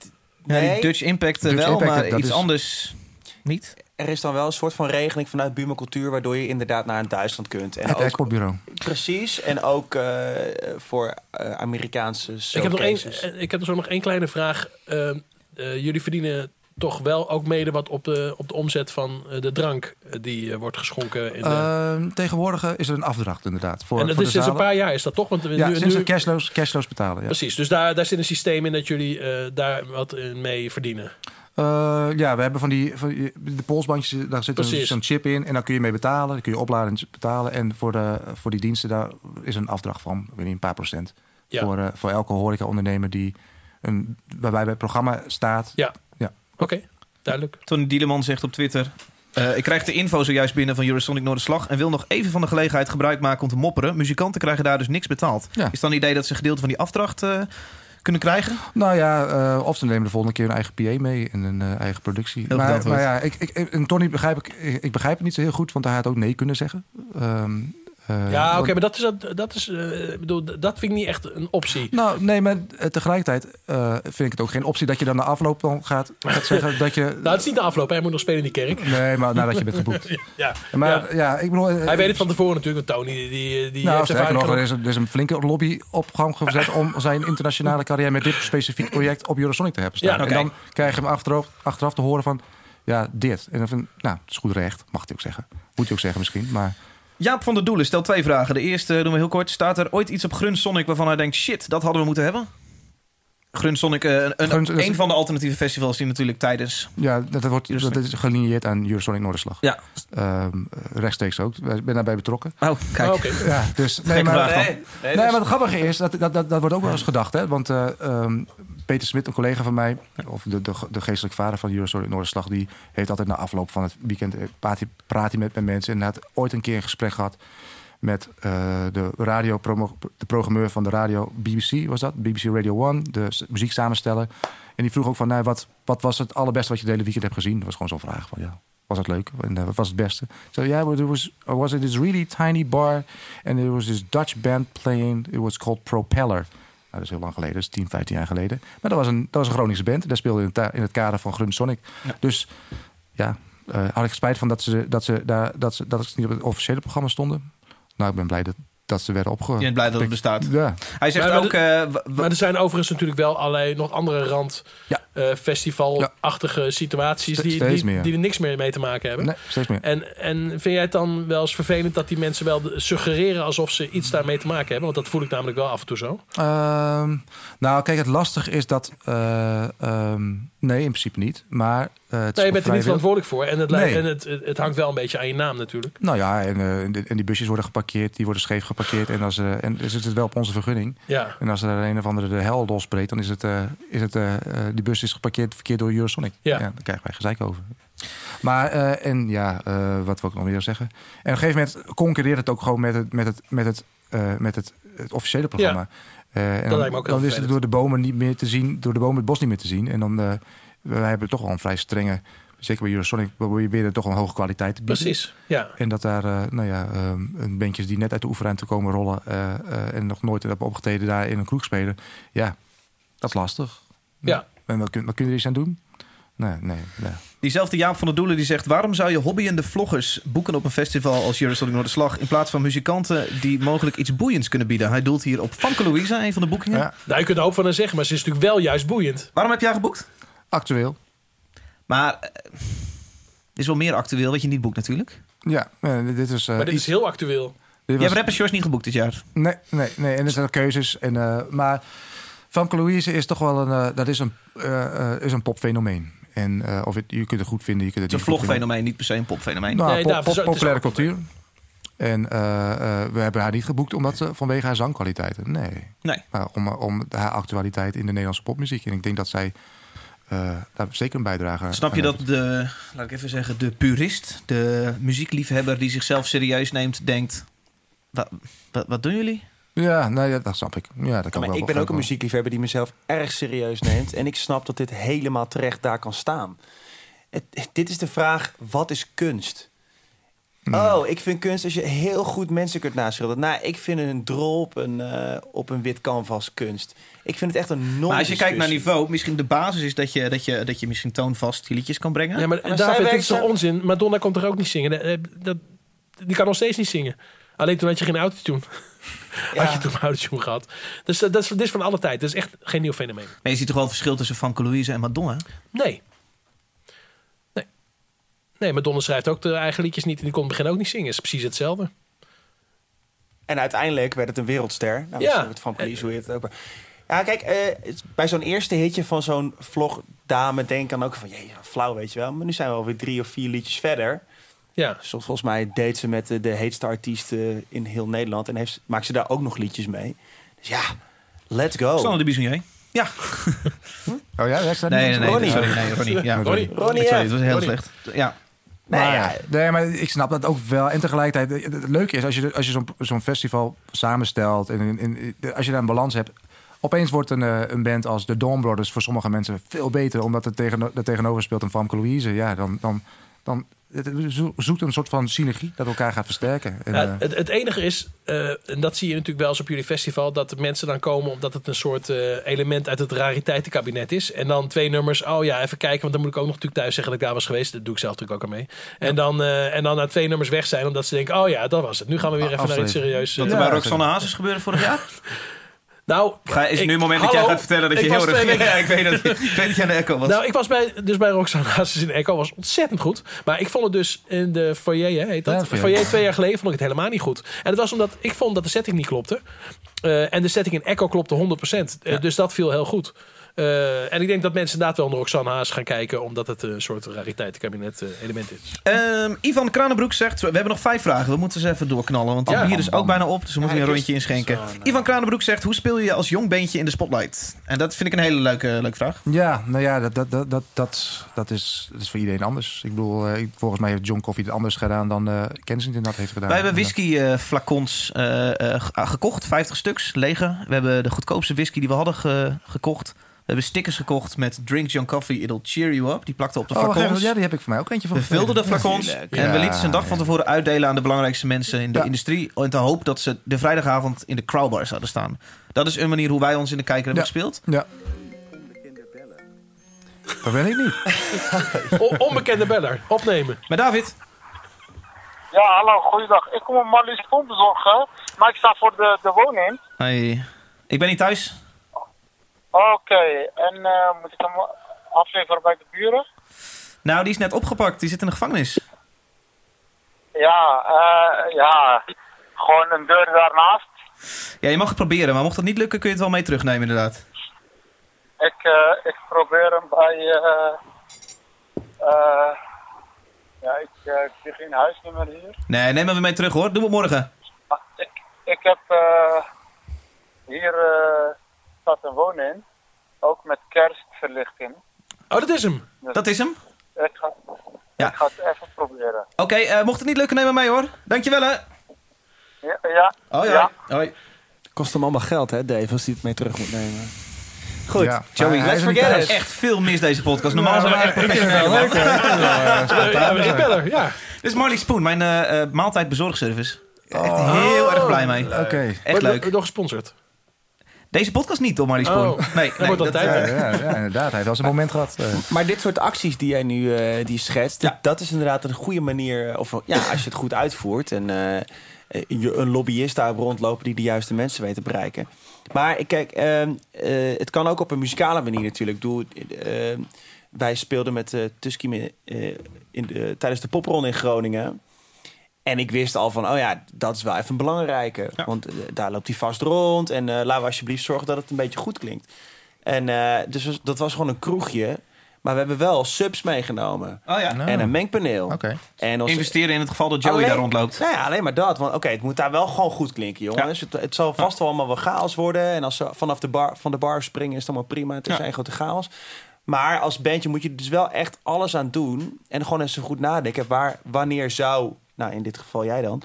Speaker 2: nee,
Speaker 1: die Dutch Impact eh,
Speaker 4: Dutch
Speaker 1: wel,
Speaker 4: Impact,
Speaker 1: maar
Speaker 4: dat
Speaker 1: iets
Speaker 4: is-
Speaker 1: anders niet.
Speaker 2: er is dan wel een soort van regeling vanuit Buurman-cultuur... waardoor je inderdaad naar een Duitsland kunt. En
Speaker 4: het
Speaker 2: ook,
Speaker 4: exportbureau.
Speaker 2: precies, en ook eh, voor eh, Amerikaanse showcases.
Speaker 3: ik, heb nog één, eh, ik heb er zo nog één kleine vraag. Eh, eh, jullie verdienen toch wel ook mede wat op de, op de omzet van eh, de drank... eh, die eh, wordt geschonken in de...
Speaker 4: Ehm, tegenwoordig eh, is er een afdracht inderdaad. Voor,
Speaker 3: en dat
Speaker 4: voor
Speaker 3: is
Speaker 4: de
Speaker 3: sinds een
Speaker 4: zalen.
Speaker 3: paar jaar is dat toch? Want we-
Speaker 4: Ja,
Speaker 3: nu,
Speaker 4: sinds
Speaker 3: nu-
Speaker 4: het cashloos, cashloos betalen. Ja.
Speaker 3: Precies, dus daar, daar zit een systeem in dat jullie eh, daar wat in mee verdienen.
Speaker 4: Eh, ja, we hebben van die, van die- de polsbandjes, daar zit een-
Speaker 3: Precies.
Speaker 4: zo'n chip in. En daar kun je mee betalen, daar kun je opladen en betalen. En voor, de, voor die diensten daar is een afdracht van, ik weet niet, een paar procent.
Speaker 3: Ja.
Speaker 4: Voor, eh, voor elke horecaondernemer die een, waarbij bij het programma staat.
Speaker 3: Ja.
Speaker 4: Ja.
Speaker 3: Oké, duidelijk.
Speaker 1: Tony Dieleman zegt op Twitter... eh, ik krijg de info zojuist binnen van Eurosonic Noorderslag... en wil nog even van de gelegenheid gebruik maken om te mopperen. Muzikanten krijgen daar dus niks betaald.
Speaker 4: Ja.
Speaker 1: Is dan het idee dat ze een gedeelte van die afdracht eh, kunnen krijgen?
Speaker 4: Nou ja, eh, of ze nemen de volgende keer een eigen PA mee en een eh, eigen productie.
Speaker 1: Heel goed
Speaker 4: maar,
Speaker 1: antwoord.
Speaker 4: maar ja, ik, ik, en Tony begrijp ik, ik begrijp het niet zo heel goed, want hij had ook nee kunnen zeggen. Ehm, eh,
Speaker 3: ja, oké, maar dat is, dat- dat is eh, ik bedoel, d- dat vind ik niet echt een optie.
Speaker 4: Nou, nee, maar eh, tegelijkertijd eh, vind ik het ook geen optie dat je dan na afloop dan gaat, gaat zeggen dat je.
Speaker 3: Nou, het is niet de afloop, hij moet nog spelen in die kerk.
Speaker 4: Nee, maar nadat je bent geboekt.
Speaker 3: Ja, ja.
Speaker 4: Maar ja, ik bedoel. eh,
Speaker 3: Hij weet het van tevoren natuurlijk, want Tony die, die
Speaker 4: Nou,
Speaker 3: heeft
Speaker 4: sterker
Speaker 3: ervaring
Speaker 4: nog, er
Speaker 3: genoeg.
Speaker 4: is, een, er is een flinke lobby op gang gezet om zijn internationale carrière met dit specifiek project op Eurosonic te hebben staan.
Speaker 3: Ja, oké.
Speaker 4: En dan krijg je hem achteraf, achteraf te horen van, ja, dit. En dan van, nou, het is goed recht, mag hij ook zeggen. Moet hij ook zeggen misschien, maar
Speaker 1: Jaap van der Doelen stelt twee vragen. De eerste doen we heel kort. Staat er ooit iets op Grun Sonic waarvan hij denkt... shit, dat hadden we moeten hebben? Grun Sonic, eh, een,
Speaker 4: Grun- dat
Speaker 1: een,
Speaker 4: is-
Speaker 1: een van de alternatieve festivals... die natuurlijk tijdens...
Speaker 4: ja, dat, dat wordt, dat is gelineerd aan Eurosonic Noorderslag.
Speaker 1: Ja.
Speaker 4: Ehm, rechtstreeks ook, ik ben daarbij betrokken.
Speaker 1: Oh, kijk.
Speaker 3: Oh, oké.
Speaker 4: Ja, dus,
Speaker 1: Gekke vraag dan.
Speaker 2: Nee, nee,
Speaker 4: Nee,
Speaker 2: dat
Speaker 4: maar het grappige is, dat, dat, dat, dat wordt ook wel eens gedacht. Hè? Want eh, ehm, Peter Smit, een collega van mij, of de, de, de geestelijk vader van Eurosonic Noorderslag... die heeft altijd na afloop van het weekend eh, praat hij, praat hij met, met mensen. En hij had ooit een keer een gesprek gehad met eh, de, radio de programmeur van de radio BBC, was dat? BBC Radio 1, de s- muzieksamensteller. En die vroeg ook van, nou, wat, wat was het allerbeste wat je het hele weekend hebt gezien? Dat was gewoon zo'n vraag van, ja, was het leuk? En eh, wat was het beste? So yeah, but it was, uh, was it this really tiny bar and there was this Dutch band playing. It was called Propeller. Nou, dat is heel lang geleden, dat is 10, 15 jaar geleden. Maar dat was een, dat was een Groningse band. Daar speelde in het, ta- in het kader van Grun Sonic. Dus ja, eh, had ik spijt van dat ze, dat, ze daar, dat, ze, dat ze niet op het officiële programma stonden. Nou, ik ben blij dat, dat ze werden opge...
Speaker 1: Je bent blij dat het bestaat.
Speaker 4: Ja.
Speaker 1: Hij zegt
Speaker 3: Maar- maar
Speaker 1: ook...
Speaker 3: de-
Speaker 1: eh, wa- wa-
Speaker 3: Maar er zijn overigens natuurlijk wel allerlei nog andere rand
Speaker 4: Ja.
Speaker 3: eh, festivalachtige situaties
Speaker 4: Ste-
Speaker 3: die,
Speaker 4: steeds
Speaker 3: die,
Speaker 4: meer.
Speaker 3: die er niks meer mee te maken hebben.
Speaker 4: Nee, steeds meer.
Speaker 3: En, en vind jij het dan wel eens vervelend dat die mensen wel suggereren alsof ze iets daarmee te maken hebben? Want dat voel ik namelijk wel af en toe zo.
Speaker 4: Ehm, nou, kijk, het lastig is dat... eh, ehm, nee, in principe niet. Maar eh, het
Speaker 3: Nee, je
Speaker 4: is
Speaker 3: bent er niet
Speaker 4: vrij wild.
Speaker 3: verantwoordelijk voor. En, het, lijkt-
Speaker 4: Nee.
Speaker 3: en het, het, het hangt wel een beetje aan je naam natuurlijk.
Speaker 4: Nou ja, en, eh, en die- en die busjes worden geparkeerd, die worden scheef geparkeerd. En, als, eh en dus het is wel op onze vergunning.
Speaker 3: Ja.
Speaker 4: En als er een of andere de hel losbreekt, dan is het, eh, is het eh, eh, die bus is geparkeerd verkeerd door Eurosonic.
Speaker 3: Ja.
Speaker 4: daar krijgen wij gezeik over. Maar, eh, en ja, eh, wat wil ik nog meer zeggen? En op een gegeven moment concurreert het ook gewoon met het, met het, met het, eh, met het, het officiële programma. Eh, en
Speaker 3: Dat
Speaker 4: dan,
Speaker 3: lijkt me ook heel
Speaker 4: dan is het
Speaker 3: vervelend.
Speaker 4: door de bomen niet meer te zien, door de bomen het bos niet meer te zien. En dan eh wij hebben toch wel een vrij strenge, zeker bij Eurosonic, we proberen toch een hoge kwaliteit te bieden.
Speaker 3: Precies. Ja.
Speaker 4: En dat daar, eh, nou ja, ehm, een bandjes die net uit de oefenruimte komen rollen eh, eh, en nog nooit hebben opgetreden daar in een kroeg spelen. Ja, dat is lastig.
Speaker 3: Ja.
Speaker 4: En wat kun, wat kun je er iets aan doen? Nee, nee, nee.
Speaker 1: Diezelfde Jaap van der Doelen die zegt... waarom zou je hobbyende vloggers boeken op een festival als Eurosonic Noorderslag... in plaats van muzikanten die mogelijk iets boeiends kunnen bieden? Hij doelt hier op Famke Louisa, een van de boekingen.
Speaker 4: Ja.
Speaker 3: Nou, je kunt er ook van aan zeggen, maar ze is natuurlijk wel juist boeiend.
Speaker 1: Waarom heb jij haar geboekt?
Speaker 4: Actueel.
Speaker 1: Maar eh, dit is wel meer actueel wat je niet boekt natuurlijk.
Speaker 4: Ja, nee, dit is. eh,
Speaker 3: Maar dit is
Speaker 4: iets-
Speaker 3: heel actueel.
Speaker 4: dit
Speaker 1: Je
Speaker 4: was-
Speaker 1: hebt Rapper Shores niet geboekt dit jaar.
Speaker 4: Nee, nee, nee. En er zijn ook keuzes. En, eh, maar Famke Louise is toch wel een, eh, dat is een, eh, eh, is een popfenomeen. En eh, of het, je kunt het goed vinden, je kunt het
Speaker 1: Het is een
Speaker 4: niet goed vinden.
Speaker 1: vlogfenomeen, niet per se een popfenomeen.
Speaker 4: Nou,
Speaker 3: Nee,
Speaker 4: pop-
Speaker 3: daarvoor
Speaker 4: pop-
Speaker 3: zou- het is
Speaker 4: populaire
Speaker 3: ook-
Speaker 4: cultuur. En eh, eh, we hebben haar niet geboekt omdat ze, vanwege haar zangkwaliteiten. Nee.
Speaker 1: Nee.
Speaker 4: Maar om, om haar actualiteit in de Nederlandse popmuziek. En ik denk dat zij eh, daar zeker een bijdrage aan
Speaker 1: Snap je
Speaker 4: levert.
Speaker 1: dat de, laat ik even zeggen, de purist, de muziekliefhebber die zichzelf serieus neemt, denkt: "Wa- wa- wat doen jullie?
Speaker 4: Ja, nou, ja, dat snap ik. Ja, dat kan
Speaker 2: maar
Speaker 4: wel
Speaker 2: ik ben
Speaker 4: wel-
Speaker 2: ook een
Speaker 4: wel-
Speaker 2: muziekliefhebber die mezelf erg serieus neemt. En ik snap dat dit helemaal terecht daar kan staan. Het, het- dit is de vraag, wat is kunst? Oh, ik vind kunst als je heel goed mensen kunt naschilderen. Nou, ik vind een drol op een, eh, op een wit canvas kunst. Ik vind het echt een non
Speaker 1: Maar als je kijkt
Speaker 3: dus-
Speaker 1: naar niveau, misschien de basis is dat je, dat je, dat je misschien toonvast die liedjes kan brengen.
Speaker 3: Ja, maar
Speaker 2: maar zij
Speaker 3: David, dit
Speaker 2: werkt-
Speaker 3: is toch
Speaker 2: zij-
Speaker 3: onzin? Madonna komt er ook niet zingen. Eh, dat- die kan nog steeds niet zingen. Alleen toen had je geen autotune. Had je toen een autotune gehad. Dus dat, dat is, dit is van alle tijd. Dat is echt geen nieuw fenomeen.
Speaker 1: Maar je ziet toch wel het verschil tussen Van Louise en Madonna?
Speaker 3: Nee. Nee. Nee, Madonna schrijft ook de eigen liedjes niet. En die kon in het begin ook niet zingen. Het is precies hetzelfde.
Speaker 2: En uiteindelijk werd het een wereldster. Nou,
Speaker 3: Ja.
Speaker 2: ja. Het van Police, hoe heet het ook. Ja, kijk, eh, het- bij zo'n eerste hitje van zo'n vlogdame denk ik dan ook van... Jee, flauw, weet je wel. Maar nu zijn we alweer drie of vier liedjes verder.
Speaker 3: Ja.
Speaker 2: Zo, volgens mij deed ze met de, de heetste artiesten in heel Nederland. En heeft, maakt ze daar ook nog liedjes mee. Dus ja, let's
Speaker 3: Oh.
Speaker 2: go.
Speaker 1: Sanne de Bisonnier. Ja.
Speaker 4: Oh ja, ja, staat
Speaker 1: Nee, nee, nee.
Speaker 2: Ronnie.
Speaker 1: Sorry, nee, Ronnie. Ja.
Speaker 3: Ronnie.
Speaker 2: Ronnie,
Speaker 1: Sorry,
Speaker 2: F.
Speaker 1: het was heel
Speaker 3: Ronnie.
Speaker 1: slecht. Ja.
Speaker 2: Nee,
Speaker 4: maar,
Speaker 2: ja.
Speaker 4: nee, maar ik snap dat ook wel. En tegelijkertijd, het- het leuke is als je, als je zo'n zo'n festival samenstelt en in- in- als je daar een balans hebt. Opeens wordt een, eh, een band als de Dawn Brothers voor sommige mensen veel beter, omdat er, tegen, er tegenover speelt een Famke Louise. Ja, dan, dan, dan het- het zo- zoekt een soort van synergie dat elkaar gaat versterken. En,
Speaker 3: Ja,
Speaker 4: eh,
Speaker 3: het, het enige is, eh, en dat zie je natuurlijk wel eens op jullie festival, dat de mensen dan komen omdat het een soort eh, element uit het rariteitenkabinet is. En dan twee nummers, oh ja, even kijken, want dan moet ik ook nog natuurlijk thuis zeggen dat ik daar was geweest. Dat doe ik zelf natuurlijk ook aan mee. En, dan, eh, en dan na twee nummers weg zijn, omdat ze denken, oh ja, dat was het. Nu gaan we weer even naar
Speaker 4: Aflevering.
Speaker 3: iets serieus.
Speaker 1: Dat er
Speaker 3: eh,
Speaker 1: bij Roxanne Hazes gebeurde vorig jaar.
Speaker 3: nou,
Speaker 1: Ga- Is het nu het moment dat jij
Speaker 3: hallo,
Speaker 1: gaat vertellen dat
Speaker 3: ik
Speaker 1: je heel
Speaker 3: was twee
Speaker 1: erg...
Speaker 3: weken-
Speaker 1: Ja, ik weet dat, ik weet dat je aan de echo was.
Speaker 3: Nou, ik was bij, dus bij Roxanne Hazes in Echo. was ontzettend goed. Maar ik vond het dus in de foyer, hè, heet dat?
Speaker 4: Ja, de foyer.
Speaker 3: foyer twee jaar geleden vond ik het helemaal niet goed. En dat was omdat ik vond dat de setting niet klopte. Eh, en de setting in Echo klopte 100%. Eh, Dus dat viel heel goed. Eh, en ik denk dat mensen inderdaad wel naar Roxanne Hazes gaan kijken... omdat het een soort rariteitenkabinet eh, element is.
Speaker 1: Ehm, Ivan Kranenbroek zegt... We hebben nog vijf vragen. We moeten ze even doorknallen. Want
Speaker 3: Ja.
Speaker 1: het bier is ook bijna op. Dus we moeten weer een
Speaker 2: ik
Speaker 1: rondje inschenken. Ivan Kranenbroek zegt... Hoe speel je als jong beentje in de spotlight? En dat vind ik een hele leuke, leuke vraag.
Speaker 4: Ja, nou ja, dat, dat, dat, dat, dat, dat is, dat is voor iedereen anders. Ik bedoel, eh, ik- volgens mij heeft John Coffee het anders gedaan dan eh Kensington dat heeft gedaan.
Speaker 1: Wij hebben eh, whiskyflacons eh, ah, gekocht. 50 stuks, lege. We hebben de goedkoopste whisky die we hadden ge- gekocht. We hebben stickers gekocht met Drink John Coffee, It'll Cheer You Up. Die plakten op de
Speaker 4: Oh, wacht even,
Speaker 1: flacons.
Speaker 4: ja, die heb ik voor mij ook eentje van.
Speaker 1: We vulden de
Speaker 4: gekregen.
Speaker 1: flacons en we lieten ze een dag van tevoren uitdelen aan de belangrijkste mensen in de
Speaker 4: Ja.
Speaker 1: industrie. In de hoop dat ze de vrijdagavond in de crowbar zouden staan. Dat is een manier hoe wij ons in de kijker hebben
Speaker 4: Ja.
Speaker 1: gespeeld.
Speaker 4: Ja. Dat ben ik niet.
Speaker 3: O- onbekende beller, opnemen.
Speaker 1: Maar David,
Speaker 9: Ja, hallo, goeiedag. Ik kom een Marlies Pomp bezorgen, maar ik sta voor de, de woning.
Speaker 1: hey. ik ben niet thuis.
Speaker 9: Oké, en eh, moet ik hem afleveren bij de buren?
Speaker 1: Nou, die is net opgepakt. Die zit in de gevangenis.
Speaker 9: Ja, eh, ja, gewoon een deur daarnaast.
Speaker 1: Ja, je mag het proberen, maar mocht dat niet lukken kun je het wel mee terugnemen inderdaad.
Speaker 9: Ik, eh, ik probeer hem bij, eh, eh, ja, ik eh, ik zie geen huisnummer hier.
Speaker 1: Nee, neem hem weer mee terug hoor. Doe het morgen.
Speaker 9: Maar Ah, ik, ik heb eh, hier eh, staat een woning, ook met kerstverlichting.
Speaker 3: Oh, dat is hem.
Speaker 1: Dat is hem.
Speaker 9: Ik ga,
Speaker 1: Ja.
Speaker 9: ik ga het even proberen.
Speaker 1: Oké, eh, mocht het niet lukken, neem hem mee hoor. Dankjewel hè.
Speaker 9: Ja, ja.
Speaker 1: Hoi,
Speaker 9: ja.
Speaker 1: hoi. Hoi.
Speaker 2: Kost hem allemaal geld, hè, Dave, als hij het mee terug moet nemen. Goed,
Speaker 4: Ja, maar
Speaker 2: Joey,
Speaker 4: Ah, hij
Speaker 2: let's
Speaker 4: is er niet
Speaker 2: forget
Speaker 1: Er
Speaker 2: it.
Speaker 1: is echt veel mis deze podcast. Normaal zijn we echt professioneel. hè?
Speaker 3: Eh, Ja, een beller, ja.
Speaker 1: Dit is Marley Spoon, mijn eh, eh, maaltijdbezorgservice. Echt heel erg blij mee.
Speaker 4: Oké.
Speaker 1: Echt
Speaker 3: Wordt
Speaker 1: leuk.
Speaker 3: Nog gesponsord.
Speaker 1: Deze podcast niet door Marley Spoon.
Speaker 3: Oh.
Speaker 1: Nee, nee, eh,
Speaker 3: wordt al tijd.
Speaker 4: Ja, ja, ja, inderdaad. Hij heeft wel zijn moment gehad. eh.
Speaker 2: Maar dit soort acties die jij nu eh, die schetst,
Speaker 1: Ja.
Speaker 2: dat is inderdaad een goede manier. eh, Of ja, als je het goed uitvoert en eh, eh, je een lobbyist daar rondlopen die de juiste mensen weet te bereiken. Maar ik kijk, ehm, eh, het kan ook op een muzikale manier natuurlijk. Ik bedoel, ehm, wij speelden met eh Tusky me- eh, in de- tijdens de popronde in Groningen. En ik wist al van, oh ja, dat is wel even een belangrijke. Want eh, daar loopt hij vast rond. En eh laten we alsjeblieft zorgen dat het een beetje goed klinkt. En eh, dus was- dat was gewoon een kroegje. Maar we hebben wel subs meegenomen.
Speaker 1: Oh ja.
Speaker 2: En een mengpaneel.
Speaker 1: Oké.
Speaker 2: En ons-
Speaker 1: Investeren in het geval dat Joey
Speaker 2: Alleen-
Speaker 1: daar rondloopt.
Speaker 2: Nou ja, alleen maar dat. Want oké, het moet daar wel gewoon goed klinken, jongens. Het, het zal vast wel allemaal wel chaos worden. En als ze vanaf de bar, van de bar springen, is het allemaal prima. Het is één grote chaos. Maar als bandje moet je er dus wel echt alles aan doen. En gewoon eens goed nadenken. Waar, wanneer zou, nou in dit geval jij dan,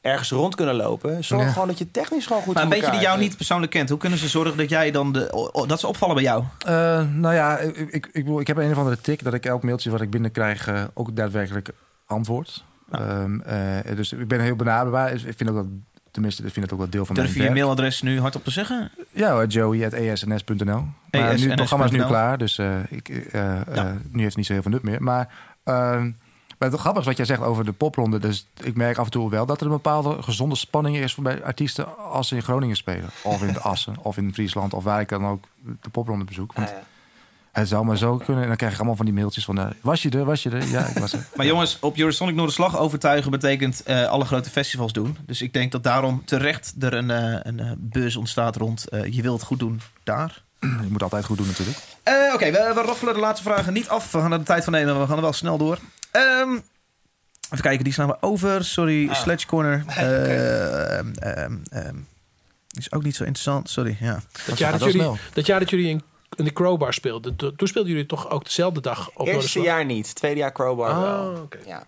Speaker 2: ergens rond kunnen lopen. Zorg
Speaker 4: Ja.
Speaker 2: gewoon dat je technisch gewoon goed
Speaker 1: Maar een
Speaker 2: voor
Speaker 1: beetje die
Speaker 2: elkaar
Speaker 1: jou niet persoonlijk kent. Hoe kunnen ze zorgen dat jij dan de, o- o- dat ze opvallen bij jou?
Speaker 4: Eh, nou ja, ik, ik, ik, bedoel, ik heb een of andere tik dat ik elk mailtje wat ik binnenkrijg eh, ook daadwerkelijk antwoord. Ehm, eh, dus ik ben heel benaderbaar. Ik vind ook dat, tenminste, ik vind het ook wel deel van
Speaker 1: Durf je
Speaker 4: mijn
Speaker 1: je
Speaker 4: werk.
Speaker 1: mailadres nu hardop te zeggen?
Speaker 4: Ja, joey.esns.nl. Maar nu, het programma is nu
Speaker 1: ESNS.nl.
Speaker 4: klaar, dus eh, ik, eh, eh, nu heeft het niet zo heel veel nut meer. Maar, ehm maar het grappige is wat jij zegt over de popronde. Dus ik merk af en toe wel dat er een bepaalde gezonde spanning is voor bij artiesten als ze in Groningen spelen. Of in de Assen, of in Friesland, of waar ik dan ook de popronde bezoek. Want
Speaker 2: Ja, ja.
Speaker 4: Het zou maar zo kunnen. En dan krijg ik allemaal van die mailtjes van... eh, was je er, was je er? Ja, ik was er.
Speaker 1: Maar jongens, op Eurosonic Noorderslag overtuigen betekent eh, alle grote festivals doen. Dus ik denk dat daarom terecht er een, eh een eh, buzz ontstaat rond eh, je wilt het goed doen daar.
Speaker 4: Je moet altijd goed doen natuurlijk.
Speaker 1: Eh, Oké, we, we raffelen de laatste vragen niet af. We gaan naar de tijd van nemen, maar we gaan er wel snel door. Ehm, even kijken, die slaan we over. Sorry, Sledge Corner. Ehm, ehm, ehm. is ook niet zo interessant, sorry. Ja.
Speaker 3: Dat jaar
Speaker 4: gaat
Speaker 3: dat,
Speaker 4: wel
Speaker 3: jullie, dat jaar dat jullie in, in de Crowbar speelden, to- toen speelden jullie toch ook dezelfde dag op
Speaker 2: Eerste
Speaker 3: Noorderslag?
Speaker 2: jaar niet. Tweede jaar crowbar
Speaker 1: Oh,
Speaker 2: wel.
Speaker 3: Ah, oké.
Speaker 2: Ja.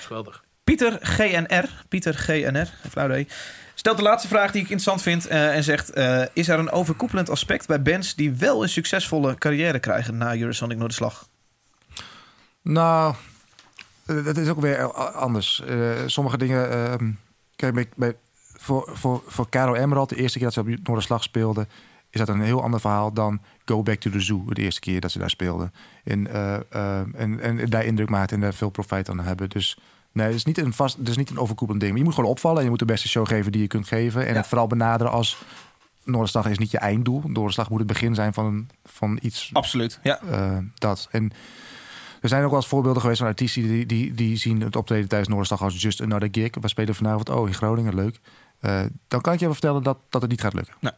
Speaker 3: Geweldig.
Speaker 1: Pieter GNR. Pieter GNR. Flauw idee. Stelt de laatste vraag die ik interessant vind eh, en zegt: eh, Is er een overkoepelend aspect bij bands die wel een succesvolle carrière krijgen na Eurosonic Noorderslag?
Speaker 4: Nou, eh, dat is ook weer a- anders. Eh, sommige dingen... ehm, kijk, bij, bij- voor, voor, voor Caro Emerald, de eerste keer dat ze op Noorderslag speelde... is dat een heel ander verhaal dan Go Back to the Zoo... de eerste keer dat ze daar speelde. En, eh, eh, en, en daar indruk maakte en daar veel profijt aan hebben. Dus nee, het is niet een, vast, het is niet een overkoepelend ding. Maar je moet gewoon opvallen en je moet de beste show geven die je kunt geven. En het vooral benaderen als... Noorderslag is niet je einddoel. Noorderslag moet het begin zijn van, van iets
Speaker 1: Absoluut. Ja.
Speaker 4: eh, dat. En er zijn ook wel eens voorbeelden geweest van artiesten die, die, die zien het optreden tijdens Noorderslag als just another gig. We spelen vanavond, oh in Groningen, leuk. Eh, dan kan ik je even vertellen dat, dat het niet gaat lukken.
Speaker 1: Nee.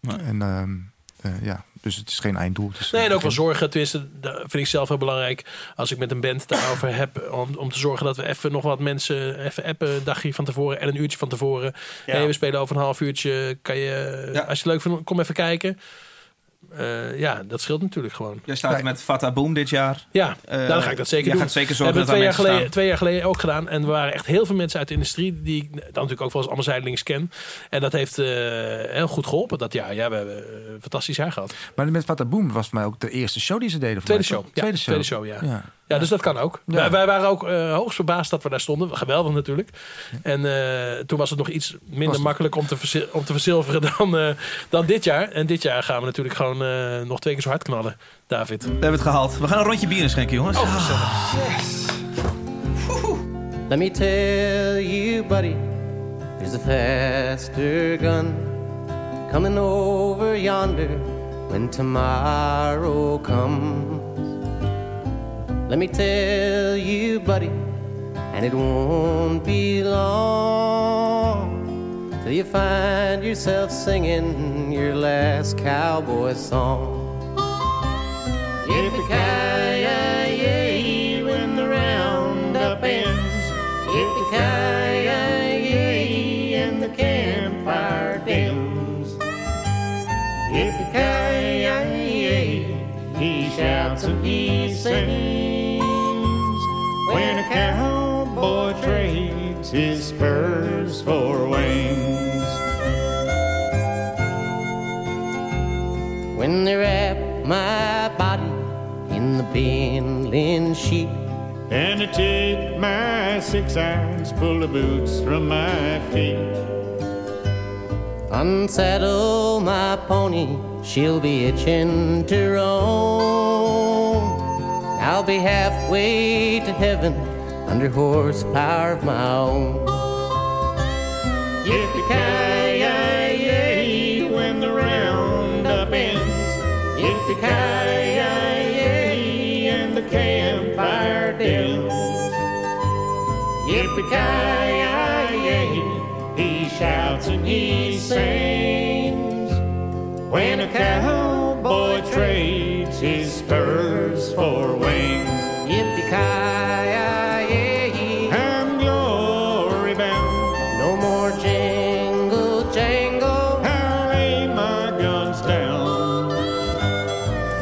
Speaker 1: Nee.
Speaker 4: En ehm, eh, ja, dus het is geen einddoel. Het is-
Speaker 3: Nee, en ook wel zorgen. Tenminste, dat vind ik zelf heel belangrijk. Als ik met een band daarover heb. Om, om te zorgen dat we even nog wat mensen even appen. Een dagje van tevoren en een uurtje van tevoren.
Speaker 2: Ja.
Speaker 3: Hey, we spelen over een half uurtje. Kan je,
Speaker 1: Ja.
Speaker 3: Als je het leuk vindt, kom even kijken. Eh, ja, dat scheelt natuurlijk gewoon.
Speaker 1: Jij staat er met Fata Boom dit jaar.
Speaker 3: Ja,
Speaker 1: Eh,
Speaker 3: nou, dan ga ik dat zeker
Speaker 1: jij
Speaker 3: doen.
Speaker 1: gaat zeker
Speaker 3: We
Speaker 1: zorgen
Speaker 3: hebben
Speaker 1: dat
Speaker 3: het twee
Speaker 1: daar mensen
Speaker 3: jaar, geleden,
Speaker 1: staan.
Speaker 3: twee jaar geleden ook gedaan. En er waren echt heel veel mensen uit de industrie die ik dan natuurlijk ook wel eens allemaal zijdelings ken. En dat heeft eh, heel goed geholpen dat jaar. Ja, we hebben eh, een fantastisch jaar gehad.
Speaker 4: Maar met Fata Boom was voor mij ook de eerste show die ze deden. voor
Speaker 3: Tweede
Speaker 4: mij,
Speaker 3: show.
Speaker 4: toch?
Speaker 3: Ja, tweede show. ja.
Speaker 4: Ja. Ja.
Speaker 3: Ja, dus dat kan ook.
Speaker 4: Ja.
Speaker 3: Wij, wij waren ook eh, hoogst verbaasd dat we daar stonden. Geweldig natuurlijk. En eh, toen was het nog iets minder
Speaker 4: Was het-
Speaker 3: makkelijk om te, verzi- om te verzilveren dan, eh, dan dit jaar. En dit jaar gaan we natuurlijk gewoon eh, nog twee keer zo hard knallen, David.
Speaker 1: We hebben het gehaald. We gaan een rondje bier inschenken, jongens.
Speaker 10: Let me tell you, buddy, there's a faster gun coming over yonder when tomorrow comes. Let me tell you, buddy, and it won't be long till you find yourself singing your last cowboy song. Yippee-ki-yay, when the roundup ends. Yippee-ki-yay, and the campfire dims. Yippee-ki-yay, he shouts and he sings. When a cowboy trades his spurs for wings. When they wrap my body in the bindling sheet. And they take my six irons, pull the boots from my feet. Unsaddle my pony, she'll be itching to roam. I'll be halfway to heaven under horsepower of my own. Yippee-ki-yay, when the roundup ends. Yippee-ki-yay,
Speaker 11: and he sings. When a cowboy trades his spurs for wings.
Speaker 10: Yippee-ki-yay.
Speaker 11: And glory bound.
Speaker 10: No more jingle jangle.
Speaker 11: I'll aim my guns down.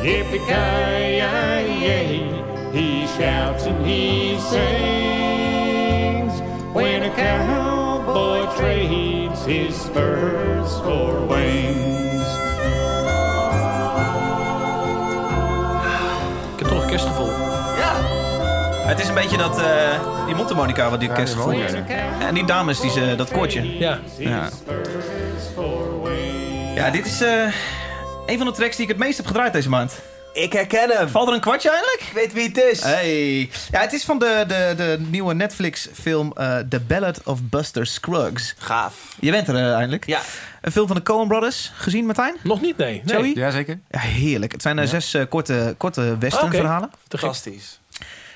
Speaker 11: Yippee-ki-yay. He shouts and he sings. When a cowboy trades his spurs for wings.
Speaker 3: Ik heb toch een kerstgevoel.
Speaker 1: Het is een beetje dat, eh, die mondharmonica wat die orkest
Speaker 3: die
Speaker 1: voelt.
Speaker 3: wel, ja.
Speaker 1: En die dames, die, ze- dat koortje.
Speaker 3: Ja.
Speaker 1: ja. Ja, dit is eh, een van de tracks die ik het meest heb gedraaid deze maand.
Speaker 2: Ik herken hem.
Speaker 1: Valt er een kwartje eindelijk?
Speaker 2: Ik weet wie het is.
Speaker 1: Eh, Hey. Ja, het is van de, de, de nieuwe Netflix-film eh, The Ballad of Buster Scruggs.
Speaker 2: Gaaf.
Speaker 1: Je bent er eh, eindelijk.
Speaker 2: Ja.
Speaker 1: Een film van de Coen Brothers. Gezien, Martijn?
Speaker 3: Nog niet, nee. nee.
Speaker 1: Joey?
Speaker 4: Jazeker.
Speaker 1: Ja, heerlijk. Het zijn eh, zes eh, korte, korte western-verhalen.
Speaker 3: Te gek.
Speaker 2: Fantastisch.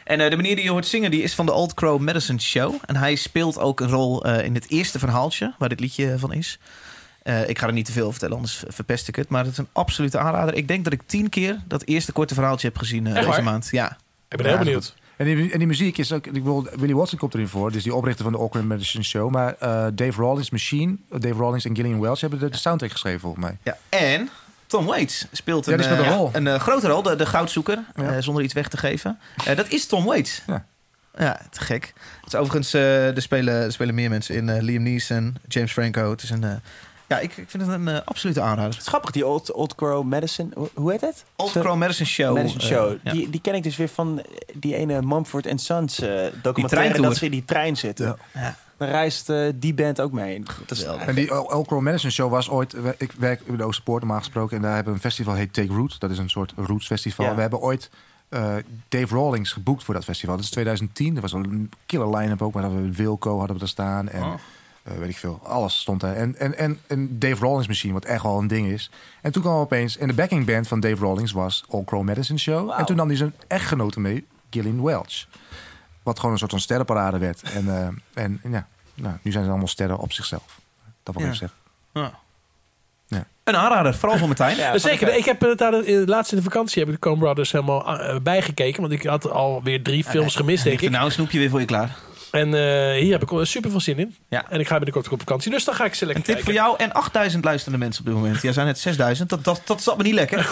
Speaker 1: En eh, de meneer die je hoort zingen, die is van de Old Crow Medicine Show. En hij speelt ook een rol eh, in het eerste verhaaltje, waar dit liedje van is. Eh, ik ga er niet te veel over vertellen, anders verpest ik het. Maar het is een absolute aanrader. Ik denk dat ik tien keer dat eerste korte verhaaltje heb gezien eh,
Speaker 3: Echt
Speaker 1: deze
Speaker 3: waar?
Speaker 1: maand. Ja.
Speaker 3: Ik ben heel benieuwd.
Speaker 4: En die, en die muziek is ook... Ik bedoel, Willie Watson komt erin voor. Dus die oprichter van de Auckland Medicine Show. Maar eh, Dave Rawlings Machine... Dave Rawlings en Gillian Welch hebben de, de soundtrack geschreven volgens mij.
Speaker 1: ja. En Tom Waits speelt
Speaker 4: Ja,
Speaker 1: een,
Speaker 4: die speelt een
Speaker 1: eh,
Speaker 4: rol.
Speaker 1: een eh, grote rol, de, de goudzoeker,
Speaker 4: Ja.
Speaker 1: eh, zonder iets weg te geven. Eh, dat is Tom Waits.
Speaker 4: Ja.
Speaker 1: Ja, te gek. Het is overigens, eh, er, spelen, er spelen meer mensen in. eh, Liam Neeson, James Franco. Het is een, eh, ja, ik, ik vind het een eh, absolute aanrader.
Speaker 2: Het is grappig, die Old, old Crow Medicine. hoe- Hoe heet het?
Speaker 1: Old
Speaker 2: Zo-
Speaker 1: Crow Medicine Show.
Speaker 2: Madison
Speaker 1: eh,
Speaker 2: Show.
Speaker 1: ja.
Speaker 2: die, die ken ik dus weer van die ene Mumford and Sons eh, documentaire.
Speaker 1: treintour.
Speaker 2: dat ze in die trein zitten.
Speaker 1: Ja.
Speaker 2: Dan reist eh, die band ook mee. Dat is,
Speaker 1: Geweldig.
Speaker 4: En die Elkro Medicine Show was ooit... Ik werk in de Oosterpoort normaal gesproken. En daar hebben we een festival heet Take Root. Dat is een soort roots festival.
Speaker 2: Ja.
Speaker 4: We hebben ooit eh, Dave Rawlings geboekt voor dat festival. Dat is 2010. Dat was een killer line-up ook. Maar dat we Wilco hadden we daar staan. En
Speaker 2: Oh.
Speaker 4: eh, weet ik veel. Alles stond daar. En, en, en, en Dave Rawlings Machine, wat echt wel een ding is. En toen kwam opeens... En de backing band van Dave Rawlings was All Crow Medicine Show.
Speaker 2: Wauw.
Speaker 4: En toen nam hij zijn echtgenote mee, Gillian Welch. Wat gewoon een soort van sterrenparade werd. En, eh, en ja, nou, nu zijn ze allemaal sterren op zichzelf. Dat wil ik
Speaker 1: Ja.
Speaker 4: even zeggen.
Speaker 1: Ja.
Speaker 4: Ja.
Speaker 1: Een aanrader, vooral voor Martijn.
Speaker 2: Ja,
Speaker 3: Ja, Zeker, nee, ik heb eh, daar, eh, laatst in de vakantie heb ik de Coen Brothers helemaal eh, bijgekeken. Want ik had alweer drie films gemist,
Speaker 1: Ik
Speaker 3: denk
Speaker 1: vind
Speaker 3: ik.
Speaker 1: nou een snoepje weer voor je klaar.
Speaker 3: En eh, hier heb ik eh, super veel zin in.
Speaker 1: Ja.
Speaker 3: En ik ga binnenkort ook op vakantie. Dus dan ga ik ze
Speaker 1: Een
Speaker 3: lekker
Speaker 1: tip voor
Speaker 3: kijken.
Speaker 1: jou en 8000 luisterende mensen op dit moment. Jij zijn net 6000. Dat, dat, dat zat me niet lekker.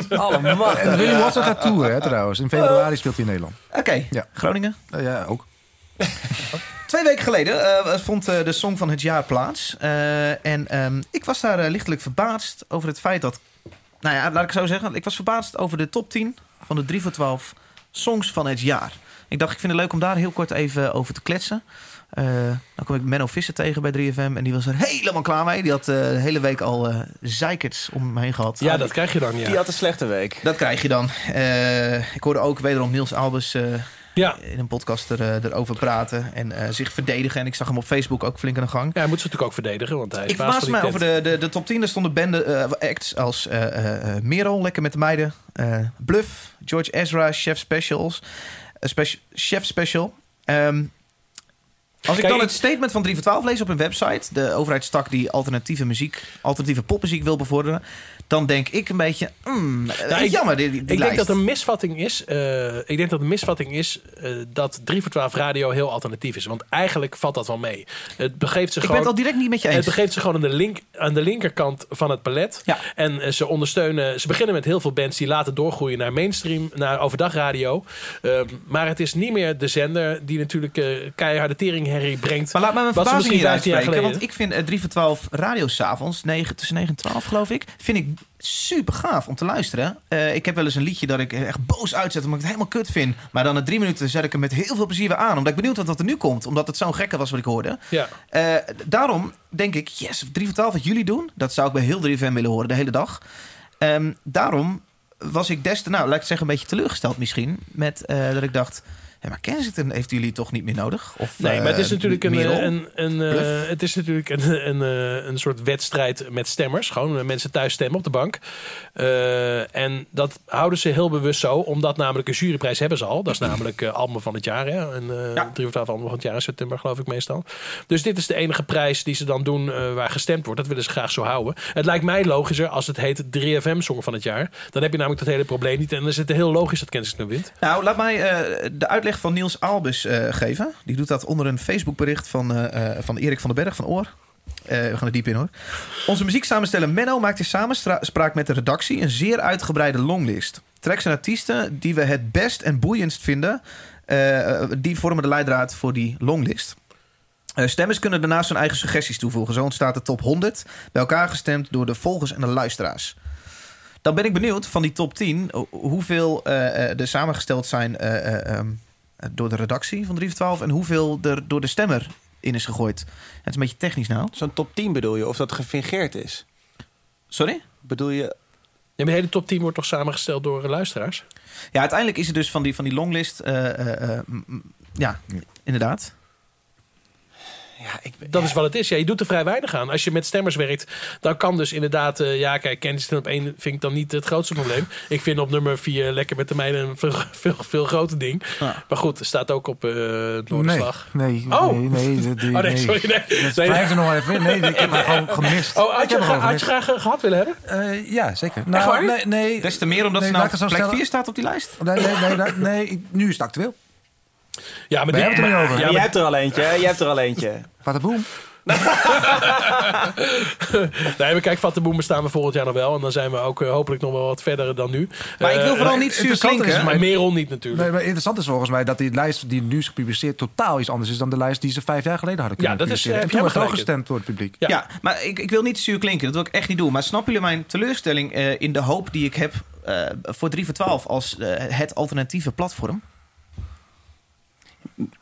Speaker 1: Oké,
Speaker 2: Oh,
Speaker 4: En Willy Watson gaat toe, hè, trouwens. In februari speelt hij in Nederland. Ja.
Speaker 1: Groningen.
Speaker 4: Nou ja, ook.
Speaker 1: Twee weken geleden eh, vond eh, de Song van het Jaar plaats. Eh, en ehm, ik was daar eh, lichtelijk verbaasd over het feit dat... Nou ja, laat ik het zo zeggen. Ik was verbaasd over de top 10 van de 3 voor 12 Songs van het Jaar. Ik dacht, ik vind het leuk om daar heel kort even over te kletsen. Eh, dan kwam ik Menno Visser tegen bij 3FM. En die was er helemaal klaar mee. Die had eh, de hele week al eh zeikerts om me heen gehad.
Speaker 3: Ja, dat krijg je dan,
Speaker 2: Die
Speaker 3: ja.
Speaker 2: had een slechte week.
Speaker 1: Dat krijg je dan. Eh, ik hoorde ook wederom Niels Albers eh,
Speaker 3: Ja,
Speaker 1: in een podcast er, eh, erover praten en eh, zich verdedigen. En ik zag hem op Facebook ook flink aan de gang.
Speaker 3: ja hij moet ze natuurlijk ook verdedigen, want hij is
Speaker 1: Ik
Speaker 3: baas
Speaker 1: verbaasde
Speaker 3: van
Speaker 1: mij
Speaker 3: die
Speaker 1: over
Speaker 3: tent.
Speaker 1: de, de, de top 10. Daar stonden bende, eh, acts als eh eh, eh, Merel, Lekker met de Meiden, eh, Bluff, George Ezra, Chef Specials, eh, spe- Chef Special. Ehm, als ik
Speaker 3: Kijk,
Speaker 1: dan
Speaker 3: ik-
Speaker 1: het statement van 3 voor 12 lees op hun website, de overheidstak die alternatieve muziek, alternatieve popmuziek wil bevorderen, dan denk ik een beetje, mm, eh,
Speaker 3: Nou, ik-
Speaker 1: jammer, die, die- die
Speaker 3: Ik denk
Speaker 1: lijst.
Speaker 3: dat een misvatting is. eh, ik denk dat een misvatting is eh, dat 3 voor 12 radio heel alternatief is. Want eigenlijk valt dat wel mee. Het begeeft
Speaker 1: Ik
Speaker 3: ze
Speaker 1: ben
Speaker 3: gewoon.
Speaker 1: het al direct niet met je
Speaker 3: Het
Speaker 1: eens.
Speaker 3: begeeft ze gewoon aan de, link, aan de linkerkant van het palet.
Speaker 1: Ja.
Speaker 3: En eh, ze ondersteunen. Ze beginnen met heel veel bands die later doorgroeien naar mainstream, naar overdagradio. Ehm, maar het is niet meer de zender die natuurlijk eh keiharde teringherrie brengt.
Speaker 1: Maar laat me mijn
Speaker 3: Wat ze
Speaker 1: verbazing hier
Speaker 3: misschien 15 jaar
Speaker 1: uitspreken.
Speaker 3: geleden-
Speaker 1: Want ik vind eh, 3 voor 12 radio s'avonds, 9, tussen 9 en 12 geloof ik, vind ik super gaaf om te luisteren. Eh, ik heb wel eens een liedje dat ik echt boos uitzet omdat ik het helemaal kut vind. Maar dan na drie minuten zet ik hem met heel veel plezier weer aan. Omdat ik benieuwd was wat er nu komt. Omdat het zo'n gekke was wat ik hoorde.
Speaker 3: Ja.
Speaker 1: Eh, d- daarom denk ik, yes, 3 voor 12 wat jullie doen. Dat zou ik bij heel 3FM willen horen de hele dag. Ehm, daarom was ik des te, nou laat ik het zeggen, een beetje teleurgesteld misschien. Met eh, dat ik dacht, Ja, maar Kensington heeft jullie toch niet meer nodig? Of,
Speaker 3: Nee, maar het is
Speaker 1: eh,
Speaker 3: natuurlijk een,
Speaker 1: Merel?
Speaker 3: eh, een, een, eh, het is natuurlijk een, een, eh, een soort wedstrijd met stemmers. Gewoon eh, mensen thuis stemmen op de bank. Eh, en dat houden ze heel bewust zo, omdat namelijk een juryprijs hebben ze al. Dat is namelijk eh album van het jaar. Hè? Een, eh, Drie of twaalf album van het jaar in september, geloof ik meestal. Dus dit is de enige prijs die ze dan doen eh, waar gestemd wordt. Dat willen ze graag zo houden. Het lijkt mij logischer als het heet 3FM Song van het jaar. Dan heb je namelijk dat hele probleem niet. En dan is het heel logisch dat Kensington wint.
Speaker 1: Nou, laat mij eh, de uitleg van Niels Albus eh, geven. Die doet dat onder een Facebookbericht van, eh, eh, van Erik van den Berg van Oor. Eh, we gaan er diep in hoor. Onze muzieksamensteller Menno maakt in samenspraak met de redactie een zeer uitgebreide longlist. Tracks en artiesten die we het best en boeiendst vinden, eh, eh, die vormen de leidraad voor die longlist. Eh, stemmers kunnen daarnaast hun eigen suggesties toevoegen. Zo ontstaat de top 100, bij elkaar gestemd door de volgers en de luisteraars. Dan ben ik benieuwd van die top 10, ho- hoeveel eh, eh, er samengesteld zijn eh, eh, ehm, door de redactie van 3 voor 12 en hoeveel er door de stemmer in is gegooid. Het is een beetje technisch nou.
Speaker 2: Zo'n top 10 bedoel je? Of dat gefingeerd is?
Speaker 1: Sorry?
Speaker 2: Bedoel je...
Speaker 3: Ja, maar de hele top 10 wordt toch samengesteld door eh, luisteraars?
Speaker 1: Ja, uiteindelijk is het dus van die, van die longlist. eh, eh, eh, m- m- ja, inderdaad.
Speaker 3: Dat is wat het is. Ja, je doet er vrij weinig aan. Als je met stemmers werkt, dan kan dus inderdaad... eh, ja, kijk, Kensington op één vind ik dan niet het grootste probleem. Ik vind op nummer vier Lekker met de Meiden een veel, veel, veel groter ding. Maar goed, het staat ook op eh het
Speaker 4: Nee,
Speaker 3: Noorderslag.
Speaker 4: nee,
Speaker 3: Oh.
Speaker 4: nee, nee, die- die-
Speaker 3: Oh nee, sorry. Nee.
Speaker 4: Dat blijft er nog even in. Nee, ik heb hem gewoon gemist.
Speaker 3: Oh, had
Speaker 4: Ik
Speaker 3: je, gra-
Speaker 4: heb hem gewoon
Speaker 3: had je
Speaker 4: gemist.
Speaker 3: graag eh, gehad willen hebben?
Speaker 4: Eh, ja, zeker.
Speaker 3: Echt waar?
Speaker 4: nee, nee.
Speaker 1: Des te meer omdat
Speaker 4: Nee,
Speaker 1: ze
Speaker 4: laat
Speaker 1: nou
Speaker 4: ik
Speaker 1: op
Speaker 4: het
Speaker 1: plek
Speaker 4: zo stellen.
Speaker 1: 4 staat op die lijst.
Speaker 4: Nee, nee, nee, nee, nee, ik- nu is het actueel.
Speaker 3: Ja,
Speaker 4: We hebben het er niet over.
Speaker 2: Ja,
Speaker 4: Ja,
Speaker 2: jij
Speaker 4: maar-
Speaker 2: hebt er al eentje, hè? Jij hebt er al eentje.
Speaker 4: Wat een boem.
Speaker 3: nee, maar kijk, Vattenboem bestaan we volgend jaar nog wel. En dan zijn we ook eh, hopelijk nog wel wat verder dan nu.
Speaker 4: Maar ik wil
Speaker 3: Eh,
Speaker 4: vooral
Speaker 3: maar
Speaker 4: niet zuur
Speaker 3: interessant
Speaker 4: klinken,
Speaker 3: is
Speaker 4: hè?
Speaker 3: Maar Merel niet natuurlijk.
Speaker 4: Nee, maar interessant is volgens mij dat die lijst die nu is gepubliceerd totaal iets anders is dan de lijst die ze vijf jaar geleden hadden
Speaker 1: Ja,
Speaker 4: kunnen
Speaker 1: dat is,
Speaker 4: publiceren.
Speaker 1: eh,
Speaker 4: en toen
Speaker 1: heb
Speaker 4: werd
Speaker 1: je
Speaker 4: ook
Speaker 1: gelijk
Speaker 4: gestemd door het publiek.
Speaker 1: Ja, maar ik, ik wil niet zuur klinken. Dat wil ik echt niet doen. Maar snappen jullie mijn teleurstelling eh, in de hoop die ik heb eh, voor 3 voor 12 als eh, het alternatieve platform?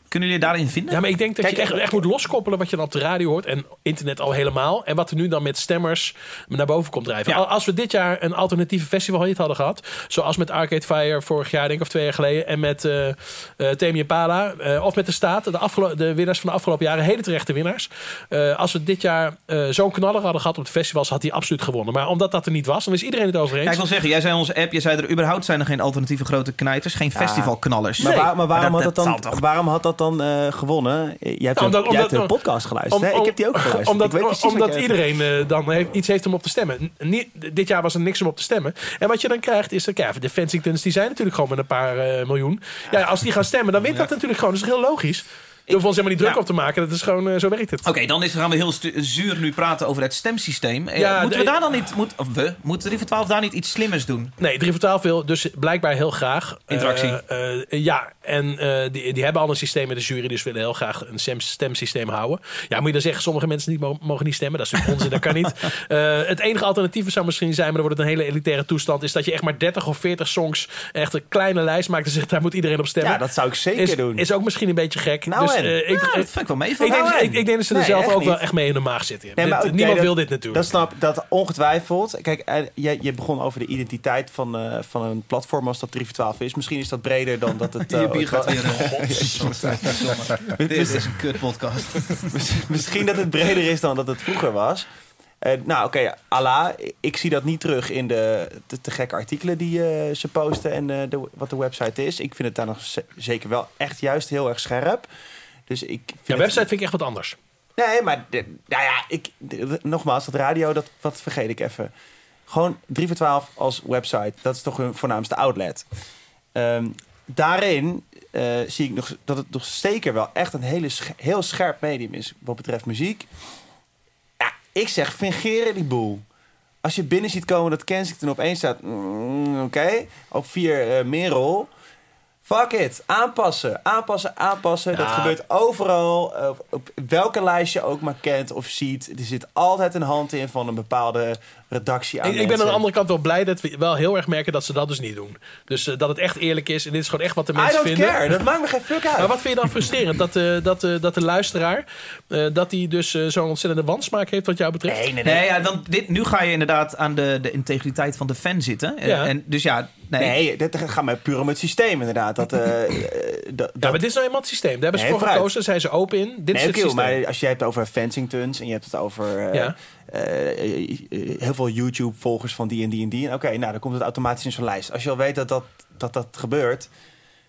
Speaker 1: Kunnen jullie daarin vinden?
Speaker 3: Ja, maar ik denk dat je echt, echt moet loskoppelen wat je dan op de radio hoort en internet al helemaal. En wat er nu dan met stemmers naar boven komt drijven. Al- Als we dit jaar een alternatieve festivalhit hadden gehad, zoals met Arcade Fire vorig jaar, denk ik, of twee jaar geleden, en met eh eh, Tame Impala, eh, of met de staat, de, afgelo- de winnaars van de afgelopen jaren, hele terechte winnaars. Eh, als we dit jaar eh, zo'n knaller hadden gehad op de festivals, had hij absoluut gewonnen. Maar omdat dat er niet was, dan is iedereen het over eens.
Speaker 1: Ja, ik wil zeggen, jij zei in onze app, jij zei er überhaupt zijn er geen alternatieve grote knijters, geen festivalknallers.
Speaker 2: Maar, waar- maar waarom, had dat
Speaker 1: zal
Speaker 2: dan,
Speaker 1: toch-
Speaker 2: waarom had dat dan eh, gewonnen? Jij hebt,
Speaker 3: Nou,
Speaker 2: een, jij hebt een podcast geluisterd, hè?
Speaker 3: om-
Speaker 2: Ik heb die ook
Speaker 3: om-
Speaker 2: geluisterd.
Speaker 3: Omdat,
Speaker 2: Ik weet precies wat
Speaker 3: omdat
Speaker 2: jij-
Speaker 3: iedereen eh, dan heeft, iets heeft om op te stemmen. N- niet- dit jaar was er niks om op te stemmen. En wat je dan krijgt is... dat, Ja, de Fensingtons die zijn natuurlijk gewoon met een paar eh, miljoen. Ja, als die gaan stemmen, dan wint dat natuurlijk gewoon. Dat is heel logisch. Je hoeft ons helemaal niet druk op te maken. Dat is gewoon, eh, zo werkt het.
Speaker 1: Oké, dan is, gaan we heel stu- zuur nu praten over het stemsysteem. Eh,
Speaker 3: Ja,
Speaker 1: moeten we
Speaker 3: de-
Speaker 1: daar dan niet, moet, of we, moeten 3 voor 12 daar niet iets slimmers doen?
Speaker 3: Nee, 3 voor 12 wil dus blijkbaar heel graag... eh,
Speaker 1: Interactie.
Speaker 3: eh, eh, ja, en eh, die, die hebben al een systeem met de jury... dus willen heel graag een stem- stemsysteem houden. Ja, moet je dan zeggen, sommige mensen niet, mo- mogen niet stemmen. Dat is natuurlijk onzin, dat kan niet. Eh, het enige alternatief zou misschien zijn... maar dan wordt het een hele elitaire toestand... is dat je echt maar 30 of 40 songs... echt een kleine lijst maakt en zegt... daar moet iedereen op stemmen.
Speaker 2: Ja, dat zou ik zeker
Speaker 3: is,
Speaker 2: doen.
Speaker 3: Is ook misschien een beetje gek.
Speaker 2: Nou
Speaker 3: dus,
Speaker 2: en?
Speaker 3: eh, ik,
Speaker 2: Nou,
Speaker 1: dat vind ik wel meevallen.
Speaker 3: Ik denk,
Speaker 2: Nou en?
Speaker 3: ik, ik denk dat ze er
Speaker 2: Nee,
Speaker 3: zelf
Speaker 2: echt
Speaker 3: ook wel
Speaker 2: niet.
Speaker 3: echt mee in de maag zitten.
Speaker 2: Nee,
Speaker 3: Dit-
Speaker 2: maar oké,
Speaker 3: niemand
Speaker 2: dat-
Speaker 3: wil dit natuurlijk.
Speaker 2: Dat snap dat ongetwijfeld. Kijk, eh, je, je begon over de identiteit van, eh, van een platform als dat 3 voor 12 is. Misschien is dat breder dan dat het... eh,
Speaker 1: Je Oh, bier gaat
Speaker 2: wel-
Speaker 1: weer. eh, Dit is een kut podcast.
Speaker 2: Miss- Misschien dat het breder is dan dat het vroeger was. Eh, nou, oké, ala. Ik zie dat niet terug in de te, te gekke artikelen die eh, ze posten en eh, de, wat de website is. Ik vind het daar nog ze- zeker wel echt juist heel erg scherp. Dus ik vind
Speaker 3: Ja,
Speaker 2: het-
Speaker 3: website vind ik echt wat anders.
Speaker 2: Nee, maar de- nou ja, ik, de- de- nogmaals, dat radio, dat, dat vergeet ik even. Gewoon 3 voor 12 als website, dat is toch hun voornaamste outlet. Ehm, daarin eh, zie ik nog, dat het nog zeker wel echt een hele sch- heel scherp medium is wat betreft muziek. Ja, ik zeg, fingeren die boel. Als je binnen ziet komen dat Kensington opeens staat, mm, oké, op vier eh, Merel. Fuck it, aanpassen, aanpassen, aanpassen. Dat
Speaker 3: Ja.
Speaker 2: gebeurt overal, eh, op, op welke lijst je ook maar kent of ziet. Er zit altijd een hand in van een bepaalde redactie aan
Speaker 3: Ik, ik ben aan de
Speaker 2: mensen.
Speaker 3: andere kant wel blij dat we wel heel erg merken dat ze dat dus niet doen. Dus eh, dat het echt eerlijk is. En dit is gewoon echt wat de
Speaker 2: I
Speaker 3: mensen
Speaker 2: don't
Speaker 3: vinden.
Speaker 2: care, dat maakt me geen fuck uit.
Speaker 3: Maar wat vind je dan frustrerend? Dat, eh, dat, eh, dat de luisteraar, eh, dat die dus eh, zo'n ontzettende wansmaak heeft wat jou betreft?
Speaker 1: Nee, ja, dan dit, nu ga je inderdaad aan de, de integriteit van de fan zitten. Eh,
Speaker 3: Ja.
Speaker 1: En, dus ja,
Speaker 2: Nee, dat gaat maar puur om het systeem inderdaad. Dat, eh, eh, dat,
Speaker 3: Ja, maar dit is nou eenmaal het systeem. Daar hebben ze
Speaker 2: Nee,
Speaker 3: voor
Speaker 2: vooruit.
Speaker 3: gekozen, daar zijn ze open in. Dit is
Speaker 2: nee,
Speaker 3: het
Speaker 2: oké,
Speaker 3: systeem.
Speaker 2: maar als je hebt over Fensingtons en je hebt het over eh,
Speaker 3: Ja.
Speaker 2: eh, eh, heel veel YouTube-volgers van die en die en die. En Oké, nou dan komt het automatisch in zo'n lijst. Als je al weet dat dat, dat, dat gebeurt,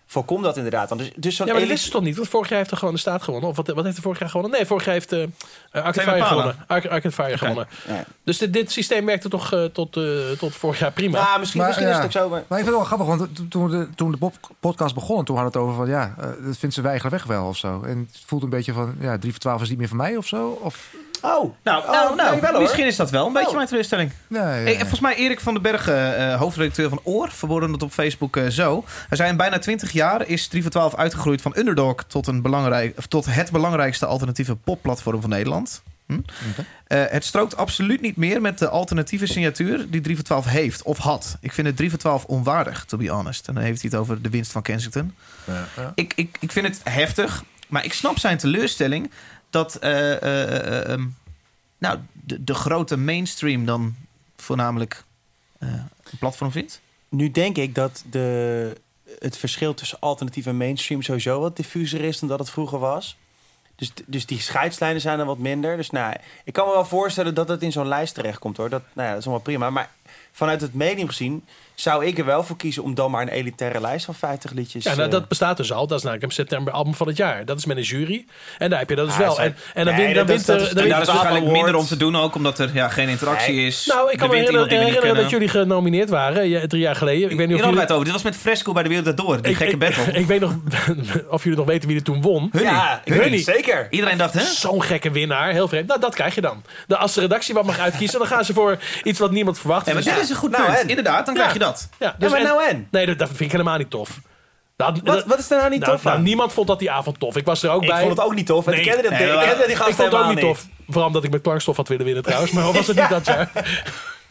Speaker 2: voorkom dat inderdaad. dan. Dus, dus zo'n
Speaker 3: Ja, maar dat
Speaker 2: elite-
Speaker 3: wisten ze toch niet? Want vorig jaar heeft er gewoon de staat gewonnen. Of wat, wat heeft er vorig jaar gewonnen? Nee, vorig jaar heeft eh eh, Arcade
Speaker 2: Thema
Speaker 3: Fire
Speaker 2: Palen.
Speaker 3: gewonnen. Ar- Arcade Fire gewonnen.
Speaker 2: Ja.
Speaker 3: Dus dit, dit systeem werkte toch eh, tot, eh, tot vorig jaar prima.
Speaker 2: Ja, Nou, misschien-
Speaker 4: Maar,
Speaker 2: misschien
Speaker 4: ja.
Speaker 2: is het ook zo, maar-
Speaker 4: ik vind het wel grappig, want to- toen de, toen de pop- podcast begon, toen hadden we het over van ja, eh, dat vindt ze weiger weg wel of zo. En het voelt een beetje van ja, 3 voor 12 is niet meer van mij of zo. Of,
Speaker 2: Oh,
Speaker 1: nou, nou, nou, misschien is dat wel een beetje
Speaker 4: Oh.
Speaker 1: mijn teleurstelling.
Speaker 4: nee,
Speaker 1: Hey, en volgens mij Erik van den Bergen, eh, hoofdredacteur van Oor, verborgen het op Facebook eh, zo. Hij zei in bijna 20 jaar is 3 voor 12 uitgegroeid van underdog tot, een belangrijk, of tot het belangrijkste alternatieve popplatform van Nederland. Hm? Eh, het strookt absoluut niet meer met de alternatieve signatuur die 3 voor 12 heeft of had. Ik vind het 3 voor 12 onwaardig, to be honest. En dan heeft hij het over de winst van Kensington. Ik, ik, ik vind het heftig, maar ik snap zijn teleurstelling dat eh, eh, eh, ehm, nou, de, de grote mainstream dan voornamelijk eh, een platform vindt.
Speaker 2: Nu denk ik dat de, het verschil tussen alternatief en mainstream sowieso wat diffuser is dan dat het vroeger was. Dus, dus die scheidslijnen zijn er wat minder. Dus nou, ik kan me wel voorstellen dat het in zo'n lijst terechtkomt hoor. Dat, nou ja, dat is allemaal prima. Maar vanuit het medium gezien zou ik er wel voor kiezen om dan maar een elitaire lijst van 50 liedjes.
Speaker 3: Ja, nou,
Speaker 2: eh,
Speaker 3: dat bestaat dus al. Dat is namelijk een september album van het jaar. Dat is met een jury. En daar heb je dat dus
Speaker 2: Ah,
Speaker 3: wel.
Speaker 2: zij-
Speaker 3: En, en dan
Speaker 2: Nee,
Speaker 3: wint dan
Speaker 2: dat
Speaker 3: wint
Speaker 2: is-
Speaker 3: er...
Speaker 2: dat is-
Speaker 3: dan
Speaker 1: En
Speaker 3: wint
Speaker 2: dat
Speaker 1: daar
Speaker 3: er- dus
Speaker 1: is waarschijnlijk
Speaker 2: Award.
Speaker 1: minder om te doen ook, omdat er ja, geen interactie is.
Speaker 3: Nou, ik kan
Speaker 1: Er
Speaker 3: me
Speaker 1: wint iemand
Speaker 3: herinneren,
Speaker 1: die we niet
Speaker 3: herinneren dat
Speaker 1: kennen.
Speaker 3: jullie genomineerd waren ja, drie jaar geleden. Ik weet niet
Speaker 1: Hier hadden
Speaker 3: of jullie...
Speaker 1: wij het over. Dit was met Fresco bij de Wereld Door, die
Speaker 3: Ik-
Speaker 1: gekke
Speaker 3: ik-
Speaker 1: battle.
Speaker 3: Ik, weet nog of jullie nog weten wie er toen won.
Speaker 1: Hunnie.
Speaker 2: Ja, ik weet
Speaker 3: Hunnie.
Speaker 2: niet, zeker.
Speaker 1: Iedereen dacht, hè?
Speaker 3: Zo'n gekke winnaar, heel vreemd. Nou, dat krijg je dan. De, als de redactie wat mag uitkiezen, dan gaan ze voor iets wat niemand verwacht.
Speaker 1: Ja, maar dit is een goed punt.
Speaker 2: en?
Speaker 1: Inderdaad, dan
Speaker 3: Nou,
Speaker 1: krijg
Speaker 3: Ja.
Speaker 1: je dat.
Speaker 3: Ja,
Speaker 2: Ja,
Speaker 3: dus
Speaker 2: maar
Speaker 3: en-
Speaker 2: nou en?
Speaker 3: Nee, dat, dat vind ik helemaal niet tof. Dat,
Speaker 2: Wat, wat is daar nou niet
Speaker 3: nou,
Speaker 2: tof aan?
Speaker 3: nou, niemand vond dat die avond tof. Ik was er ook
Speaker 2: ik
Speaker 3: bij.
Speaker 2: vond het ook niet tof. en Ik
Speaker 3: Nee.
Speaker 2: kende, dat,
Speaker 1: Nee,
Speaker 2: ik
Speaker 1: maar-
Speaker 2: kende die
Speaker 3: Ik
Speaker 2: gasten
Speaker 3: vond het ook
Speaker 2: helemaal
Speaker 3: niet tof. Vooral omdat ik met klankstof had willen winnen trouwens. Maar was het niet dat jaar?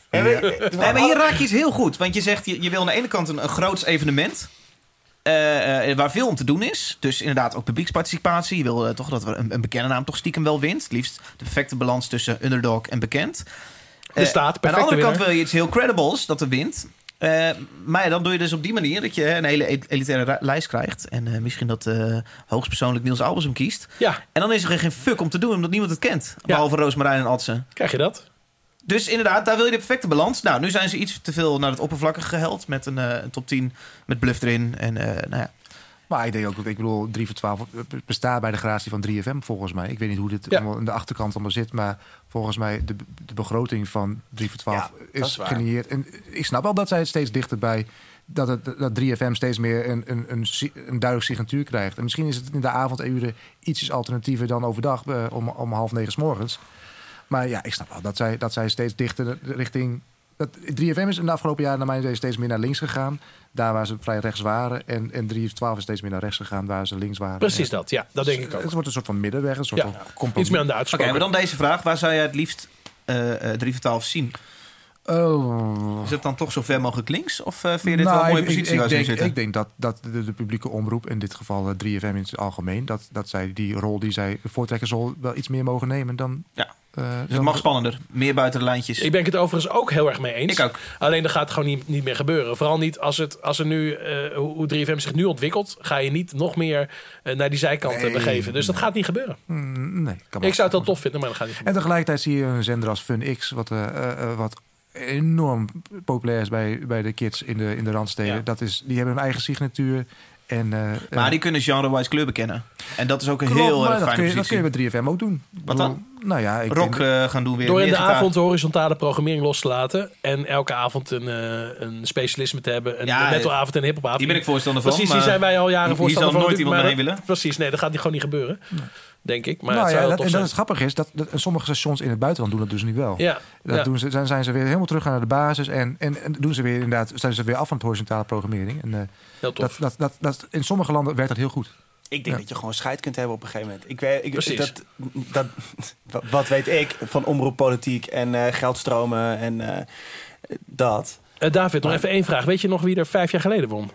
Speaker 2: En we-
Speaker 1: Nee, maar hier
Speaker 3: Nou,
Speaker 1: raak je iets heel goed. Want je zegt, je, je wil aan de ene kant een, een groots evenement. eh, eh, waar veel om te doen is. Dus inderdaad ook publieksparticipatie. Je wil eh, toch dat we een, een bekende naam toch stiekem wel wint. Het liefst de perfecte balans tussen underdog en bekend. Eh,
Speaker 3: De staat,
Speaker 1: Aan de
Speaker 3: perfecte
Speaker 1: andere kant
Speaker 3: winnaar.
Speaker 1: wil je iets heel credibles dat er wint. Eh, maar ja, dan doe je dus op die manier dat je een hele el- elitaire ra- lijst krijgt. En eh, misschien dat eh, hoogstpersoonlijk Niels Albers hem kiest.
Speaker 3: Ja,
Speaker 1: En dan is er geen fuck om te doen, omdat niemand het kent. Behalve Roosmarijn en Adsen.
Speaker 3: krijg je dat.
Speaker 1: Dus inderdaad, daar wil je de perfecte balans. Nou, nu zijn ze iets te veel naar het oppervlakkige geheld. Met een eh, een top 10 met bluff erin. En eh, nou ja.
Speaker 4: Maar ik denk ook dat ik bedoel, 3 voor 12 bestaat bij de gratie van 3FM volgens mij. Ik weet niet hoe dit
Speaker 3: Ja.
Speaker 4: allemaal in de achterkant allemaal zit, maar volgens mij de, de begroting van 3 voor 12
Speaker 2: Ja, dat is
Speaker 4: is
Speaker 2: waar.
Speaker 4: genieerd. En ik snap wel dat zij het steeds dichterbij dat, het, dat 3FM steeds meer een, een, een, si- een duidelijk signatuur krijgt. En misschien is het in de avonduren ietsjes alternatiever dan overdag eh, om, om half negen 's morgens. Maar ja, ik snap wel dat zij, dat zij steeds dichter richting. Dat, 3FM is in de afgelopen jaren naar mijn idee steeds meer naar links gegaan. Daar waar ze vrij rechts waren. En, en 312 is steeds meer naar rechts gegaan, waar ze links waren.
Speaker 3: Precies
Speaker 4: Ja.
Speaker 3: dat. Ja, dat denk ik ook.
Speaker 4: Het wordt een soort van middenweg, een soort
Speaker 3: Ja,
Speaker 4: van compromis.
Speaker 3: iets meer aan de
Speaker 1: Oké,
Speaker 3: uitspraak.
Speaker 1: maar dan deze vraag. Waar zou jij het liefst eh eh 3 voor 12 zien?
Speaker 4: Oh.
Speaker 1: Is het dan toch zo ver mogelijk links? Of eh, vind je dit
Speaker 4: Nou,
Speaker 1: wel een mooie
Speaker 4: ik- ik-
Speaker 1: positie
Speaker 4: ik,
Speaker 1: waar ze in
Speaker 4: denk,
Speaker 1: zitten?
Speaker 4: Ik denk dat, dat de, de publieke omroep, in dit geval eh, 3FM in het algemeen... Dat, dat zij die rol die zij, de voortrekkersrol, wel iets meer mogen nemen dan...
Speaker 1: ja.
Speaker 4: eh,
Speaker 1: Dus het
Speaker 4: dan-
Speaker 1: mag spannender. Meer buiten de lijntjes.
Speaker 3: Ik ben het overigens ook heel erg mee eens.
Speaker 1: Ik ook.
Speaker 3: Alleen dat gaat gewoon niet, niet meer gebeuren. Vooral niet als, het, als er nu, eh, hoe hoe 3FM zich nu ontwikkelt, ga je niet nog meer eh, naar die zijkanten
Speaker 4: Nee.
Speaker 3: begeven. Dus dat gaat niet gebeuren.
Speaker 4: Mm, nee, kan maar.
Speaker 3: Ik zou het wel tof vinden, maar dat gaat niet
Speaker 4: En
Speaker 3: gebeuren.
Speaker 4: tegelijkertijd zie je een zender als Fun X, wat, eh, eh, eh, wat enorm populair is bij, bij de kids in de, in de randsteden.
Speaker 3: Ja.
Speaker 4: Dat is, die hebben hun eigen signatuur. En, eh,
Speaker 1: maar
Speaker 4: eh,
Speaker 1: die kunnen genre-wise kleuren kennen. En dat is ook een
Speaker 4: klopt,
Speaker 1: heel
Speaker 4: maar
Speaker 1: erg
Speaker 4: dat kun,
Speaker 1: fijne
Speaker 4: je, dat kun
Speaker 1: positie.
Speaker 4: je bij 3FM ook doen. Ik bedoel,
Speaker 1: dan?
Speaker 4: Nou ja, ik
Speaker 1: Rock
Speaker 4: denk-
Speaker 1: eh, gaan doen weer.
Speaker 3: Door in
Speaker 1: meer
Speaker 3: de
Speaker 1: gitaar.
Speaker 3: avond de horizontale programmering los te laten. En elke avond een, eh, een specialisme te hebben. Een
Speaker 1: Ja,
Speaker 3: metalavond en een hiphopovond.
Speaker 1: Hier ben ik voorstander van.
Speaker 3: Precies,
Speaker 1: maar
Speaker 3: hier zijn wij al jaren
Speaker 1: hier-
Speaker 3: voorstander
Speaker 1: hier
Speaker 3: van.
Speaker 1: zal nooit iemand
Speaker 3: maar
Speaker 1: mee
Speaker 3: dat-
Speaker 1: willen.
Speaker 3: Precies, nee, dat gaat gewoon niet gebeuren. Denk ik. Maar
Speaker 4: nou
Speaker 3: het zou
Speaker 4: ja,
Speaker 3: wel
Speaker 4: dat,
Speaker 3: tof
Speaker 4: en dat
Speaker 3: zijn.
Speaker 4: is grappig is, dat, dat sommige stations in het buitenland doen dat dus nu wel.
Speaker 3: Ja,
Speaker 4: Dat
Speaker 3: ja.
Speaker 4: Doen ze, dan zijn ze weer helemaal terug naar de basis en, en, en doen ze weer inderdaad, zijn ze weer af van de horizontale programmering. En, eh,
Speaker 3: heel tof.
Speaker 4: dat, dat, dat, dat, in sommige landen werkt dat heel goed.
Speaker 2: Ik denk dat je gewoon scheid kunt hebben op een gegeven moment. Ik weet, ik,
Speaker 3: Precies.
Speaker 2: Dat, dat, wa- wat weet ik van omroeppolitiek en eh, geldstromen en eh, dat.
Speaker 3: Eh, David, nog even één vraag. Weet je nog wie er vijf jaar geleden won?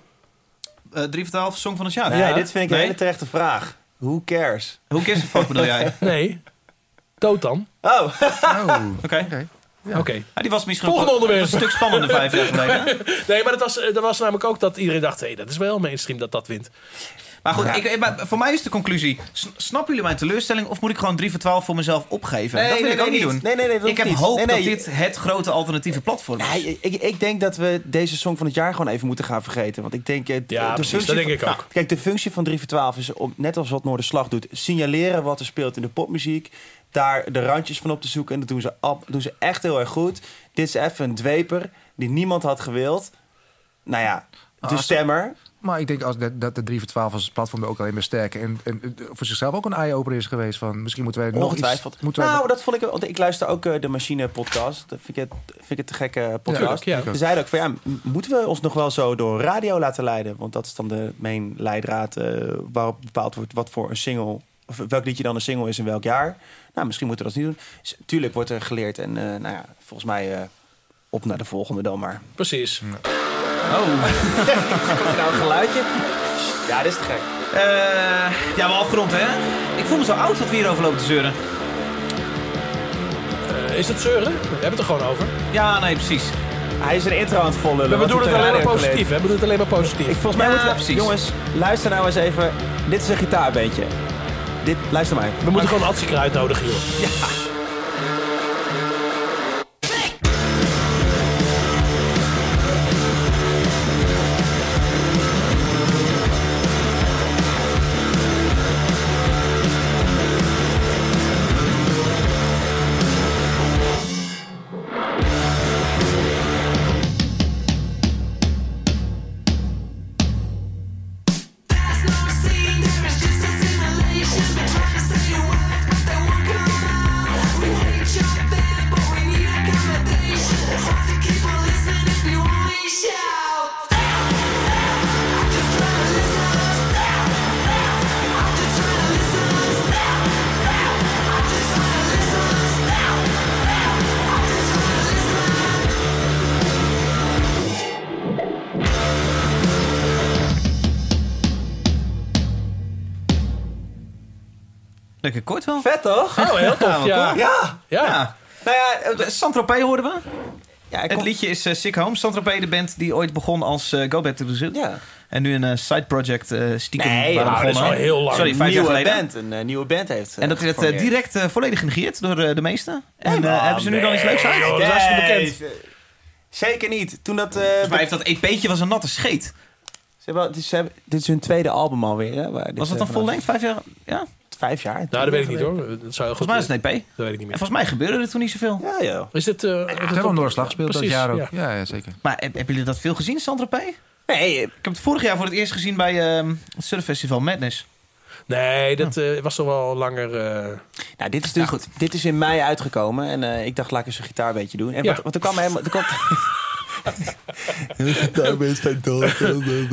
Speaker 1: Eh, 3 voor 12, Song van het jaar.
Speaker 2: Nee,
Speaker 3: Ja.
Speaker 2: dit vind ik een
Speaker 1: Nee.
Speaker 2: hele terechte vraag. Who cares?
Speaker 1: Hoe kerst fuck bedoel jij? Oké.
Speaker 3: Nee, Totan.
Speaker 2: Oh,
Speaker 4: Oh, oké.
Speaker 3: Oké.
Speaker 1: Ah, die was misschien
Speaker 3: Volgende
Speaker 1: nog wel-
Speaker 3: onderwerp.
Speaker 1: een stuk spannender vijf jaar geleden.
Speaker 3: nee, maar dat was, eh, dat was namelijk ook dat iedereen dacht... hé, dat is wel mainstream dat dat wint.
Speaker 1: Maar goed, ik, maar voor mij is de conclusie. s- Snappen jullie mijn teleurstelling of moet ik gewoon 3 voor 12 voor mezelf opgeven?
Speaker 2: Nee,
Speaker 1: dat wil
Speaker 2: nee,
Speaker 1: ik ook
Speaker 2: nee,
Speaker 1: niet doen.
Speaker 2: niet. Nee, nee, nee, dat
Speaker 1: ik heb
Speaker 2: niet.
Speaker 1: hoop
Speaker 2: Nee, nee,
Speaker 1: dat
Speaker 2: je-
Speaker 1: dit het grote alternatieve platform is.
Speaker 2: Nee, ik, ik denk dat we deze song van het jaar gewoon even moeten gaan vergeten. Want ik denk... eh, de
Speaker 3: precies,
Speaker 2: functie
Speaker 3: dat denk
Speaker 2: van-
Speaker 3: ik ook.
Speaker 2: Nou, kijk, de functie van 3 voor 12 is, om, net als wat Noorderslag doet... signaleren wat er speelt in de popmuziek. Daar de randjes van op te zoeken. En dat doen ze, ab- doen ze echt heel erg goed. Dit is even een dweper die niemand had gewild. Nou ja, de
Speaker 4: Ah, zo-
Speaker 2: stemmer.
Speaker 4: Maar ik denk als dat, dat de 3 voor 12 als platform er ook alleen maar sterker en, en eh, voor zichzelf ook een eye-opener is geweest. Van, misschien moeten wij nog iets...
Speaker 2: Ongetwijfeld.
Speaker 4: Moeten wij
Speaker 2: nou, dat vond ik. Want ik luister ook eh, de Machine podcast. Dat vind ik, het, vind ik het te gekke eh, podcast.
Speaker 4: Tuurlijk, ja.
Speaker 2: Ze zeiden ook van ja, m- moeten we ons nog wel zo door radio laten leiden? Want dat is dan de main leidraad eh, waarop bepaald wordt wat voor een single. Of welk liedje dan een single is in welk jaar. Nou, misschien moeten we dat niet doen. Dus, tuurlijk wordt er geleerd. En eh, nou ja, volgens mij eh, op naar de volgende dan maar.
Speaker 3: Precies.
Speaker 1: Oh.
Speaker 2: nou, een geluidje. Ja, dit is te gek.
Speaker 1: Eh, ja, wel afgerond, hè? Ik voel me zo oud dat we hierover lopen te zeuren.
Speaker 3: Eh, is dat zeuren? We hebben het er gewoon over.
Speaker 1: Ja, nee, precies.
Speaker 2: Hij is een intro aan het volgen.
Speaker 3: We bedoelen het alleen maar positief. We bedoelen het alleen maar positief.
Speaker 2: Ik, volgens mij
Speaker 3: Ja,
Speaker 2: moeten we,
Speaker 3: precies.
Speaker 2: Jongens, luister nou eens even. Dit is een gitaarbeentje. Dit, luister maar.
Speaker 3: We moeten gewoon Atsikra uitnodigen, joh.
Speaker 1: Lekker kort wel.
Speaker 2: Vet toch?
Speaker 3: Oh, heel tof,
Speaker 1: wat
Speaker 3: ja.
Speaker 1: cool.
Speaker 2: Ja.
Speaker 3: Ja.
Speaker 2: Nou ja, eh,
Speaker 1: Eh, Saint-Tropez hoorden we.
Speaker 2: ja, ik
Speaker 1: Het
Speaker 2: kom-
Speaker 1: liedje is eh, Sick Home. Saint-Tropez, de band die ooit begon als eh, Go Back to Brazil.
Speaker 2: ja.
Speaker 1: En nu een eh, side project eh, stiekem.
Speaker 2: Nee,
Speaker 1: waren
Speaker 2: nou, dat is
Speaker 1: begonnen.
Speaker 3: al heel lang.
Speaker 1: Sorry, vijf jaar
Speaker 2: nieuwe
Speaker 1: geleden.
Speaker 2: band, een eh, nieuwe band heeft. eh,
Speaker 1: En dat werd eh,
Speaker 2: geformeerd.
Speaker 1: direct eh, volledig genegeerd door eh, de meesten. En eh,
Speaker 2: man,
Speaker 1: hebben ze nu dan iets leuks uit?
Speaker 3: joh, dat is hartstikke
Speaker 2: Nee,
Speaker 3: bekend.
Speaker 2: eh, Zeker niet. Toen dat. eh,
Speaker 1: Maar heeft dat EP'tje was een natte scheet.
Speaker 2: ze hebben, het is- ze hebben- dit is hun tweede album alweer. Hè, waar dit,
Speaker 1: Was dat
Speaker 2: eh,
Speaker 1: een vol
Speaker 2: vanaf-
Speaker 1: lengte? Vijf jaar? Ja,
Speaker 2: Vijf jaar.
Speaker 3: Nou, dat weet ik niet, hoor. Dat zou heel goed
Speaker 1: volgens mij is het een EP.
Speaker 3: Dat weet ik niet
Speaker 1: En
Speaker 3: meer.
Speaker 1: volgens mij gebeurde er toen niet zoveel.
Speaker 2: Ja, joh.
Speaker 3: Is dit... eh, is dit
Speaker 4: dat hebben
Speaker 3: op-
Speaker 4: we Noorslag gespeeld dat
Speaker 3: Precies,
Speaker 4: jaar ook.
Speaker 3: ja.
Speaker 4: Ja, ja, zeker.
Speaker 1: Maar heb- hebben jullie dat veel gezien, Saint-Tropez?
Speaker 2: Nee, eh,
Speaker 1: Ik heb het vorig jaar voor het eerst gezien bij ehm, het Surffestival Madness.
Speaker 3: Nee, dat eh, was toch wel langer... eh,
Speaker 2: Nou, dit is dus
Speaker 1: goed.
Speaker 2: Dit is in mei uitgekomen en eh, ik dacht, laat ik eens een gitaarbeetje doen. En
Speaker 3: Ja.
Speaker 2: wat, want er kwam helemaal. Er kwam...
Speaker 3: Heb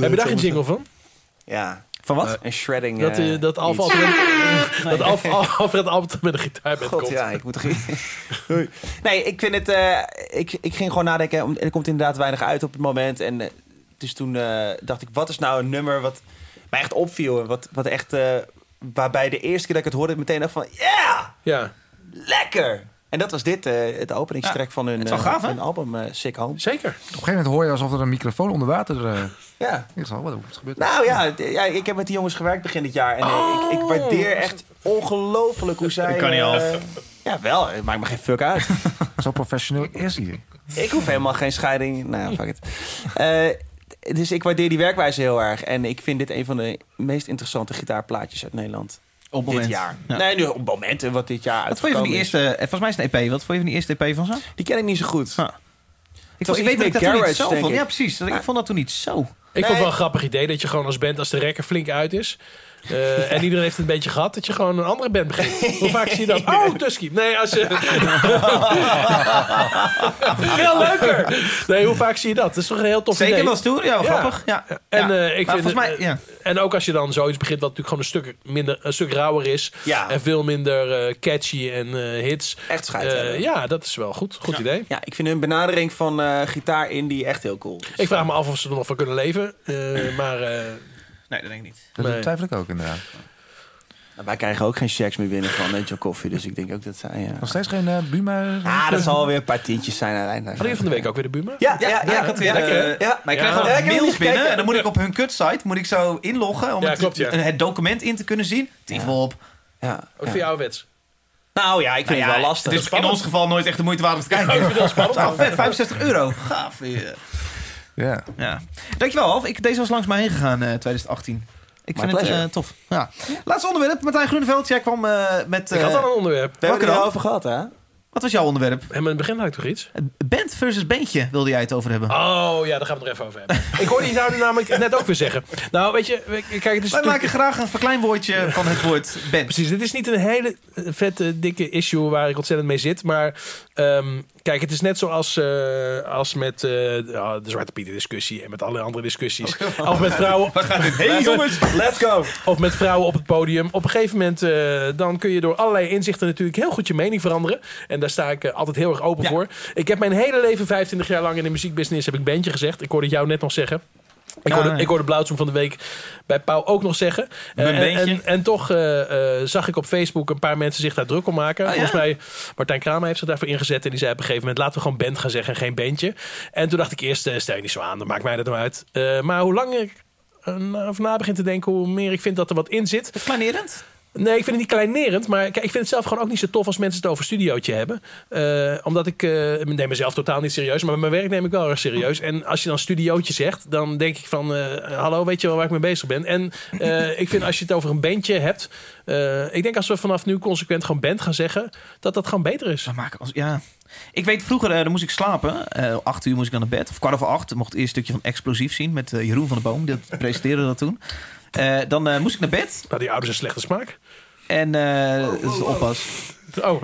Speaker 3: je daar geen jingle van?
Speaker 2: Ja,
Speaker 1: Van wat?
Speaker 2: een shredding.
Speaker 3: Dat,
Speaker 2: eh,
Speaker 3: eh, dat Alf
Speaker 2: iets.
Speaker 3: Alfred, dat Alf, Alf- Alfred Albert met een gitaar bent
Speaker 2: God,
Speaker 3: komt.
Speaker 2: ja, ik moet er geen- Nee, ik vind het. eh, ik, ik ging gewoon nadenken. om- Er komt inderdaad weinig uit op het moment. En eh, dus toen eh, dacht ik, wat is nou een nummer wat mij echt opviel? En wat, wat echt. eh, waarbij de eerste keer dat ik het hoorde, ik meteen dacht van. Ja,
Speaker 3: Ja.
Speaker 2: lekker! En dat was dit, eh, het openingstrek van hun,
Speaker 1: het is wel
Speaker 2: eh,
Speaker 1: gaaf, hè?
Speaker 2: hun album eh, Sick Home.
Speaker 3: Zeker.
Speaker 4: Op een gegeven moment hoor je alsof er een microfoon onder water... eh
Speaker 2: Ja.
Speaker 4: ik dacht, wat is gebeurd?
Speaker 2: Nou ja, d- ja, ik heb met die jongens gewerkt begin dit jaar. En eh, ik, ik waardeer echt ongelooflijk hoe zij...
Speaker 1: Ik kan niet
Speaker 2: eh,
Speaker 1: af.
Speaker 2: ja, wel. Het maakt me geen fuck uit.
Speaker 3: Nou.
Speaker 4: Zo professioneel is hij.
Speaker 2: ik hoef helemaal geen scheiding. Nou, ja, fuck it. Eh, dus ik waardeer die werkwijze heel erg. En ik vind dit een van de meest interessante gitaarplaatjes uit Nederland.
Speaker 1: Op
Speaker 2: Dit jaar.
Speaker 1: Ja.
Speaker 2: Nee, nu op momenten wat dit jaar
Speaker 1: Wat vond je van die
Speaker 2: uitgekomen is.
Speaker 1: eerste... eh, Volgens mij is het een EP. Wat vond je van die eerste EP van ze?
Speaker 2: Die ken ik niet zo goed.
Speaker 1: Ah. Ik,
Speaker 2: was
Speaker 1: vond- ik
Speaker 2: iets
Speaker 1: weet dat ik
Speaker 2: met
Speaker 1: E dat toen niet
Speaker 2: garage,
Speaker 1: zo
Speaker 2: denk
Speaker 1: vond.
Speaker 2: ik.
Speaker 1: Ja, precies. Dat- Ik vond dat toen niet zo.
Speaker 3: Ik vond
Speaker 2: Nee.
Speaker 3: het wel een grappig idee dat je gewoon als band, als de rekker flink uit is. eh, en iedereen heeft het een beetje gehad, dat je gewoon een andere band begint. Hoe vaak zie je dat? Oh, Tusky. Nee, als je... Veel leuker. Nee, hoe vaak zie je dat? Dat is toch een heel tof idee.
Speaker 1: Zeker was toen. Ja, wel
Speaker 3: Ja.
Speaker 1: Oh, grappig. Ja.
Speaker 3: En,
Speaker 1: Ja.
Speaker 3: eh, ik
Speaker 1: Maar
Speaker 3: vind,
Speaker 1: volgens mij...
Speaker 3: eh,
Speaker 1: ja.
Speaker 3: En ook als je dan zoiets begint wat natuurlijk gewoon een stuk, minder, een stuk rauwer is.
Speaker 2: Ja.
Speaker 3: En veel minder eh, catchy en eh, hits.
Speaker 2: Echt scheid
Speaker 3: Eh,
Speaker 2: hebben.
Speaker 3: ja, dat is wel goed. Goed idee.
Speaker 2: Ja, ik vind hun benadering van eh, gitaar indie echt heel cool. Dus,
Speaker 3: Ik vraag me af of ze er nog van kunnen leven. eh, maar eh,
Speaker 1: Nee, dat denk ik niet.
Speaker 4: Dat
Speaker 3: Nee.
Speaker 4: twijfel ik ook inderdaad.
Speaker 2: Nou, wij krijgen ook geen checks meer binnen van Angel Coffee. Dus ik denk ook dat zij... Ja.
Speaker 4: Nog steeds geen eh, Buma.
Speaker 2: Ah, dat zal weer een paar tientjes zijn uiteindelijk.
Speaker 3: Alleen van de week ook weer de Buma.
Speaker 2: Ja, ja, ja.
Speaker 3: Nou,
Speaker 1: Ja, ik had weer,
Speaker 3: lekker, hè?
Speaker 1: eh, ja, maar ik
Speaker 3: Ja.
Speaker 1: krijg
Speaker 2: Ja, ik
Speaker 1: altijd
Speaker 2: heb hem
Speaker 1: mails
Speaker 2: niet gekeken.
Speaker 1: binnen. En dan moet ik op hun kutsite moet ik zo inloggen om
Speaker 3: Ja,
Speaker 1: het,
Speaker 3: klopt, ja.
Speaker 1: het document in te kunnen zien. Tief op.
Speaker 2: Ja.
Speaker 3: Ook voor jouw wets.
Speaker 1: Nou ja, ik
Speaker 2: vind het wel lastig.
Speaker 1: Het is in ons geval nooit echt de moeite waard om te kijken.
Speaker 3: ik vind het wel spannend.
Speaker 1: Nou, vet, 65 euro. Gaaf. weer.
Speaker 4: Ja.
Speaker 1: Ja. Dankjewel, Alf. Ik, deze was langs mij heen gegaan eh, 2018. Ik
Speaker 2: My
Speaker 1: vind het
Speaker 2: pleasure.
Speaker 1: eh, tof. Ja. Laatste onderwerp. Martijn Groeneveld. Jij kwam eh, met...
Speaker 3: Ik had
Speaker 1: eh,
Speaker 3: al een onderwerp.
Speaker 2: We hebben
Speaker 1: Welke
Speaker 2: het
Speaker 1: dan?
Speaker 2: erover gehad, hè?
Speaker 1: Wat was jouw onderwerp?
Speaker 3: En in het begin had ik toch iets?
Speaker 1: Band versus bandje wilde jij het over hebben.
Speaker 3: Oh ja, daar gaan we het er even over hebben. ik hoorde je nou namelijk net ook weer zeggen. Nou, weet je, we- kijk, het is
Speaker 1: Wij
Speaker 3: natuurlijk-
Speaker 1: maken graag een verkleinwoordje van het woord band.
Speaker 3: Precies, dit is niet een hele eh, vette, dikke issue waar ik ontzettend mee zit. Maar ehm, kijk, het is net zoals eh, als met eh, ja, de Zwarte Pieter discussie en met alle andere discussies. Of met vrouwen.
Speaker 2: Let's go!
Speaker 3: Of met vrouwen op het podium. Op een gegeven moment eh, dan kun je door allerlei inzichten natuurlijk heel goed je mening veranderen. En daar sta ik eh, altijd heel erg open voor. Ik heb mijn hele leven, 25 jaar lang in de muziekbusiness, heb ik bandje gezegd. Ik hoorde het jou net nog zeggen. Ik
Speaker 1: Ja,
Speaker 3: hoorde,
Speaker 1: nee.
Speaker 3: ik hoorde Blauwzoen van de week bij Pauw ook nog zeggen.
Speaker 1: Met een
Speaker 3: Eh, en,
Speaker 1: beentje.
Speaker 3: en, en toch eh, eh, zag ik op Facebook een paar mensen zich daar druk om maken. Volgens mij, Martijn Kramer heeft zich daarvoor ingezet. En die zei op een gegeven moment, laten we gewoon band gaan zeggen en geen bandje. En toen dacht ik eerst, eh, stel je niet zo aan, dan maakt mij dat nou uit. Eh, maar hoe langer ik eh, na- of na begin te denken, hoe meer ik vind dat er wat in zit.
Speaker 1: Kleinerend?
Speaker 3: Nee, ik vind het niet kleinerend. Maar kijk, ik vind het zelf gewoon ook niet zo tof als mensen het over studiootje hebben. Eh, omdat ik eh, ik neem mezelf totaal niet serieus. Maar mijn werk neem ik wel erg serieus. En als je dan studiootje zegt, dan denk ik van... eh, hallo, weet je wel waar ik mee bezig ben? En eh, ik vind als je het over een bandje hebt... eh, ik denk als we vanaf nu consequent gewoon band gaan zeggen... dat dat gewoon beter is.
Speaker 1: We maken als, ja. Ik weet vroeger, eh, dan moest ik slapen. Eh acht uur moest ik aan de bed. Of kwart over acht. Ik mocht eerst een stukje van Explosief zien met eh, Jeroen van de Boom. Dat presenteerde dat toen. Eh, dan eh, moest ik naar bed.
Speaker 3: Nou, die ouders een slechte smaak.
Speaker 1: En eh, dat is de oppas.
Speaker 3: Oh,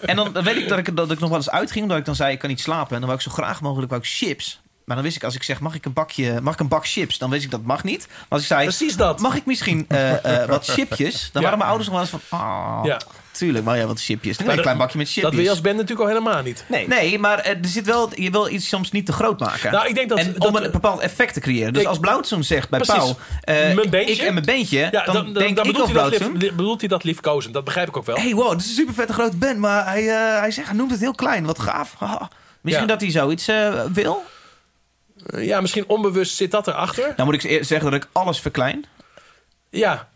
Speaker 1: En dan, dan weet ik dat ik, dat ik nog wel eens uitging. Omdat ik dan zei, ik kan niet slapen. En dan wou ik zo graag mogelijk wou ik chips. Maar dan wist ik, als ik zeg, mag ik een, bakje, mag ik een bak chips? Dan wist ik, dat mag niet. Maar als ik zei,
Speaker 3: precies dat.
Speaker 1: mag ik misschien eh, eh, wat chipjes? Dan
Speaker 3: Ja.
Speaker 1: waren mijn ouders nog wel eens van, ah,
Speaker 3: Ja.
Speaker 1: tuurlijk, maar ja, wat chipjes. Dan
Speaker 3: Maar
Speaker 1: een
Speaker 3: dat-
Speaker 1: klein bakje met chipjes.
Speaker 3: dat wil je als band natuurlijk al helemaal niet.
Speaker 1: Nee. Nee, maar eh, er zit wel, je wil iets soms niet te groot maken.
Speaker 3: Nou, ik denk dat-
Speaker 1: en
Speaker 3: dat-
Speaker 1: om een bepaald effect te creëren. Dus
Speaker 3: Ik-
Speaker 1: als Blauwtsoen zegt bij
Speaker 3: Precies.
Speaker 1: Pauw... eh,
Speaker 3: Mijn beentje?
Speaker 1: Ik en mijn beentje,
Speaker 3: Ja,
Speaker 1: dan,
Speaker 3: dan, dan,
Speaker 1: denk
Speaker 3: dan
Speaker 1: ik
Speaker 3: bedoelt,
Speaker 1: of
Speaker 3: hij dat lief,
Speaker 1: Blauwtsoen...
Speaker 3: li- bedoelt hij dat liefkozen. Dat begrijp ik ook wel.
Speaker 1: hey, wow, dit is een super vette grote band, maar hij, eh, hij, zegt, hij noemt het heel klein. Wat gaaf. Haha. Misschien
Speaker 3: Ja.
Speaker 1: dat hij zoiets eh, wil?
Speaker 3: Ja, misschien onbewust zit dat erachter.
Speaker 1: Dan moet ik eerst zeggen dat ik alles verklein.
Speaker 3: Ja.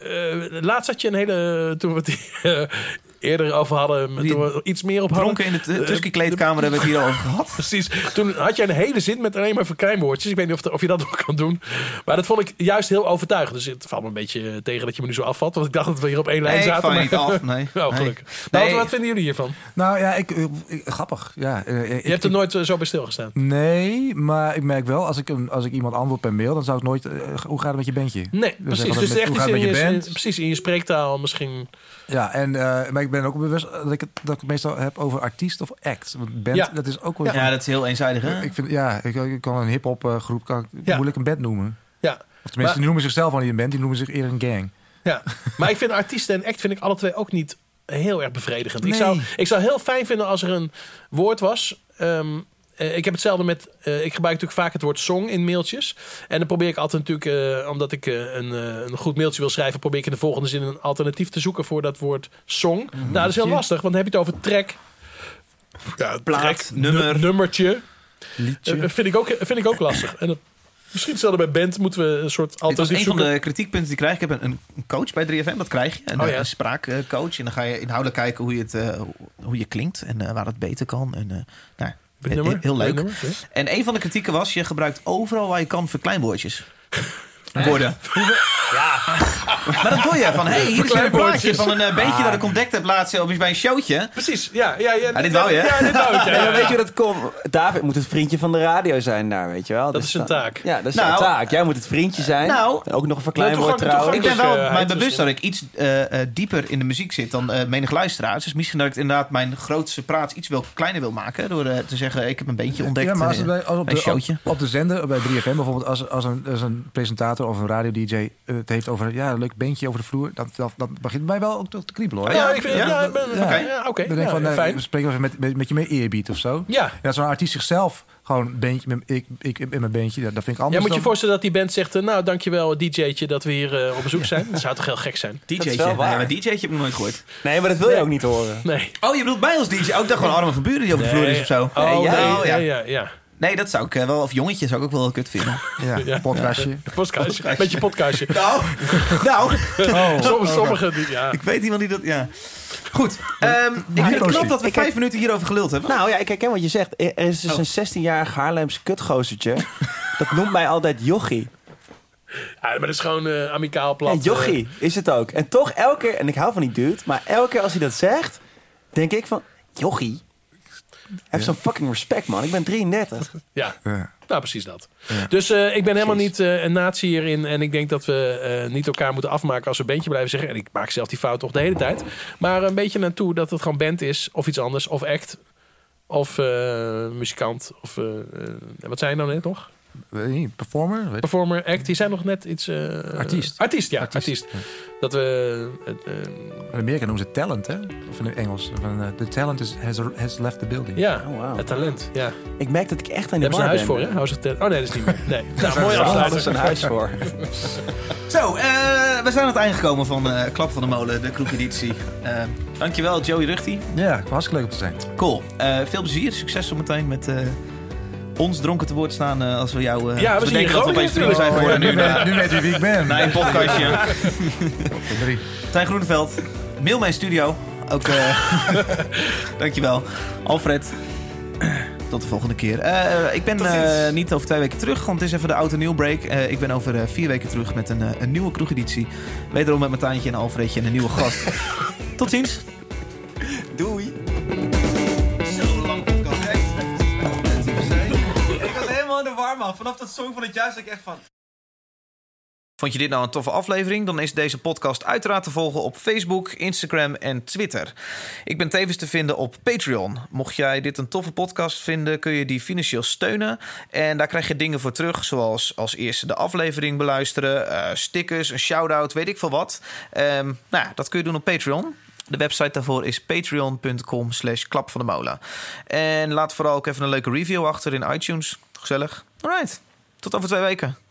Speaker 3: Eh, eh, laatst had je een hele... Toen we het hier, eh, eerder over hadden... met-
Speaker 1: Die-
Speaker 3: Toen we er iets meer op hadden.
Speaker 1: Dronken in de t-
Speaker 3: eh,
Speaker 1: Tusky-kleedkamer hebben we het hier al over gehad.
Speaker 3: Precies. Toen had jij een hele zin met alleen maar verkrijmwoordjes. Ik weet niet of, of je dat ook kan doen. Maar dat vond ik juist heel overtuigend. Dus het valt me een beetje eh, tegen dat je me nu zo afvalt. Want ik dacht dat we hier op één lijn
Speaker 1: Nee, ik
Speaker 3: zaten.
Speaker 1: val je
Speaker 3: maar-
Speaker 1: niet af. Nee.
Speaker 3: Oh,
Speaker 1: Nee.
Speaker 3: gelukkig.
Speaker 1: Nee.
Speaker 3: Nou, wat, wat vinden jullie hiervan?
Speaker 4: Nou ja, ik, eh, ik- grappig. Ja, eh, eh,
Speaker 3: Je hebt
Speaker 4: ik-
Speaker 3: er nooit eh, zo bij stilgestaan.
Speaker 4: Nee, maar ik merk wel, als ik, een, als ik iemand antwoord per mail, dan zou ik nooit... eh, hoe gaat het met je bandje?
Speaker 3: Nee,
Speaker 4: Dan zeggen
Speaker 3: precies.
Speaker 4: we
Speaker 3: Dus
Speaker 4: met-
Speaker 3: echt
Speaker 4: hoe
Speaker 3: iets
Speaker 4: gaat
Speaker 3: in
Speaker 4: het
Speaker 3: je,
Speaker 4: met je band?
Speaker 3: precies in je spreektaal misschien.
Speaker 4: Ja, en, eh, maar ik ben ook bewust dat ik, het, dat ik het meestal heb over artiest of act. Want band,
Speaker 3: Ja. eh,
Speaker 4: dat is ook wel...
Speaker 1: Ja, dat is heel eenzijdig, hè?
Speaker 4: Ik, vind, ja, ik, ik kan een hip-hop eh, groep kan ik
Speaker 3: Ja.
Speaker 4: moeilijk een band noemen.
Speaker 3: Ja.
Speaker 4: Of tenminste, die noemen zichzelf al niet een band, die noemen zich eerder een gang.
Speaker 3: Ja, maar ik vind artiesten en act vind ik alle twee ook niet heel erg bevredigend. Ik,
Speaker 4: Nee.
Speaker 3: zou, ik zou heel fijn vinden als er een woord was. ehm, eh, ik heb hetzelfde met. eh, ik gebruik natuurlijk vaak het woord song in mailtjes. En dan probeer ik altijd natuurlijk, eh, omdat ik eh, een, eh, een goed mailtje wil schrijven, probeer ik in de volgende zin een alternatief te zoeken voor dat woord song.
Speaker 1: Mhm.
Speaker 3: Nou, dat is heel lastig, want dan heb je het over track. Ja,
Speaker 1: plaat, nummer.
Speaker 3: nummertje.
Speaker 4: Liedje.
Speaker 3: Eh, vind, ik ook, vind ik ook lastig. En dat- misschien hetzelfde bij band moeten we een soort
Speaker 1: Dit was
Speaker 3: alternatief
Speaker 1: een van
Speaker 3: zoeken.
Speaker 1: de kritiekpunten die ik krijg. Ik heb een, een coach bij 3FM, dat krijg je. Een, eh,
Speaker 3: Oh ja.
Speaker 1: een spraakcoach. En dan ga je inhoudelijk kijken hoe je, het, eh, hoe je klinkt en eh, waar het beter kan. En, eh, nou,
Speaker 3: Dit
Speaker 1: he-
Speaker 3: nummer?
Speaker 1: he- heel
Speaker 3: Dit
Speaker 1: leuk.
Speaker 3: nummer? Ja.
Speaker 1: En een van de kritieken was, je gebruikt overal waar je kan verkleinwoordjes. Woorden. maar dat doe je. Van, hey, hier is weer een plaatje
Speaker 3: Verkleinwoordjes. Ah.
Speaker 1: van een eh, beentje dat ik ontdekt heb laatst op, bij een showtje.
Speaker 3: Precies, ja. ja, ja
Speaker 1: Ah, dit wou je, hè?
Speaker 3: Ja, dit wou ik. ja,
Speaker 2: Ja,
Speaker 3: ja,
Speaker 2: maar
Speaker 3: ja.
Speaker 2: weet je, dat kom, David moet het vriendje van de radio zijn daar, weet je wel. Dus
Speaker 3: is zijn
Speaker 2: dan-
Speaker 3: taak.
Speaker 2: Ja, dat is
Speaker 1: Nou,
Speaker 2: zijn taak. Jij moet het vriendje zijn.
Speaker 1: nou,
Speaker 2: ook nog een verkleinwoord
Speaker 3: toegang-
Speaker 2: trouwens.
Speaker 1: Ik ben wel
Speaker 3: Toegankelijkheid
Speaker 1: mij
Speaker 3: is
Speaker 1: bewust
Speaker 3: in.
Speaker 1: dat ik iets eh, eh, dieper in de muziek zit dan eh menig luisteraars. Dus misschien dat ik inderdaad mijn grootste praat iets wel kleiner wil maken. Door eh, te zeggen, ik heb een beentje ontdekt.
Speaker 4: ja, maar als, het
Speaker 1: eh,
Speaker 4: bij, als op,
Speaker 1: bij een
Speaker 4: de,
Speaker 1: showtje.
Speaker 4: op, op de zender, bij 3FM bijvoorbeeld, als, als, een, als een presentator presentator of een radio-dj eh, het heeft over ja, een leuk beentje over de vloer, dat, dat, dat begint mij wel ook te te kriebelen hoor.
Speaker 3: Ah, Ja, ja, ik vind- ja, ik ben- oké, ja, oké.
Speaker 4: Dan denk ik
Speaker 3: Ja,
Speaker 4: van, eh,
Speaker 3: fijn.
Speaker 4: we spreken even met, met, met je meer eerbied of zo.
Speaker 3: Ja.
Speaker 4: En dat zo'n artiest zichzelf gewoon een beentje, met- ik, ik in mijn beentje, dat, dat vind ik
Speaker 3: Ja, moet je
Speaker 4: anders.
Speaker 3: je
Speaker 4: dan-
Speaker 3: voorstellen dat die band zegt... eh, nou, dankjewel DJ'tje dat we hier eh, op bezoek zijn. Dat zou toch heel gek zijn?
Speaker 1: DJ'tje? Nee, maar DJ'tje heb ik nog nooit gehoord.
Speaker 2: Nee, maar dat wil je ook niet horen.
Speaker 3: Nee.
Speaker 1: Oh, je bedoelt mij als DJ? Ook ik dacht gewoon Armin van Buren die op de vloer is of zo.
Speaker 3: Oh,
Speaker 1: Nee,
Speaker 3: nee,
Speaker 1: ja,
Speaker 3: ja,
Speaker 1: ja.
Speaker 3: ja, ja.
Speaker 1: Nee, dat zou ik eh, wel, of jongetje zou ik ook wel kut vinden.
Speaker 4: Ja, podcastje.
Speaker 3: Podcastje. Beetje podcastje.
Speaker 1: Nou, nou.
Speaker 3: Somm- Sommigen, die- ja.
Speaker 1: Ik weet iemand die dat, ja. Goed, ehm, ik vind het knap dat we
Speaker 2: Ik heb-
Speaker 1: vijf minuten hierover geluld hebben.
Speaker 2: Nou ja, ik herken wat je zegt. Er is
Speaker 1: Oh.
Speaker 2: dus een 16-jarig Haarlems kutgozertje. dat noemt mij altijd jochie.
Speaker 3: Ja, maar dat is gewoon eh, amicaal plat. eh,
Speaker 2: En jochie is het ook. En toch elke keer, en ik hou van die dude, maar elke keer als hij dat zegt, denk ik van, jochie? Heb zo'n fucking respect, man. Ik ben 33.
Speaker 3: eh, ja.
Speaker 4: Ja.
Speaker 3: Nou, precies dat. Dus eh, ik ben helemaal niet eh, een nazi hierin. En ik denk dat we eh, niet elkaar moeten afmaken als we bandje blijven zeggen. En ik maak zelf die fout toch de hele tijd. Maar een beetje naartoe dat het gewoon band is. Of iets anders. Of act. Of eh, muzikant. Of eh, eh, wat zijn nou net nog?
Speaker 4: Weet je niet, performer? Weet
Speaker 3: Performer, act. Die zijn nog net iets... eh,
Speaker 4: Artiest.
Speaker 3: Artiest, ja. Artiest. Dat we... eh, eh,
Speaker 4: In Amerika noemen ze talent, hè? Of in het Engels. Van, eh, the talent is, has, has left the building.
Speaker 3: ja,
Speaker 2: Oh, wauw.
Speaker 3: het talent. Ja.
Speaker 2: Ik merk dat ik echt aan
Speaker 3: Daar
Speaker 2: de
Speaker 3: hebben ze een
Speaker 2: war
Speaker 3: huis voor,
Speaker 2: ben.
Speaker 3: hè? House of Talent. Oh nee, dat is niet meer. Nee. Nou,
Speaker 2: Daar
Speaker 3: mooi
Speaker 2: hebben
Speaker 3: afsluiten.
Speaker 2: ze een huis voor.
Speaker 1: Zo, eh, we zijn aan het eind gekomen van eh, Klap van de Molen, de kroegeditie. Eh dankjewel, Joey Ruchtie.
Speaker 4: Ja, ik was hartstikke leuk om te zijn.
Speaker 1: Cool. Eh, veel plezier, succes zometeen met eh, ons dronken te woord staan eh, als we jou... eh,
Speaker 3: Ja, we
Speaker 1: als
Speaker 3: zien
Speaker 1: denken
Speaker 3: je
Speaker 1: dat we
Speaker 3: Groningen
Speaker 1: opeens vrienden zijn geworden nu.
Speaker 4: weet-
Speaker 1: Na,
Speaker 4: nu weet u wie ik ben.
Speaker 1: na een podcastje.
Speaker 4: Drie.
Speaker 1: Tijn Groeneveld, mail mijn studio. Ook, eh dankjewel. Alfred, tot de volgende keer. Eh, ik ben eh, niet over twee weken terug, want het is even de oud en nieuw break. Eh, ik ben over eh, vier weken terug met een, eh, een nieuwe kroegeditie. Wederom met Martijntje en Alfredje en een nieuwe gast. tot ziens.
Speaker 2: Doei.
Speaker 1: Zo lang podcast. Ik was helemaal in de war, man. Vanaf dat song van het jaar zat ik echt van... Vond je dit nou een toffe aflevering? Dan is deze podcast uiteraard te volgen op Facebook, Instagram en Twitter. Ik ben tevens te vinden op Patreon. Mocht jij dit een toffe podcast vinden, kun je die financieel steunen. En daar krijg je dingen voor terug, zoals als eerste de aflevering beluisteren, eh, stickers, een shout-out, weet ik veel wat. Ehm, nou, ja, dat kun je doen op Patreon. De website daarvoor is patreon.com slash klap van de molen. En laat vooral ook even een leuke review achter in iTunes. Gezellig. Alright, tot over twee weken.